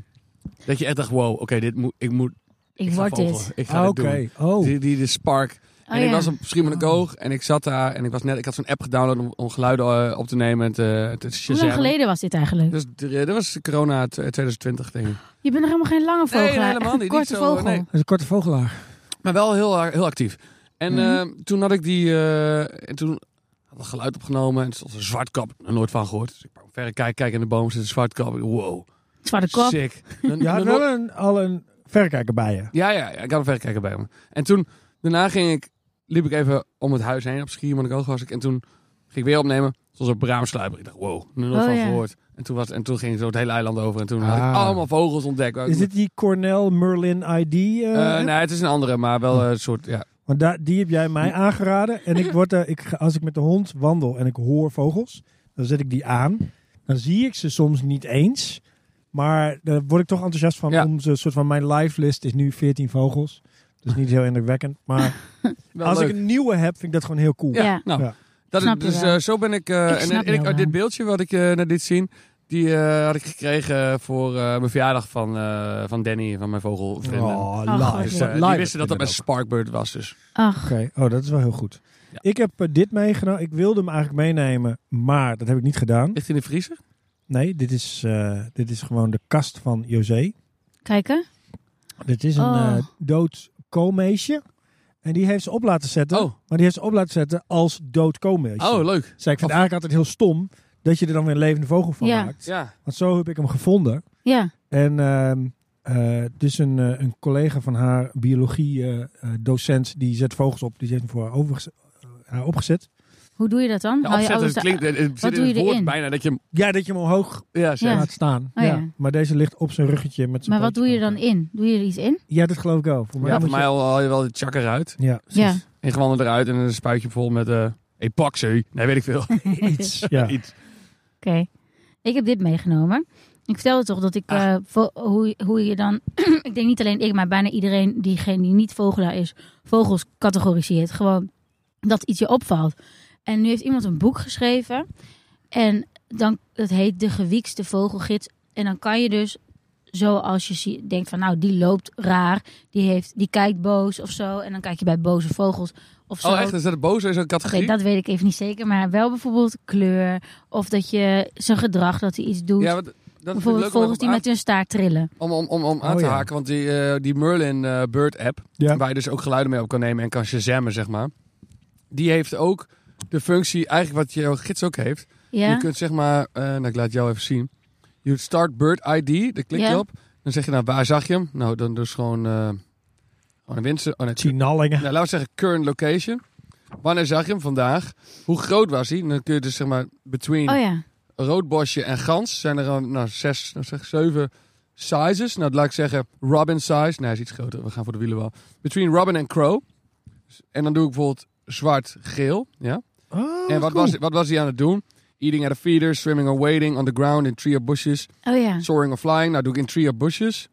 A: dat je echt dacht, wow, oké, dit moet, ik moet,
B: Ik,
A: ik ga
B: word
A: vogelen.
B: dit.
A: Ik ga
C: Ah,
A: dit
C: Oké.
A: doen.
C: Oh.
A: Die, die, de spark.
B: Oh,
A: en ik
B: ja. Oh.
A: was op Schiermonnikoog en ik zat daar en ik was net, ik had zo'n app gedownload om, om geluiden eh, op te nemen en te, te
B: Hoe lang
A: shazammen.
B: geleden was dit eigenlijk?
A: Dus eh, dat was corona t- 2020 denk ik.
B: Je bent nog helemaal geen lange vogel.
A: Nee,
B: hè?
A: helemaal
B: Echt een
A: niet.
B: Korte
A: Niet zo,
B: vogel.
A: nee.
C: Dat is een korte vogelaar.
A: Maar wel heel, a- heel actief. En
B: eh, Mhm.
A: eh, toen had ik die. eh, en toen had ik geluid opgenomen. En er stond een zwartkap. Er nooit van gehoord. Dus ik wou verre kijk, kijk in de boom zit een zwartkap. Ik, Wow,
B: Zwarte kop.
A: sick. Dan-
C: Je
A: dan
C: had
A: nooit-
C: wel een, al een verrekijker bij je.
A: ja, ja, ja, ik had een verrekijker bij me. En toen, daarna ging ik, liep ik even om het huis heen op Schiermonnikoog was ik. En toen ging ik weer opnemen. Zoals een braamsluiper. Ik dacht, wow, er nooit
B: Oh,
A: van
B: ja.
A: gehoord. En toen, was, en toen ging zo het hele eiland over. En toen had ik
C: Ah.
A: allemaal vogels ontdekt.
C: Is dit die Cornell Merlin ID? eh,
A: Eh,
C: app?
A: nee, het is een andere, maar wel een soort, ja.
C: Want daar, die heb jij mij aangeraden. En ik word, eh, ik, ga- als ik met de hond wandel en ik hoor vogels, dan zet ik die aan. Dan zie ik ze soms niet eens. Maar daar word ik toch enthousiast van.
A: Ja.
C: Om ze, soort van mijn live list is nu 14 vogels. Dus niet heel indrukwekkend. Maar
A: Wel
C: als
A: leuk.
C: ik een nieuwe heb, vind ik dat gewoon heel cool.
A: Ja,
B: Ja.
A: nou.
C: Ja.
A: Dat is,
B: Snap je
A: dus
B: wel.
A: eh, zo ben ik. eh,
B: Ik
A: en
B: snap
A: en ik,
B: jou wel.
A: dit beeldje wat ik eh net liet zien, die eh, had ik gekregen voor eh, mijn verjaardag van, eh, van Danny, van mijn vogelvrienden.
C: Oh,
B: God,
C: live.
A: Dus,
B: ja.
A: eh,
C: Live
A: die wisten dat dat mijn
C: vinden
A: Sparkbird was. Dus.
B: Ach,
C: Oké, oh, dat is wel heel goed.
A: Ja.
C: Ik heb eh, dit meegenomen. Ik wilde hem eigenlijk meenemen, maar dat heb ik niet gedaan.
A: Ligt in de vriezer?
C: Nee, dit is, eh, dit is gewoon de kast van José.
B: Kijken.
C: Dit is een
B: Oh.
C: eh, dood koolmeisje. En die heeft ze op laten zetten.
A: Oh.
C: Maar die heeft ze op laten zetten als dood koolmeisje.
A: Oh, leuk.
C: Zij, ik vind het eigenlijk altijd heel stom dat je er dan weer een levende vogel van
B: Ja.
C: maakt.
A: Ja.
C: Want zo heb ik hem gevonden.
B: Ja.
C: En ehm, eh, dus een, eh, een collega van haar, biologie-docent, die zet vogels op. Die heeft hem voor haar, overgez- eh, haar opgezet.
B: Hoe doe je dat dan?
A: De
B: Hou je
A: opzet,
B: alles
A: het
B: oh, dus daar-
A: klinkt, het- het zit
B: Wat
A: in
B: doe je
A: het woord
B: erin?
A: bijna dat je hem...
C: Ja, dat je hem omhoog
A: Ja, zegt.
C: laat staan.
B: Oh, ja.
C: Maar deze ligt op zijn ruggetje met zijn
B: Maar wat doe je
C: pootjes
B: dan
C: van
B: in? Doe je er iets in?
C: elkaar. Ja, dat geloof ik wel. Voor mij
A: Ja,
C: moet
A: voor
C: je-
A: mij al haal je wel de chak eruit.
C: Ja,
B: Ja.
C: precies.
A: Ingewanden eruit en een spuitje vol met... eh epoxy. Nee, weet ik veel.
C: Iets. Ja.
A: Iets.
B: Oké. Ik heb dit meegenomen. Ik vertelde toch dat ik
A: Ah.
B: eh, vo- hoe, hoe je dan. ik denk niet alleen ik, maar bijna iedereen diegene die niet vogelaar is, vogels categoriseert. Gewoon dat iets je opvalt. En nu heeft iemand een boek geschreven. En dan, dat heet De Gewiekste Vogelgids. En dan kan je dus, zoals je zie, denkt van nou, die loopt raar. Die, heeft, die kijkt boos of zo. En dan kijk je bij boze vogels of zo.
A: Oh, echt? Is dat een boze? Is dat een
B: Oké,
A: categorie?
B: dat weet ik even niet zeker. Maar wel bijvoorbeeld kleur. Of dat je zijn gedrag, dat hij iets doet.
A: Ja, want dat vind ik
B: bijvoorbeeld
A: leuk om,
B: vogels
A: even
B: die
A: aan,
B: met hun staart trillen.
A: om, om, om, om aan
C: Oh,
A: te
C: ja.
A: haken. Want die, eh, die Merlin eh, Bird app,
C: Ja.
A: waar je dus ook geluiden mee op kan nemen en kan shazammen, zeg maar. Die heeft ook de functie, eigenlijk wat jouw gids ook heeft. Je
B: Ja,
A: kunt zeg maar, eh nou ik laat jou even zien. Je start Bird ID, daar klik je
B: Ja.
A: op. Dan zeg je nou, waar zag je hem? Nou, dan dus gewoon, eh gewoon een winst. Oh, nee,
C: Chinallingen.
A: nou, laten we zeggen current location. Wanneer zag je hem vandaag? Hoe groot was hij? En dan kun je dus zeg maar between
B: oh ja.
A: roodbosje en gans zijn er eh, nou, zes, nou, zeg, zeven sizes. Nou, laat ik zeggen robin size. Nee, hij is iets groter. We gaan voor de wielenbal. Between robin en crow. En dan doe ik bijvoorbeeld zwart-geel. Ja.
C: Oh,
A: en wat,
C: cool.
A: was, wat was hij aan het doen? Eating at a feeder, swimming or wading, on the ground, in tree or bushes,
B: Oh ja.
A: soaring or flying. Nou, doe ik in tree or bushes.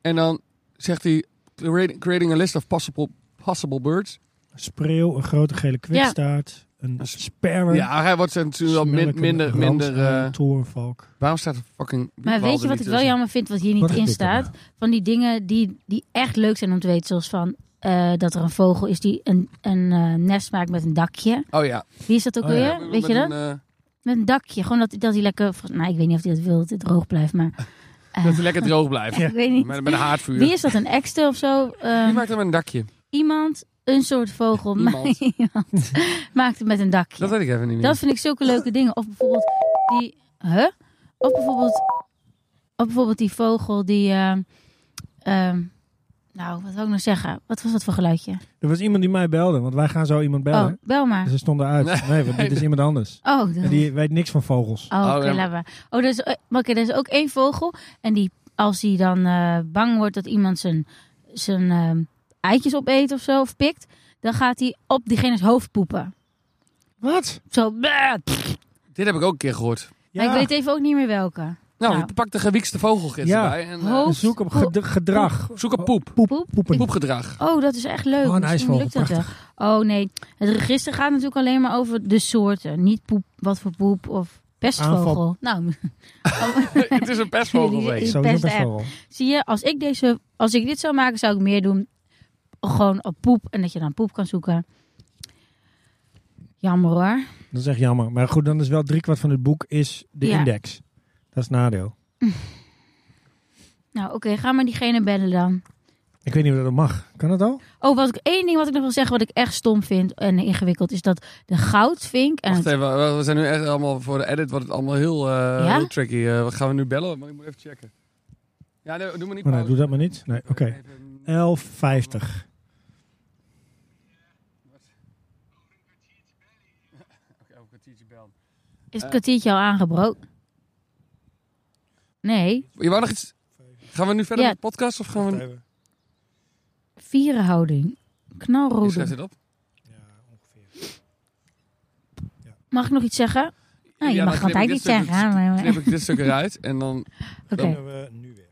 A: En dan zegt hij, creating creating a list of possible, possible birds.
C: Een spreeuw, een grote gele kwikstaart, een
A: Een
C: sperwer.
A: Ja, hij wordt natuurlijk wel min-
C: smelk,
A: minder...
C: een
A: minder
C: randzaal,
A: eh,
C: torenvalk.
A: waarom staat er fucking... die
B: Maar
A: bal
B: weet je
A: er niet dus-
B: wat ik wel
A: tussen?
B: jammer vind, wat hier
C: Wat
B: niet
C: heb
B: in
C: ik nou?
B: staat? Van die dingen die, die echt leuk zijn om te weten. Zoals van eh, dat er een vogel is die een, een eh, nest maakt met een dakje.
A: Oh ja.
B: Wie is dat ook
C: Oh ja.
B: alweer? Weet je
A: Met
B: dat?
A: een, eh,
B: Met een dakje. Gewoon dat, dat hij lekker... Nou, ik weet niet of hij dat wil, dat het droog blijft. Maar
A: Dat het lekker droog blijft.
B: ik weet niet.
A: Met, met een haardvuur.
B: Wie is dat? Een ekster of zo?
A: Wie
B: Ehm,
A: maakt hem een dakje?
B: iemand een soort vogel
A: Iemand.
B: iemand maakt het met een dakje.
A: Dat
B: Dat,
A: weet ik even niet meer.
B: vind ik zulke leuke dingen. Of bijvoorbeeld die. Huh? Of bijvoorbeeld, of bijvoorbeeld die vogel die. ehm, ehm, nou, wat wil ik nou zeggen? Wat was dat voor geluidje?
C: Er was iemand die mij belde, want wij gaan zo iemand bellen.
B: Oh, bel maar.
C: Dus ze stonden uit. Nee,
A: Nee.
C: want dit is iemand anders.
B: Oh, dat-
C: En die weet niks van vogels.
B: Oh, oké,
A: ja.
B: laat maar. Oh, er is, eh, maar oké, er is ook één vogel. En die, als hij dan eh, bang wordt dat iemand zijn, zijn ehm, eitjes opeet of zo, of pikt, dan gaat hij op diegene's hoofd poepen.
C: Wat?
B: Zo, bleh,
A: Dit heb ik ook een keer gehoord.
C: Ja.
B: Maar ik weet even ook niet meer welke.
A: Nou,
B: Nou.
A: pak de gewiekste vogelgids
C: Ja.
A: erbij. En, eh,
B: Ho.
C: Zoek op ged- gedrag.
A: zoek een poep.
C: Poep,
B: Poep?
C: poepen.
A: Poepgedrag.
B: Oh, dat is echt leuk.
C: Oh, een
B: Misschien
C: ijsvogel,
B: lukt dat wel.
C: prachtig.
B: Oh nee, het register gaat natuurlijk alleen maar over de soorten. Niet poep, wat voor poep of pestvogel.
C: Aanval.
B: Nou,
A: het is een pestvogelweek.
B: Die-
C: Sowieso
B: Best
C: best
B: echt.
C: wel.
B: zie je, als ik, deze, als ik dit zou maken, zou ik meer doen. Gewoon op poep en dat je dan poep kan zoeken. Jammer hoor.
C: Dat is echt jammer. Maar goed, dan is wel driekwart van het boek is de
B: Ja.
C: index. Dat is het nadeel.
B: Nou oké, ga maar diegene bellen dan.
C: Ik weet niet of dat mag. Kan dat al?
B: Oh, wat ik, één ding wat ik nog wil zeggen, wat ik echt stom vind en ingewikkeld, is dat de goudvink en
A: Wacht
B: het
A: even, we- we zijn nu echt allemaal voor de edit. Wordt het allemaal heel, eh,
B: Ja?
A: heel tricky. Eh, wat gaan we nu bellen? Maar ik moet even checken. Ja, nee, doe maar niet.
C: Oh, nee,
A: pauze.
C: doe dat maar niet. Nee, oké.
A: Even-
C: 11,50.
A: Oké, even een kwartiertje bellen.
B: Is
A: Eh.
B: het kwartiertje al aangebroken? Nee,
A: Je wou nog iets? Gaan we nu verder
B: Ja.
A: met de podcast? Of gaan we...
B: vierenhouding.
A: Je schrijft
B: Knalrode.
A: dit op?
B: Mag ik nog iets zeggen? Nou, je
A: Ja,
B: mag
A: dan knip
B: altijd
A: ik
B: iets
A: dit stuk-
B: zeggen. hè, maar-
A: Knip ik dit stuk eruit en dan...
B: Oké.
C: we nu weer.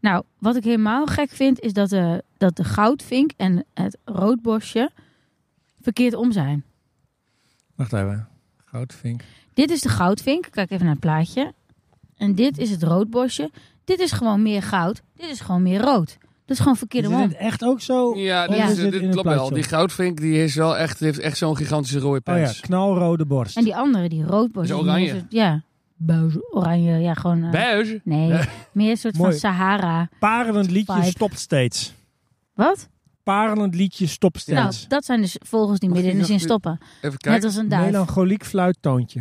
B: Nou, wat ik helemaal gek vind, is dat de, dat de goudvink en het roodborstje verkeerd om zijn.
C: Wacht even. Goudvink.
B: Dit is de goudvink. Kijk even naar het plaatje. En dit is het roodborstje. Dit is gewoon meer goud. Dit is gewoon meer rood. Dat is gewoon verkeerd
C: Is dit
B: om.
C: echt ook zo?
A: Ja,
C: Of
A: dit, is,
C: is het
A: dit
C: in een
A: klopt wel.
C: plaatje?
A: Die goudvink die is wel echt, die heeft echt zo'n gigantische rode
C: Oh ja,
A: pens.
C: knalrode borst.
B: En die andere, die roodborstje.
A: Is oranje.
B: die heeft het- Ja. beige, oranje, ja, gewoon... eh,
A: Beige?
B: nee, meer een soort van
C: Mooi.
B: Sahara.
C: Parelend liedje
B: Vibe.
C: stopt steeds.
B: Wat?
C: Parelend liedje stopt
B: Nou,
C: steeds.
B: dat zijn dus vogels die midden in de
A: Wacht,
B: zin
A: ik dacht
B: stoppen.
A: Even
B: Net
A: kijken.
B: als een duif.
C: Melancholiek fluittoontje.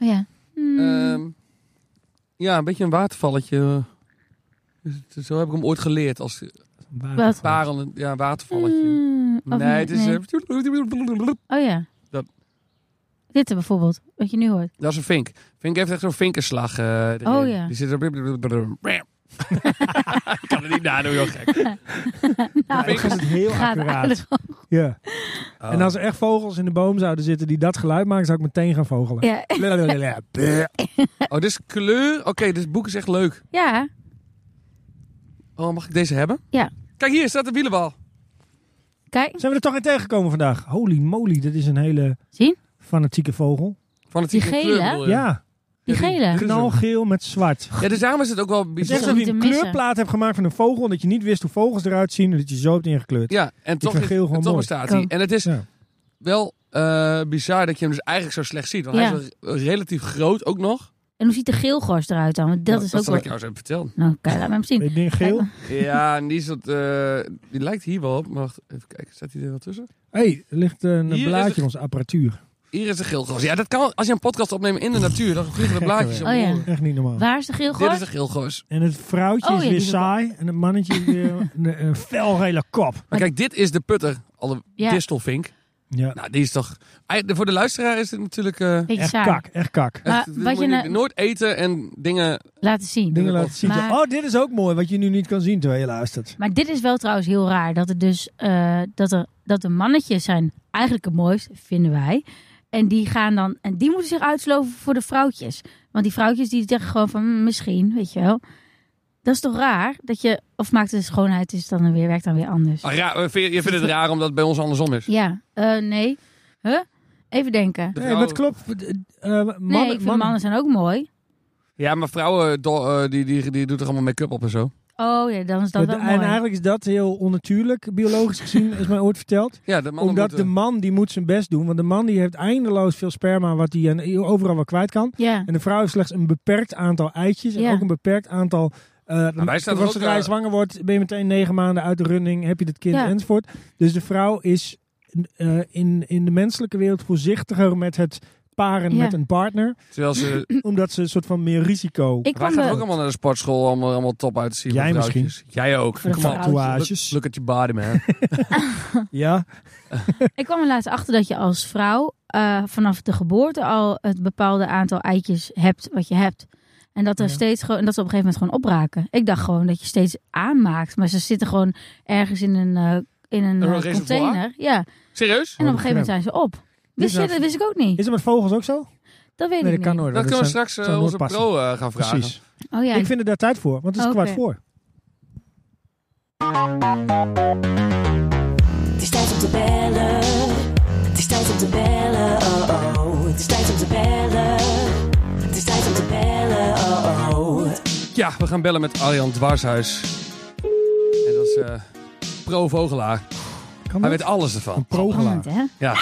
B: Oh, ja. Hmm.
A: Ehm, ja, een beetje een watervalletje. Dus Zo heb ik hem ooit geleerd. Als
B: Wat?
A: parel, ja, een watervalletje.
B: Hmm, of
A: Nee, het is...
B: nee.
A: eh,
B: Oh ja.
A: Dat-
B: Dit er bijvoorbeeld, wat je nu hoort.
A: Dat is een vink. Vink heeft echt zo'n vinkerslag. eh, erin.
B: Oh, ja.
A: Die zit er... ik kan het niet nadoen, joh, gek.
C: Ja, ik vind het heel
B: Gaat
C: accuraat.
B: aardig op.
C: Ja.
A: Oh.
B: Nou.
C: En als er echt vogels in de boom zouden zitten die dat geluid maken, zou ik meteen gaan vogelen.
B: Ja.
C: Lalalala, bleh.
A: Oh, dit is kleur. Oké, dit boek is echt leuk.
B: ja,
A: Oh, mag ik deze hebben?
B: Ja.
A: Kijk, hier staat de wielenbal.
B: kijk.
C: Zijn we er toch in tegengekomen vandaag? Holy moly, dit is een hele
B: Zien?
C: fanatieke vogel.
A: Van het
B: Die
A: type
B: gele?
A: kleur bedoel je?
C: Ja,
B: Die
A: die-
B: gele.
A: die-
C: knalgeel met zwart.
A: Ja, dus daarom is het ook wel
C: Het is echt
A: bijzonder.
B: om
C: alsof je
B: niet
C: een
B: te missen.
C: kleurplaat hebt gemaakt van een vogel. En dat je niet wist hoe vogels eruit zien. En dat je zo hebt ingekleurd.
A: Ja, en toch,
C: vind
A: is-
C: geel
A: en
C: gewoon
A: toch
C: mooi.
A: bestaat
B: Kan.
A: hij. En het is
C: Ja.
A: wel eh, bizar dat je hem dus eigenlijk zo slecht ziet. Want
B: Ja.
A: hij is wel re- relatief groot ook nog.
B: En hoe ziet de geelgors eruit dan? Want dat
A: Nou,
B: is
A: dat
B: ook
A: zal
B: wel...
A: ik jou eens even vertellen.
B: Nou, kijk, laat me hem zien.
C: Ik denk geel.
B: Kijk,
A: Ja, en die, is dat, eh, die lijkt hier wel op. Maar wacht, even kijken. Staat hij er wel tussen?
C: hey, er ligt eh, een
A: Hier is
C: blaadje
A: het-
C: in onze apparatuur.
A: Hier is de geelgors. Ja, dat kan als je een podcast opneemt in de natuur. Dan vliegen de blaadjes
C: hè?
A: omhoog.
B: Oh ja.
C: Echt niet normaal.
B: Waar is de
A: Dit is
B: geelgors?
A: de geelgors.
C: En het vrouwtje
B: Oh,
C: is
B: ja,
C: weer
B: die is wel-
C: saai. En het mannetje is weer een, een felgele kop.
A: Maar kijk, dit is de putter. Alle
B: Ja.
A: distelvink.
C: Ja,
A: Nou, die is toch... Ei- Voor de luisteraar is het natuurlijk... eh,
B: Beetje
C: echt
B: saai.
C: kak, echt kak.
B: Maar
A: echt- dit
B: wat
A: moet
B: je
A: je
B: nou-
A: nooit eten en dingen
B: Laten zien.
C: Dingen laten zien.
B: Maar-
C: Oh, dit is ook mooi, wat je nu niet kan zien terwijl je luistert.
B: Maar dit is wel trouwens heel raar. Dat, het dus, eh, dat, er, dat de mannetjes zijn eigenlijk het mooist, vinden wij. En die, gaan dan, en die moeten zich uitsloven voor de vrouwtjes. Want die vrouwtjes die zeggen gewoon van "Mm, misschien, weet je wel. Dat is toch raar? Dat je, of maakt de schoonheid is dan weer, werkt dan weer anders.
A: Ah, raar, eh, vind je je vindt het raar omdat het bij ons andersom is?
B: Ja, eh, nee. Huh? Even denken.
A: De
C: Nee, maar
A: vrouwen-
C: het klopt. Eh, mannen,
B: Nee, ik vind mannen, zijn ook mooi.
A: Ja, maar vrouwen do- eh, die, die, die doet er allemaal make-up op en zo.
B: Oh ja, dan is dat
C: Ja,
B: wel
C: de- en
B: mooi.
C: eigenlijk is dat heel onnatuurlijk, biologisch gezien, is mij ooit verteld.
A: Ja, de mannen
C: Omdat de
A: moeten-
C: man die moet zijn best doen. Want de man die heeft eindeloos veel sperma wat hij en- overal wel kwijt kan.
B: Ja.
C: En de vrouw heeft slechts een beperkt aantal eitjes.
B: Ja.
C: En ook een beperkt aantal... eh
A: wij staan er
C: als
A: ook,
C: zodra je
A: eh,
C: zwanger wordt, ben je meteen negen maanden uit de running. Heb je dit kind
B: Ja.
C: enzovoort. Dus de vrouw is eh, in, in de menselijke wereld voorzichtiger met het paren
B: Ja.
C: met een partner.
A: Terwijl ze...
C: Omdat ze een soort van meer risico...
B: Ik
A: Wij
B: kwam
A: gaan
B: wel-
A: ook allemaal naar de sportschool allemaal, allemaal top uit te zien.
C: Jij
A: voor vrouwtjes. Jij ook.
B: Voor de
A: Kom op.
B: vrouwtjes.
C: Tatoeages.
A: Look, look at your body, man.
C: ja,
B: Ik kwam er laatst achter dat je als vrouw eh, vanaf de geboorte al het bepaalde aantal eitjes hebt wat je hebt. En dat, er
C: Ja.
B: steeds gewoon, en dat ze op een gegeven moment gewoon opraken. Ik dacht gewoon dat je steeds aanmaakt. Maar ze zitten gewoon ergens in een, eh, in een
A: Een
B: eh,
A: reservoir?
B: container. Ja. En
A: Serieus?
B: op
C: Oh,
B: een gegeven moment zijn ze op. Wist je,
C: nou-
B: dat wist ik ook niet.
C: is het met vogels ook zo?
B: Dat weet
C: Nee,
B: ik
C: dat kan
B: niet.
C: nooit.
A: Dat kunnen we
C: zijn-
A: straks eh,
C: zou nooit
A: onze
C: passen.
A: pro eh, gaan vragen.
C: Precies.
B: Oh ja,
C: Ik vind er daar tijd voor, want het is
B: Oké.
C: kwart voor.
D: Het is tijd om te bellen. Het is tijd om te bellen. Oh oh. Het is tijd om te bellen. Het is tijd om te bellen. Oh oh.
A: Ja, we gaan bellen met Arjan Dwarshuis. En dat is eh, pro Vogelaar.
C: Kan
A: Hij
C: dat?
A: weet alles ervan.
B: Spannend,
C: Progelaar.
B: hè?
A: Ja.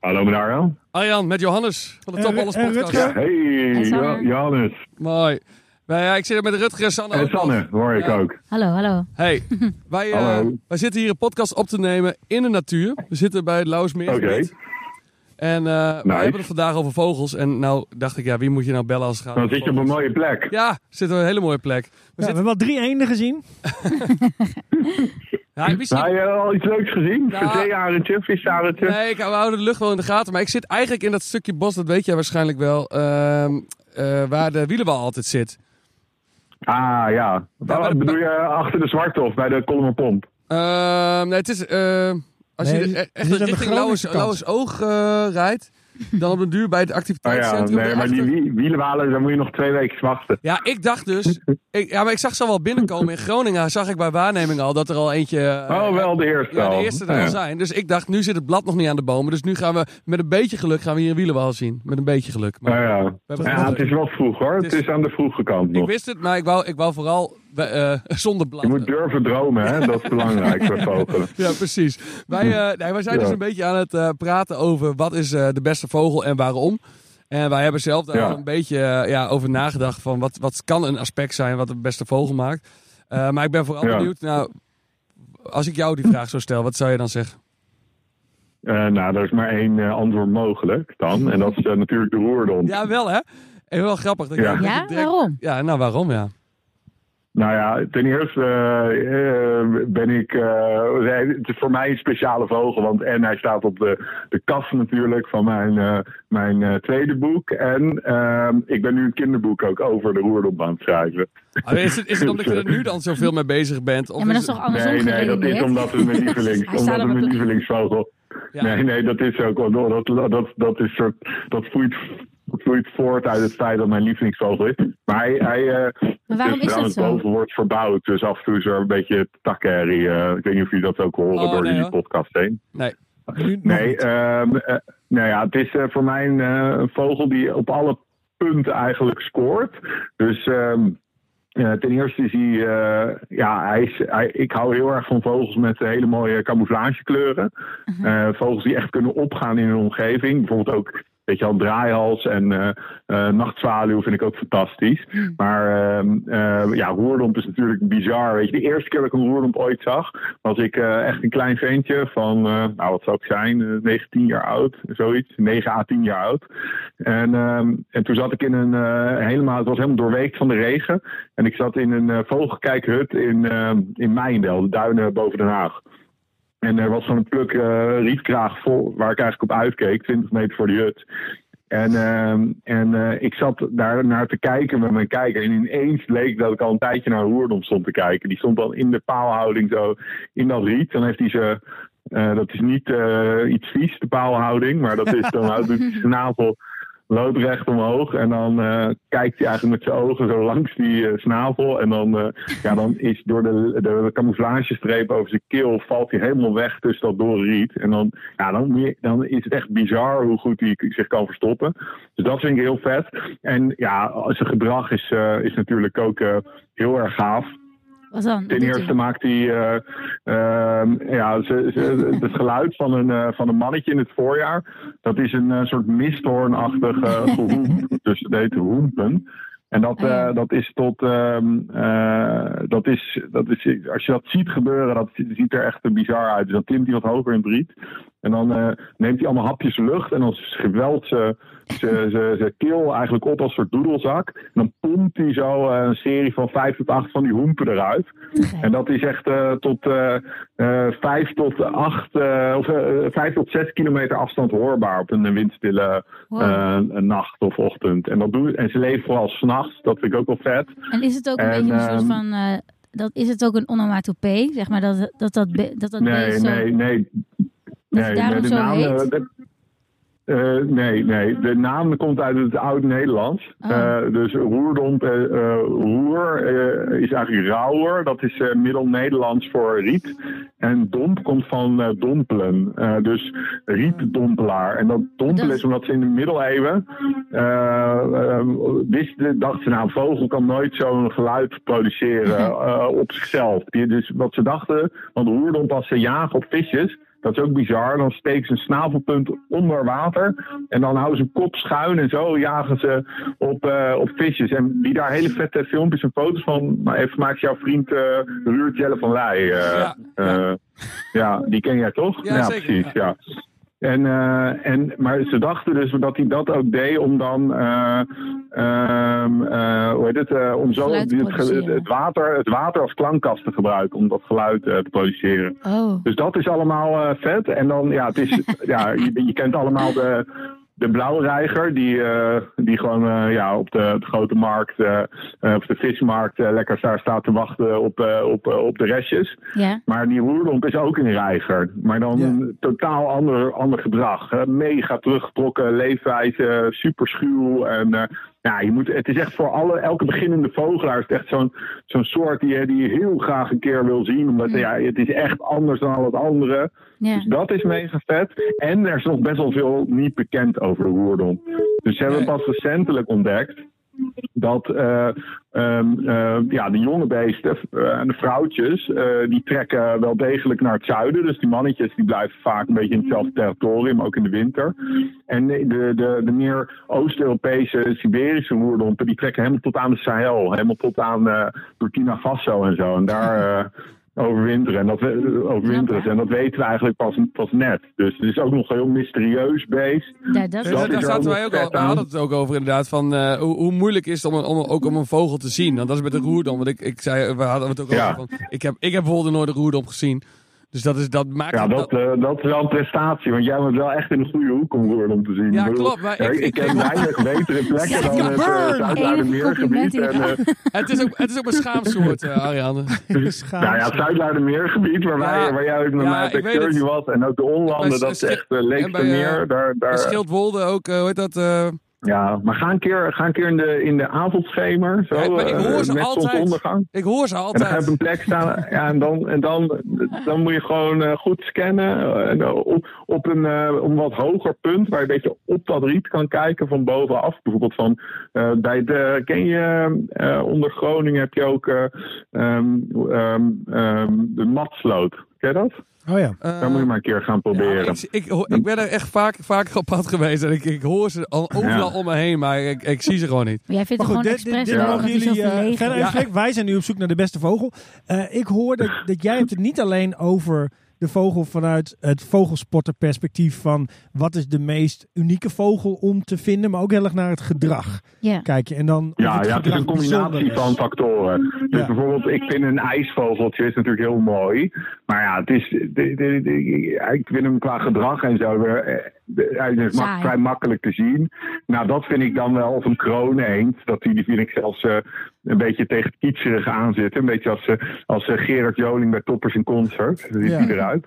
F: Hallo met Arjan.
A: Arjan, met Johannes van de
C: En
A: Top
C: Ru-
A: Alles
C: en
A: podcast.
C: Rutger?
F: Hey,
B: En Sanne.
F: Jo- Johannes.
A: Mooi. Nou ja, ik zit hier met Rutger en Sanne.
F: En
A: ook nog.
F: Sanne, hoor ik
A: Ja.
F: ook.
B: Hallo, hallo.
A: Hey, wij, eh,
F: Hallo.
A: wij zitten hier een podcast op te nemen in de natuur. We zitten bij het Lauwsmeer.
F: Oké.
A: En eh, we
F: Nice.
A: hebben het vandaag over vogels. En nou dacht ik, ja, wie moet je nou bellen als het gaat
F: Dan
A: over
F: zit je op een
A: vogels?
F: mooie plek.
A: Ja, zit op een hele mooie plek. We
C: Ja, we
A: zitten,
C: hebben al drie eenden gezien.
A: ja, misschien,
F: Heb Nou, je al iets leuks gezien?
A: Nou.
F: Nou, Zeearendje, visarendje?
A: nee, ik, we houden de lucht wel in de gaten. Maar ik zit eigenlijk in dat stukje bos, dat weet jij waarschijnlijk wel, ehm, eh, waar de wielenbal altijd zit.
F: Ah, ja. Wat
A: maar-
F: bedoel je achter de zwarte of bij de Kolmerpomp?
A: Ehm, nee, het is... ehm, als
C: Nee,
A: je
C: je
A: e-
C: zit aan
A: echt
C: de
A: richting
C: Groningse
A: Lauwers,
C: kant.
A: Lauwers Oog eh, rijdt, dan op een duur bij het
F: Oh ja,
A: activiteitscentrum.
F: nee, maar die
A: daarachter-
F: wie- wielenwalen, daar moet je nog twee weken wachten.
A: Ja, ik dacht dus. Ik, ja, maar ik zag ze al wel binnenkomen in Groningen. Zag ik bij waarneming al dat er al eentje. eh,
F: Oh, wel de eerste
A: Ja, de
F: al.
A: eerste er
F: Ja.
A: al zijn. Dus ik dacht, nu zit het blad nog niet aan de bomen. Dus nu gaan we met een beetje geluk gaan we hier een wielenbal zien. Met een beetje geluk. Maar
F: Nou ja.
A: hebben
F: Ja,
A: het
F: het is wel vroeg hoor.
A: Het
F: Het
A: is-
F: is aan de vroege kant
A: ik
F: nog.
A: wist het, maar ik wou, ik wou vooral Wij, eh, zonder
F: Je moet
A: blad.
F: durven dromen, hè? dat is belangrijk voor vogelen.
A: Ja, precies. Wij, eh, nee, wij zijn
F: Ja.
A: dus een beetje aan het eh, praten over wat is eh, de beste vogel en waarom. En wij hebben zelf daar
F: Ja.
A: een beetje eh, ja, over nagedacht van wat, wat kan een aspect zijn wat de beste vogel maakt. Eh, maar ik ben vooral
F: Ja.
A: benieuwd, nou, als ik jou die vraag zou stellen, wat zou je dan zeggen?
F: Eh, nou, er is maar één eh, antwoord mogelijk dan. En dat is eh, natuurlijk de roerdom.
A: Ja, wel hè? En wel grappig. dat
F: Ja.
A: jij- dat je
B: Ja,
A: direct-
B: waarom?
A: Ja, nou waarom ja.
F: Nou ja, ten eerste eh, eh, ben ik. eh, het is voor mij een speciale vogel. Want en hij staat op de, de kast natuurlijk van mijn, eh, mijn eh, tweede boek. En ehm, ik ben nu een kinderboek ook over de roerdom aan het schrijven.
A: Ah, Is het, is het omdat je er nu dan zoveel mee bezig bent? Of
B: Ja, maar dat is
A: het-
B: toch andersom
F: nee, nee, dat is
B: geredeneerd?
F: omdat het mijn lievelings,
B: Hij staat
F: omdat
B: op
F: het
B: een
F: mijn
B: pla-
F: lievelingsvogel.
A: Ja.
F: Nee, nee, dat is ook. wel- Dat, dat, dat, dat is soort, dat vloeit, dat vloeit voort uit het feit dat mijn lievelingsvogel is. Maar hij, hij eh,
B: Maar waarom
F: dus
B: is dat
F: trouwens
B: zo?
F: boven wordt verbouwd. Dus af en toe is er een beetje takkerrie. eh, ik weet niet of jullie dat ook horen
A: Oh,
F: door
A: nee,
F: jullie
A: hoor.
F: podcast heen.
A: Nee.
C: Nu nog
F: Nee,
C: niet.
F: ehm, eh, nou ja, het is eh, voor mij een eh, vogel die op alle punten eigenlijk scoort. Dus ehm, eh, ten eerste is hij, eh, ja, hij is, hij- ik hou heel erg van vogels met eh, hele mooie camouflagekleuren. Eh, vogels die echt kunnen opgaan in hun omgeving. Bijvoorbeeld ook, weet je wel, draaihals en eh eh, nachtzwaluw vind ik ook fantastisch. Maar ehm, eh, ja, roerdomp is natuurlijk bizar. Weet je, de eerste keer dat ik een roerdomp ooit zag, was ik eh, echt een klein ventje van, eh, nou wat zou ik zijn, eh, 19 jaar oud, zoiets. 9 à 10 jaar oud. En, ehm, en toen zat ik in een, eh, helemaal, het was helemaal doorweekt van de regen. En ik zat in een eh, vogelkijkhut in, ehm in Mijndel, de duinen boven Den Haag. En er was zo'n pluk eh, rietkraag vol, waar ik eigenlijk op uitkeek, 20 meter voor de hut. En, ehm, en eh, ik zat daar naar te kijken met mijn kijker. En ineens bleek dat ik al een tijdje naar Roerdom stond te kijken. Die stond dan in de paalhouding zo in dat riet. Dan heeft hij ze. eh, dat is niet eh, iets vies, de paalhouding. Maar dat is dan houdt hij zijn snavel loodrecht omhoog. En dan eh, kijkt hij eigenlijk met zijn ogen zo langs die eh, snavel. En dan, eh, ja, dan is door de, de camouflagestreep over zijn keel valt hij helemaal weg tussen dat dorre riet. En dan, ja, dan, moet je- dan is het echt bizar hoe goed hij zich kan verstoppen. Dus dat vind ik heel vet. En ja, zijn gedrag is, eh, is natuurlijk ook eh, heel erg gaaf.
B: Wat dan?
F: Ten eerste maakt hij eh, ehm, ja, ze, ze- het geluid van een, eh, van een mannetje in het voorjaar. Dat is een eh, soort misthoornachtig eh, gehoemp. Dus het heet hoempen. En dat, eh, dat is tot. ehm, eh, dat is, dat is, als je dat ziet gebeuren, dat ziet er echt bizar uit. Dus dan klimt hij wat hoger in het riet. En dan eh, neemt hij allemaal hapjes lucht. En dan geweldt ze, ze, ze, ze keel eigenlijk op als een soort doedelzak. En dan pompt hij zo eh, een serie van vijf tot acht van die hoempen eruit.
B: Mhm.
F: En dat is echt eh, tot eh eh, vijf tot acht, eh, of eh, vijf tot zes kilometer afstand hoorbaar op een windstille
B: Wow.
F: eh, nacht of ochtend. En, dat doen, en ze leven vooral s'nachts, dat vind ik ook wel vet.
B: En is het ook een
F: En,
B: beetje een soort
F: ehm,
B: van... eh, dat, is het ook een onomatopee? Zeg maar dat dat, dat, be- dat, dat
F: Nee,
B: beest zo...
F: nee, nee.
B: Dat het daarom zo
F: eh,
B: heet?
F: de- eh, nee, nee. De naam komt uit het Oud-Nederlands.
B: Oh.
F: Eh, dus roerdomp, eh, eh, roer eh, is eigenlijk rauwer. Dat is eh, Middel-Nederlands voor riet. En domp komt van eh, dompelen. Eh, dus rietdompelaar. En dat dompelen
B: Dat-
F: is omdat ze in de middeleeuwen... eh, eh, wisten, dachten ze, nou, een vogel kan nooit zo'n geluid produceren
A: Mhm.
F: eh, op zichzelf. Die- Dus wat ze dachten, want roerdomp als ze jagen op visjes... Dat is ook bizar. Dan steekt ze een snavelpunt onder water. En dan houden ze een kop schuin. En zo jagen ze op, eh, op visjes. En die daar hele vette filmpjes en foto's van maar heeft gemaakt. Jouw vriend eh Ruurt Jelle van Leij. eh,
A: Ja,
F: eh, ja, die ken jij toch?
A: Ja, zeker,
F: precies. Ja. En, eh, en, maar ze dachten dus dat hij dat ook deed om dan, eh, ehm, eh, hoe heet het, eh, om zo
B: Geluid te
F: het, ge-
B: produceren.
F: het, water, het water als klankkast te gebruiken om dat geluid eh, te produceren.
B: Oh,
F: Dus dat is allemaal eh, vet. En dan, ja, het is, ja je, je kent allemaal de, de blauwreiger, die, eh, die gewoon eh, ja, op de, op de grote markt, eh, eh, op de vismarkt, eh, lekker daar staat te wachten op, eh, op, eh, op de restjes.
B: ja.
F: Maar die roerdomp is ook een reiger. Maar dan
C: Ja.
F: een totaal ander, ander gedrag. Eh, Mega teruggetrokken, leefwijze, super schuw. En, eh, ja, je moet, het is echt voor alle, elke beginnende vogelaar is het echt zo'n zo'n soort die, je- die je heel graag een keer wil zien. Omdat ja, het is echt anders dan al het andere.
B: ja.
F: Dus dat is mega vet. En er is nog best wel veel niet bekend over de roerdomp. Dus ze hebben
A: Nee.
F: pas recentelijk ontdekt dat eh, ehm, eh, ja, de jonge beesten eh, en de vrouwtjes, eh, die trekken wel degelijk naar het zuiden. Dus die mannetjes die blijven vaak een beetje in hetzelfde territorium, ook in de winter. En de, de, de, de meer Oost-Europese Siberische roerdompen, die trekken helemaal tot aan de Sahel. Helemaal tot aan eh, Burkina Faso en zo. En daar... eh, overwinteren. En dat, we- overwinteren.
B: Snap, hè?
F: En dat weten we eigenlijk pas, pas net. Dus het is ook nog een heel mysterieus beest.
B: Ja, dat is
F: Dat
A: daar
F: is
A: zaten
F: ook
A: wij ook
F: vet
A: al, we
F: aan.
A: hadden het ook over inderdaad, van eh, hoe, hoe moeilijk is het om, een- om, ook om een vogel te zien. Want dat is met de
B: Mm.
A: roerdom, want ik, ik zei, we hadden het ook
F: Ja.
A: over, van, ik heb, ik heb bijvoorbeeld nooit een roerdom gezien. Dus dat, is, dat maakt
F: Ja,
A: het-
F: dat, eh, dat is wel een prestatie. Want jij bent wel echt in de goede hoek om roer om te zien.
A: Ja,
F: Ik bedoel,
A: klopt, maar
F: eh,
A: ik-
F: ik,
A: ik-
F: ken weinig betere plekken dan het
C: burn!
F: uh,
B: Enig
F: Zuid-Luidermeergebied. En,
B: compliment
F: eh,
A: het, is ook, het is ook een schaamsoort, eh, Ariane.
C: Schaamte.
F: nou ja, het Zuid-Luidermeergebied,
A: Ja,
F: waar, wij, waar jij ook met
A: ja,
F: mij
A: ik
F: op
A: weet
F: excursie
A: het.
F: was. En ook de
A: Bij
F: onlanden, dat
A: Schild-
F: is echt uh,
A: en bij, eh,
F: Meer. Daar, daar,
A: En Schildwolde ook, eh, hoe heet dat? eh,
F: ja, maar ga een keer, ga een keer in, de, in de avondschemer, zo,
A: Ja, maar ik
F: eh,
A: hoor ze
F: met
A: altijd.
F: zonsondergang.
A: ik hoor ze
F: En dan heb
A: altijd.
F: je een plek staan ja, en, dan, en dan, dan moet je gewoon eh, goed scannen. eh, en op, op een, eh, op een wat hoger punt waar je een beetje op dat riet kan kijken van bovenaf. Bijvoorbeeld van, eh, bij de, ken je, eh, onder Groningen heb je ook eh, ehm, ehm, ehm, de matsloot. Ken je dat?
C: Oh ja.
A: Eh,
F: Daar moet je maar een keer gaan proberen.
A: ik, ik, ho- ik ben er echt vaak, vaak op pad geweest en ik, ik hoor ze al overal
F: Ja.
A: om me heen, maar ik, ik zie ze gewoon niet.
B: Maar jij vindt
C: Maar
B: het gewoon
C: goed, dit, dit,
B: expres
C: dit
B: leuk,
C: mogen
B: want het is
C: jullie
B: heel
C: eh,
B: verlegen.
C: verder in gesprek. Wij zijn nu op zoek naar de beste vogel. Eh, ik hoor dat, dat jij hebt het niet alleen over de vogel vanuit het vogelspotterperspectief van wat is de meest unieke vogel om te vinden, maar ook heel erg naar het gedrag
B: Ja.
C: kijken. En dan of
F: Ja, ja, het is een
C: gedrag
F: combinatie
C: bijzonder is.
F: van factoren. Dus
C: Ja.
F: bijvoorbeeld, ik vind een ijsvogeltje is natuurlijk heel mooi. Maar ja, het is, de- de- de- ik vind hem qua gedrag en zo. weer, eh, de- Hij is mak-
B: Saai.
F: vrij makkelijk te zien. Nou, dat vind ik dan wel. Of een kroonheend. Dat die, die vind ik zelfs eh, een beetje tegen het kietserig aan zitten. Een beetje als, eh, als eh, Gerard Joling bij Toppers in Concert. Zo ziet
C: Ja.
F: hij eruit.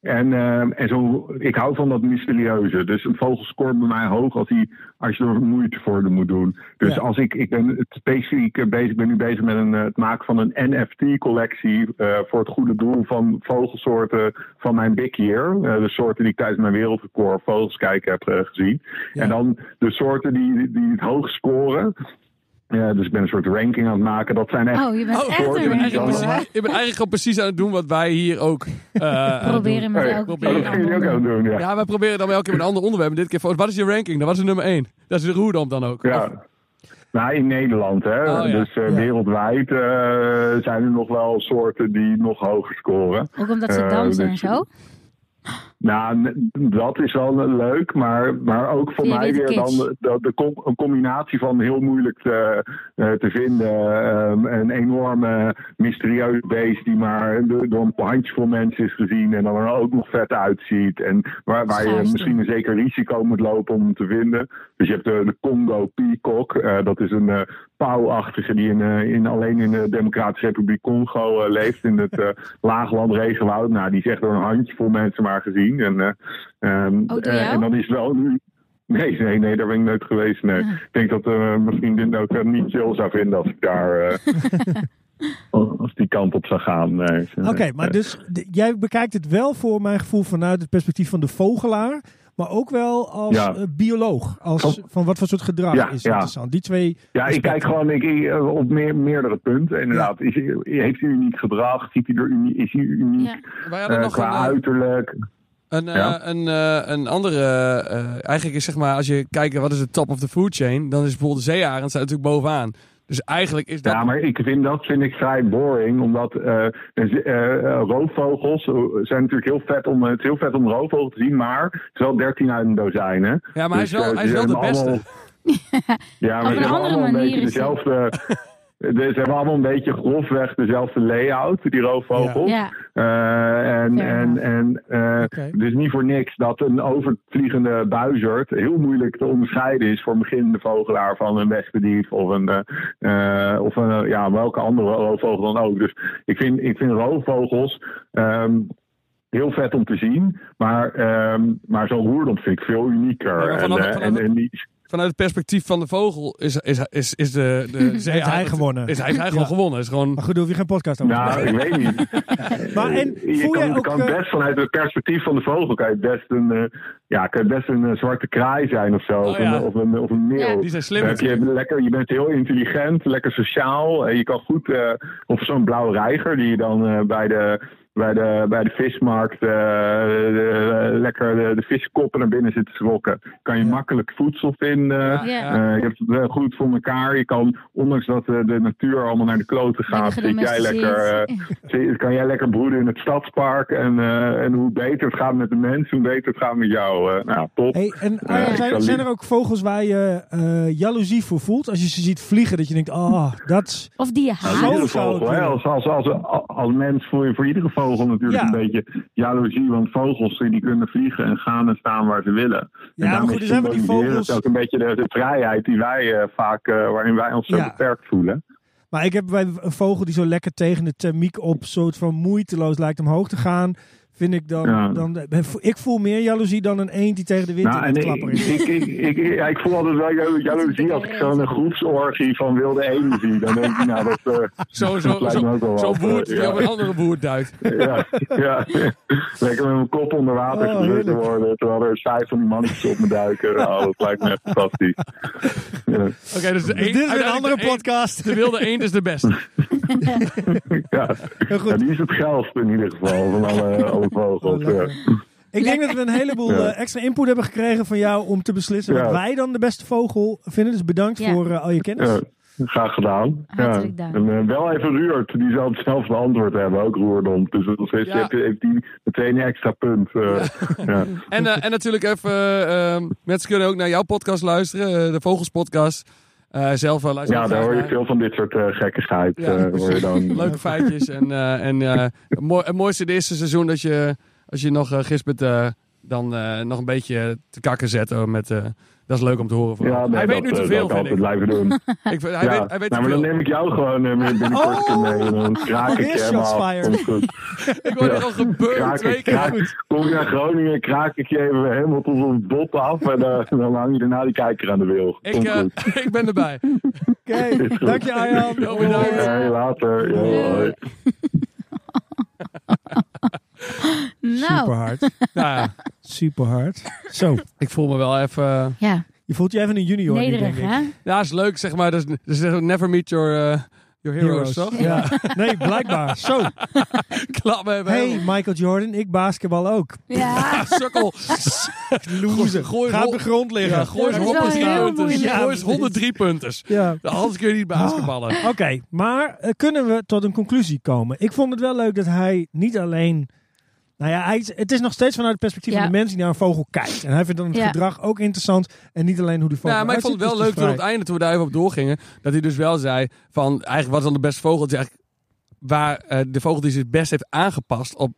F: En, ehm, en zo, ik hou van dat mysterieuze. Dus een vogel scoort bij mij hoog als, hij, als je er moeite voor moet doen. Dus
C: Ja.
F: als ik, ik ben het specifiek eh, bezig, ik ben nu bezig met een, eh, het maken van een NFT-collectie eh, voor het goede doel van vogelsoorten van mijn big year. Eh, de soorten die ik tijdens mijn wereldrecord vogels kijken heb eh, gezien.
C: Ja.
F: En dan de soorten die, die het hoogst scoren. Eh, dus ik ben een soort ranking aan het maken. Dat zijn echt
B: Oh, je bent
A: Oh,
B: echt
F: hoor,
B: een
A: ik ben,
F: jullie
B: ranking,
A: eigenlijk
F: dan?
B: hoor.
A: precies, ik ben eigenlijk al precies aan het doen wat wij hier ook eh,
B: Proberen
A: doen.
B: met
F: Oh, ja.
B: elke
A: Proberen.
F: Oh,
B: keer een
F: dat gaan jullie ook
B: ander.
F: aan het doen, ja.
A: Ja, wij proberen dan elke keer met een ander onderwerp. En dit keer, voor- wat is je ranking? Dan was is nummer 1. Dat is de roerdom dan ook. Of-
F: Ja. Nou, in Nederland, hè.
A: Oh, ja.
F: Dus eh,
C: Ja.
F: wereldwijd eh, zijn er nog wel soorten die nog hoger scoren.
B: Ook omdat ze
F: Eh,
B: dansen
F: dus-
B: en zo.
F: Nou, n- dat is wel eh, leuk, maar, maar ook voor
B: Vind je
F: mij
B: dit
F: weer dan
B: kitsch?
F: de, de, com- een combinatie van heel moeilijk te, eh, te vinden. ehm, een enorme mysterieus beest die maar do- door een handjevol mensen is gezien en dan er ook nog vet uitziet. En waar, waar je
B: Schaarste.
F: misschien een zeker risico moet lopen om hem te vinden. Dus je hebt de, de Congo Peacock, eh, dat is een eh pauwachtige die in, eh, in, alleen in de Democratische Republiek Congo eh, leeft, in het eh, laagland regenwoud. Nou, die is echt door een handjevol mensen maar gezien. En, eh, ehm,
B: Oh, door
F: eh,
B: jou?
F: en dat is wel nu. Nee, nee, nee, daar ben ik nooit geweest. Nee.
B: Ah.
F: Ik denk dat eh, mijn vriendin ook eh, niet chill zou vinden als ik daar. eh, als die kant op zou gaan. Nee. Eh,
C: Oké, maar dus d- jij bekijkt het wel voor mijn gevoel vanuit het perspectief van de vogelaar, maar ook wel als
F: Ja.
C: eh, bioloog. Als,
F: Van-
C: van wat voor soort gedrag
F: Ja,
C: is
F: ja.
C: interessant. Die twee.
F: Ja, ik kijk gewoon ik, ik, eh, op meer, meerdere punten. Inderdaad, is, eh, heeft hij uniek gedrag? Ziet hij er unie- is hij uniek
B: Ja.
A: Wij hadden
F: eh,
A: nog
F: qua
A: een, eh,
F: uiterlijk?
A: Een, eh,
F: Ja.
A: een, eh, een andere, eh, eigenlijk is zeg maar, als je kijkt wat is de top of the food chain, dan is bijvoorbeeld de zeearend staat natuurlijk bovenaan. Dus eigenlijk is dat...
F: Ja, maar ik vind, dat vind ik vrij boring, omdat eh, dus, eh, eh, roofvogels eh, zijn natuurlijk heel vet om, het is heel vet om een roofvogel te zien, maar het is wel 13 uit een dozijn, hè?
A: Ja, maar hij is wel-
F: eh,
A: hij is
F: ze
A: wel de
F: hebben
A: beste.
F: ja,
B: Op
F: maar
B: een
F: ze hebben
B: andere
F: allemaal
B: manier
F: een beetje
B: is hij-
F: dezelfde... Ze hebben allemaal een beetje grofweg dezelfde layout, die roofvogels.
B: Ja.
F: Eh, en,
B: Fair
F: en, en, eh,
C: Oké.
F: Dus niet voor niks dat een overvliegende buizerd heel moeilijk te onderscheiden is voor een beginnende vogelaar van een wespedief of een, eh, eh, of een eh, ja, welke andere roofvogel dan ook. Dus ik vind, ik vind roofvogels ehm, heel vet om te zien, maar, ehm, maar zo'n roerdom vind ik veel unieker.
A: Ja, maar
F: en,
A: vanaf-
F: eh,
A: vanaf-
F: en, en die-
A: Vanuit het perspectief van de vogel is, is, is, is de, de zeearend...
C: gewonnen.
A: Is hij, heeft hij gewoon
C: Ja.
A: gewonnen. Is gewoon,
C: Maar goed, daar hoef je geen podcast over. te
F: nou, ik weet niet.
C: Maar en
F: je
C: voel
F: kan,
C: jij
F: je
C: ook...
F: kan
C: eh,
F: best vanuit het perspectief van de vogel kan je best een, eh, Ja, kan het best een eh, zwarte kraai zijn of
C: Oh
F: zo. of,
A: ja.
F: een, eh, of, een, of een
B: Ja,
F: meeuw.
A: Die zijn slim
F: Dan heb je,
A: natuurlijk.
F: lekker, je bent heel intelligent, lekker sociaal. En je kan goed. eh, of zo'n blauwe reiger die je dan eh, bij, de, bij, de, bij de vismarkt eh, de- eh, lekker de, de viskoppen naar binnen zit te zwokken. Kan je makkelijk voedsel vinden.
B: Ja.
F: Eh, je hebt het eh, goed voor elkaar. Je kan, ondanks dat eh, de natuur allemaal naar de kloten gaat,
B: Lekker
F: zit jij lekker, eh, zit- kan jij lekker broeden in het stadspark. En, eh, en hoe beter het gaat met de mensen, hoe beter het gaat met jou. eh. nou, top.
C: Hey, en Arjan,
F: Ja.
C: zijn, zijn er ook vogels waar je eh, jaloezie voor voelt? Als je ze ziet vliegen, dat je denkt, oh, dat...
B: Of die je
F: Ja,
B: haat.
C: Zo
F: iedere
C: zou het
F: vogel, hè.
C: kunnen.
F: Als, als, als, als mens voel je voor iedere vogel natuurlijk
C: Ja.
F: een beetje jaloezie. Want vogels die kunnen vliegen en gaan en staan waar ze willen.
C: Ja, maar goed, dus hebben die vogels...
F: Dat is ook een beetje de, de vrijheid die wij eh, vaak, eh, waarin wij ons zo
C: Ja.
F: beperkt voelen.
C: Maar ik heb bij een vogel die zo lekker tegen de thermiek op soort van moeiteloos lijkt omhoog te gaan. Vind ik dan,
F: Ja.
C: dan eh, ik voel meer jaloezie dan een eend die tegen de wind
F: Nou,
C: in
F: en
C: het
F: ik,
C: klapper
F: ik,
C: is.
F: ik, ik, ik- ja, ik voel altijd wel jalo- jaloezie als ik zo'n groepsorgie van wilde eenden zie. Dan denk ik, nou, dat, eh,
A: Zo,
F: dat
A: zo,
F: lijkt me
A: zo,
F: ook wel
A: zo
F: wat, eh,
A: boert die
F: ja.
A: op een andere boer duikt.
F: Ja, ja. Lekker met mijn kop onder water
C: Oh,
F: geduwd te
C: heerlijk.
F: worden. Terwijl er vijf van die mannetjes op me duiken. Oh, dat lijkt me echt fantastisch. Ja,
A: Oké, dus de eend-
C: Dit is weer een
A: uiteindelijk
C: andere
A: de eend-
C: podcast.
A: De wilde eend is de beste.
F: ja.
C: goed.
F: Ja, die is het geilste in ieder geval van alle, alle vogels.
C: Oh,
F: ja.
C: lekker. Ik denk dat we een heleboel
F: Ja.
C: eh, extra input hebben gekregen van jou om te beslissen
F: Ja.
C: wat wij dan de beste vogel vinden. Dus bedankt
B: Ja.
C: voor eh, al je kennis.
F: Ja, graag gedaan. Ja.
B: Hartelijk dank.
F: En eh, wel even Ruurt, die zal hetzelfde antwoord hebben, ook Roerdom. Dus dat is,
A: Ja.
F: heeft, heeft die meteen een extra punt. eh, ja.
A: En, eh, en natuurlijk even, eh, ehm, mensen kunnen ook naar jouw podcast luisteren, eh, de Vogelspodcast. Eh, zelf wel luisteren.
F: Ja, daar hoor je
A: naar.
F: veel van dit soort eh, gekkigheid.
A: Ja,
F: eh, hoor je dan.
A: Leuke feitjes. En, eh, en eh, het mooi- het mooiste het eerste seizoen dat je, als je nog eh, gist bent, eh, dan eh, nog een beetje te kakken zet. hoor, met, eh, dat is leuk om te horen. Van.
F: Ja, nee,
A: hij weet
F: dat,
A: nu
F: eh,
A: te
F: dat
A: veel,
F: kan
A: vind
F: altijd
A: ik.
F: blijven doen.
A: ik vind- hij
F: ja.
A: weet, hij weet
F: nou,
A: te
F: maar dan
A: veel. Oh!
F: neem ik jou gewoon eh, mee- binnenkort een keer mee. En dan kraak ik
C: Weer
F: je helemaal
C: shots
F: af.
C: fired.
F: Komt goed.
A: Ik word hier al gebeurd
F: Kraak
A: twee
F: ik,
A: keer.
F: kraak, kom ik naar Groningen, kraak ik je even helemaal tot ons bot af. En eh, dan hang je daarna die kijker aan de wil.
A: Ik,
F: Komt
A: eh,
F: goed.
A: ik ben erbij.
C: Oké, dank je Arjan. Nou.
A: Heel bedankt.
F: Ja, heel later. Ja,
B: Doei.
F: hoi.
B: Nou,
C: Super hard.
A: Nou, ja,
C: Super hard. Zo,
A: ik voel me wel even... eh,
B: ja,
C: je voelt je even een junior nu, denk
B: nederig
C: ik.
B: hè?
A: Ja, is leuk, zeg maar. Dus, dus never meet your, eh, your heroes, toch?
C: Ja. Nee, blijkbaar. Zo.
A: Klap me even.
C: Hey, Michael Jordan, ik basketbal ook.
B: Ja,
A: Sukkel.
C: Loser.
A: Gooi-
C: Ga op
A: gooi-
C: de grond liggen.
A: Ja, gooi eens
B: Dat is wel
A: 103
B: heel
A: punters.
B: moeilijk.
A: Gooi eens 103 punters.
C: Ja.
A: Anders kun je
C: Ah.
A: niet basketballen.
C: Oké, maar eh, kunnen we tot een conclusie komen? Ik vond het wel leuk dat hij niet alleen. Nou ja, hij, is- het is nog steeds vanuit het perspectief
B: Ja.
C: van de mens die naar een vogel kijkt. En hij vindt dan het
B: Ja.
C: gedrag ook interessant. En niet alleen hoe de vogel.
A: Ja, maar ik vond het wel leuk
C: uitziet, dus
A: toen op
C: die
A: het einde, toen we daar even op doorgingen, dat hij dus wel zei van, eigenlijk wat is dan de beste vogel? Het is eigenlijk waar eh, de vogel die zich het best heeft aangepast op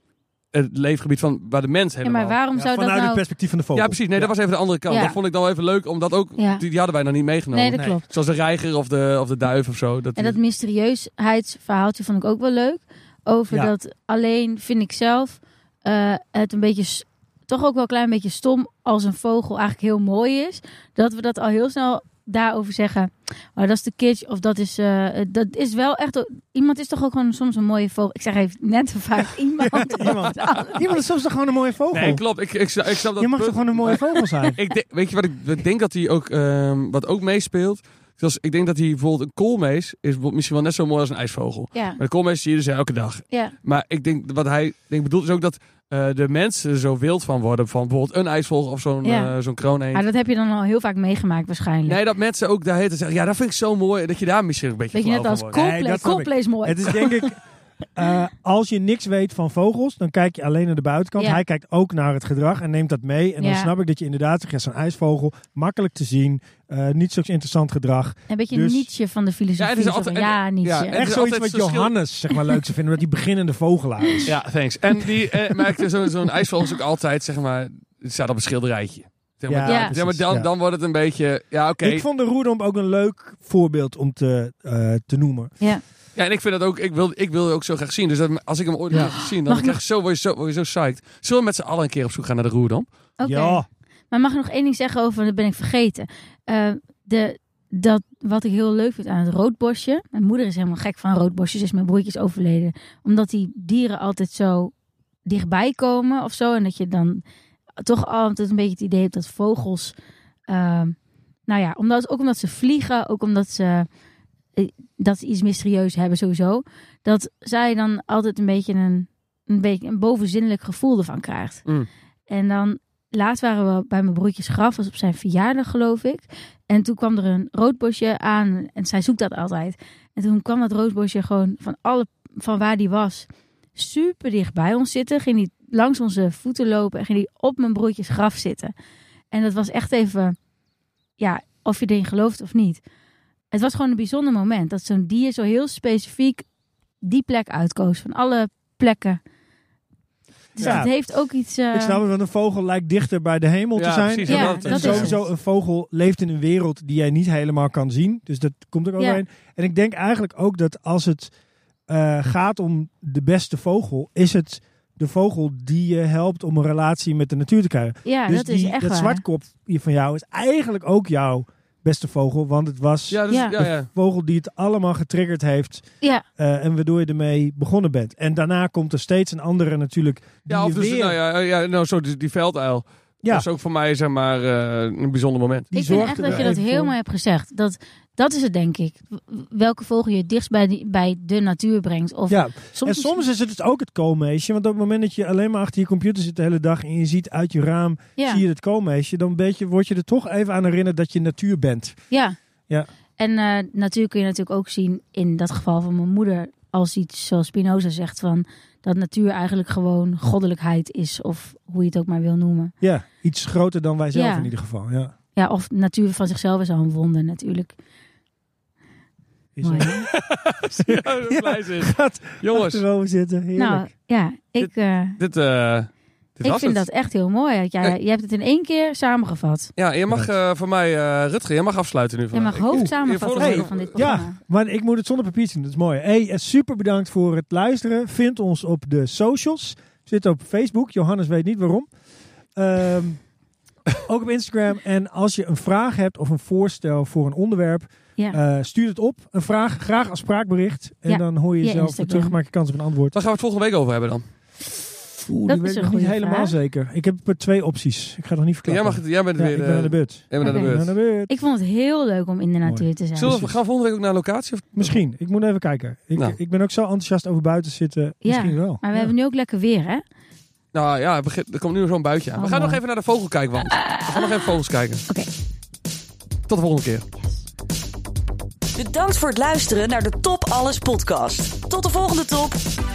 A: het leefgebied van waar de mens
B: Ja,
A: helemaal...
B: maar waarom
C: is vrij.
B: zou dat
C: vanuit het
B: nou...
C: perspectief van de vogel.
A: Ja, precies. Nee, dat was even de andere kant.
B: Ja.
A: Dat vond ik dan wel even leuk, omdat ook,
B: Ja.
A: die, die hadden wij nog niet meegenomen.
B: Nee, dat
C: Nee.
B: klopt.
A: Zoals de reiger of de, of de duif of zo. Dat
B: En
A: die-
B: dat mysterieusheidsverhaaltje vond ik ook wel leuk. Over
C: Ja.
B: dat alleen vind ik zelf eh, het een beetje, s- toch ook wel een klein beetje stom als een vogel eigenlijk heel mooi is. Dat we dat al heel snel daarover zeggen. Oh, dat is de kitsch of dat is, eh, dat is wel echt, iemand is toch ook gewoon soms een mooie vogel. Ik zeg even net te vaak iemand.
C: Iemand. Iemand is soms toch gewoon een mooie vogel.
A: Nee, klopt. Ik, ik, snap- ik snap dat
C: je mag toch
A: punt.
C: gewoon een mooie vogel zijn?
A: ik denk- weet je wat ik, ik denk dat hij ook, ehm, wat ook meespeelt? Zoals, ik denk dat hij bijvoorbeeld een koolmees is bijvoorbeeld misschien wel net zo mooi als een ijsvogel.
B: Ja,
A: Maar de koolmees zie je dus elke dag.
B: ja,
A: Maar ik denk wat hij denk, bedoelt is ook dat eh, de mensen er zo wild van worden. Van bijvoorbeeld een ijsvogel of zo'n
B: Ja.
A: eh, zo'n kroonheen.
B: maar dat heb je dan al heel vaak meegemaakt waarschijnlijk.
A: Nee, dat mensen ook daar heten zeggen. Ja, dat vind ik zo mooi. Dat je daar misschien een beetje
B: Weet je
A: flauw
B: net
A: van
B: als
A: wordt.
C: Nee,
B: Coldplay.
C: dat snap ik.
B: Coldplay is mooi.
C: Het is denk ik, eh, als je niks weet van vogels, dan kijk je alleen naar de buitenkant.
B: Ja.
C: Hij kijkt ook naar het gedrag en neemt dat mee. En dan
B: Ja.
C: snap ik dat je inderdaad zegt, ja, zo'n ijsvogel, makkelijk te zien, eh, niet zulks interessant gedrag.
B: een beetje
C: dus-
B: Nietzsche van de filosofie.
A: Ja, het is
B: zo van,
A: altijd- en-
B: ja,
A: ja,
B: Nietzsche.
A: en-
C: Echt
A: is
C: zoiets wat
A: altijd verschil-
C: Johannes zeg maar, leuk zou vinden, omdat hij beginnende vogelaar is.
A: Ja, thanks. En die, eh, maar ik- zo- zo'n ijsvogel is ook altijd, zeg maar, het staat op een schilderijtje. Zeg maar,
C: Ja,
A: dan-
B: Ja.
A: zeg maar, dan,
C: precies, ja.
A: dan wordt het een beetje, ja oké.
C: Ik vond de roerdomp ook een leuk voorbeeld om te, eh, te noemen.
B: Ja.
A: Ja, en ik vind dat ook, ik wil, ik wil het ook zo graag zien. Dus dat, als ik hem ooit nog zie, dan
B: Mag ik
A: krijg ik zo, word, je zo, word je zo psyched. Zullen we met z'n allen een keer op zoek gaan naar de Roerdom?
B: Oké.
C: Ja,
B: Maar mag ik nog één ding zeggen over, dat ben ik vergeten. Eh, de, dat, wat ik heel leuk vind aan het roodborstje. Mijn moeder is helemaal gek van roodborstjes, is mijn broertje is overleden. Omdat die dieren altijd zo dichtbij komen of zo. En dat je dan toch altijd een beetje het idee heb dat vogels. ehm, nou ja, omdat, ook omdat ze vliegen, ook omdat ze. eh, dat ze iets mysterieus hebben sowieso. Dat zij dan altijd een beetje een, een, beetje een bovenzinnelijk gevoel ervan krijgt.
A: Mm.
B: En dan. Laatst waren we bij mijn broertjes graf, was op zijn verjaardag geloof ik. En toen kwam er een roodbosje aan en zij zoekt dat altijd. En toen kwam dat roodbosje gewoon van, alle, van waar die was super dicht bij ons zitten. Ging die langs onze voeten lopen en ging die op mijn broertjes graf zitten. En dat was echt even, ja, of je erin gelooft of niet. Het was gewoon een bijzonder moment dat zo'n dier zo heel specifiek die plek uitkoos van alle plekken. Dus
C: Ja.
B: het heeft ook iets. eh,
C: Ik snap het, want een vogel lijkt dichter bij de hemel
A: Ja,
C: te zijn.
A: precies.
B: Ja,
A: dat,
C: En
B: dat is
C: sowieso, een vogel leeft in een wereld die jij niet helemaal kan zien. Dus dat komt ook
B: Ja.
C: overheen. En ik denk eigenlijk ook dat als het eh, gaat om de beste vogel, is het de vogel die je helpt om een relatie met de natuur te krijgen.
B: ja,
C: dus
B: dat
C: die,
B: is echt
C: dat
B: waar.
C: zwartkop hier van jou is eigenlijk ook jouw beste vogel. Want het was
A: Ja, dus, ja.
B: Ja.
A: Ja,
C: de vogel die het allemaal getriggerd heeft
B: Ja,
C: eh, en waardoor je ermee begonnen bent. En daarna komt er steeds een andere natuurlijk. Die
A: Ja, of
C: je
A: dus,
C: weer,
A: nou ja, ja, nou, zo, die, die velduil.
C: Ja.
A: Dat is ook voor mij zeg maar eh, een bijzonder moment.
C: die
B: ik vind
C: zorgt
B: echt
C: er
B: dat je
C: even
B: dat
C: voor.
B: helemaal hebt gezegd. Dat, dat is het, denk ik. W- Welke vogel je het dichtst bij, die- bij de natuur brengt. Of
C: Ja,
B: soms,
C: en soms is het dus ook het koolmeisje. Want op het moment dat je alleen maar achter je computer zit de hele dag en je ziet uit je raam,
B: ja.
C: zie je het koolmeisje, dan weet je, word je er toch even aan herinnerd dat je natuur bent.
B: Ja.
C: Ja.
B: En eh, natuur kun je natuurlijk ook zien in dat geval van mijn moeder. Als iets zoals Spinoza zegt van dat natuur eigenlijk gewoon goddelijkheid is. Of hoe je het ook maar wil noemen.
C: Ja, iets groter dan wij zelf
B: Ja.
C: in ieder geval. Ja.
B: Ja, of natuur van zichzelf is al een wonder natuurlijk.
C: Is
B: Mooi,
C: er-
B: hè?
A: Ja, dat is blij zijn.
C: Gaat
A: Jongens,
C: achterover zitten, heerlijk.
B: nou ja, ik, eh,
A: dit, eh dit
B: ik
A: was
B: vind
A: het.
B: dat echt heel mooi. Dat Jij, je hebt het in één keer samengevat.
A: Ja, je mag eh, voor mij, eh, Rutger, jij mag afsluiten nu.
B: Je mag
A: vandaag. Ik-
B: hoofd
A: ik-
B: samenvatten
A: vorige-
C: Hey,
B: van dit programma.
C: Ja, maar ik moet het zonder papiertje doen. Dat is mooi. Hey, eh, super bedankt voor het luisteren. Vind ons op de socials. Zit op Facebook. Johannes weet niet waarom. Ehm, ook op Instagram. En als je een vraag hebt of een voorstel voor een onderwerp,
B: Ja.
C: eh, stuur het op. Een vraag graag als spraakbericht. En
B: Ja,
C: dan hoor je
B: via
C: jezelf weer
B: Instagram.
C: terug. Maak je kans op een antwoord.
A: Waar gaan we het volgende week over hebben dan?
C: Oeh,
B: dat
C: die
B: is
C: weet
B: een
C: ik nog niet
B: goede
C: helemaal
B: vraag.
C: zeker. Ik heb eh, twee opties. Ik ga nog niet
A: jij,
C: verklappen.
A: mag, het- jij bent
C: Ja,
A: weer
C: ik ben aan de
A: eh,
C: beurt.
A: jij bent aan de
B: Oké.
A: beurt.
C: Ik ben aan de beurt.
B: Ik vond het heel leuk om in de
C: Mooi.
B: natuur te zijn. Dus
A: Zullen we,
C: precies.
A: gaan we volgende week ook naar locatie? Of...
C: Misschien. Ik moet even kijken. Ik,
A: Nou.
C: ik ben ook zo enthousiast over buiten zitten. Misschien wel.
B: Maar we
C: Ja.
B: hebben nu ook lekker weer, hè? Oké.
A: Nou ja, het begint- er komt nu zo'n buitje aan. We
B: Oh,
A: gaan nog
B: mooi.
A: even naar de vogelkijkwand. We gaan nog even vogels kijken. Tot de volgende keer.
D: Bedankt voor het luisteren naar de Top Alles podcast. Tot de volgende top.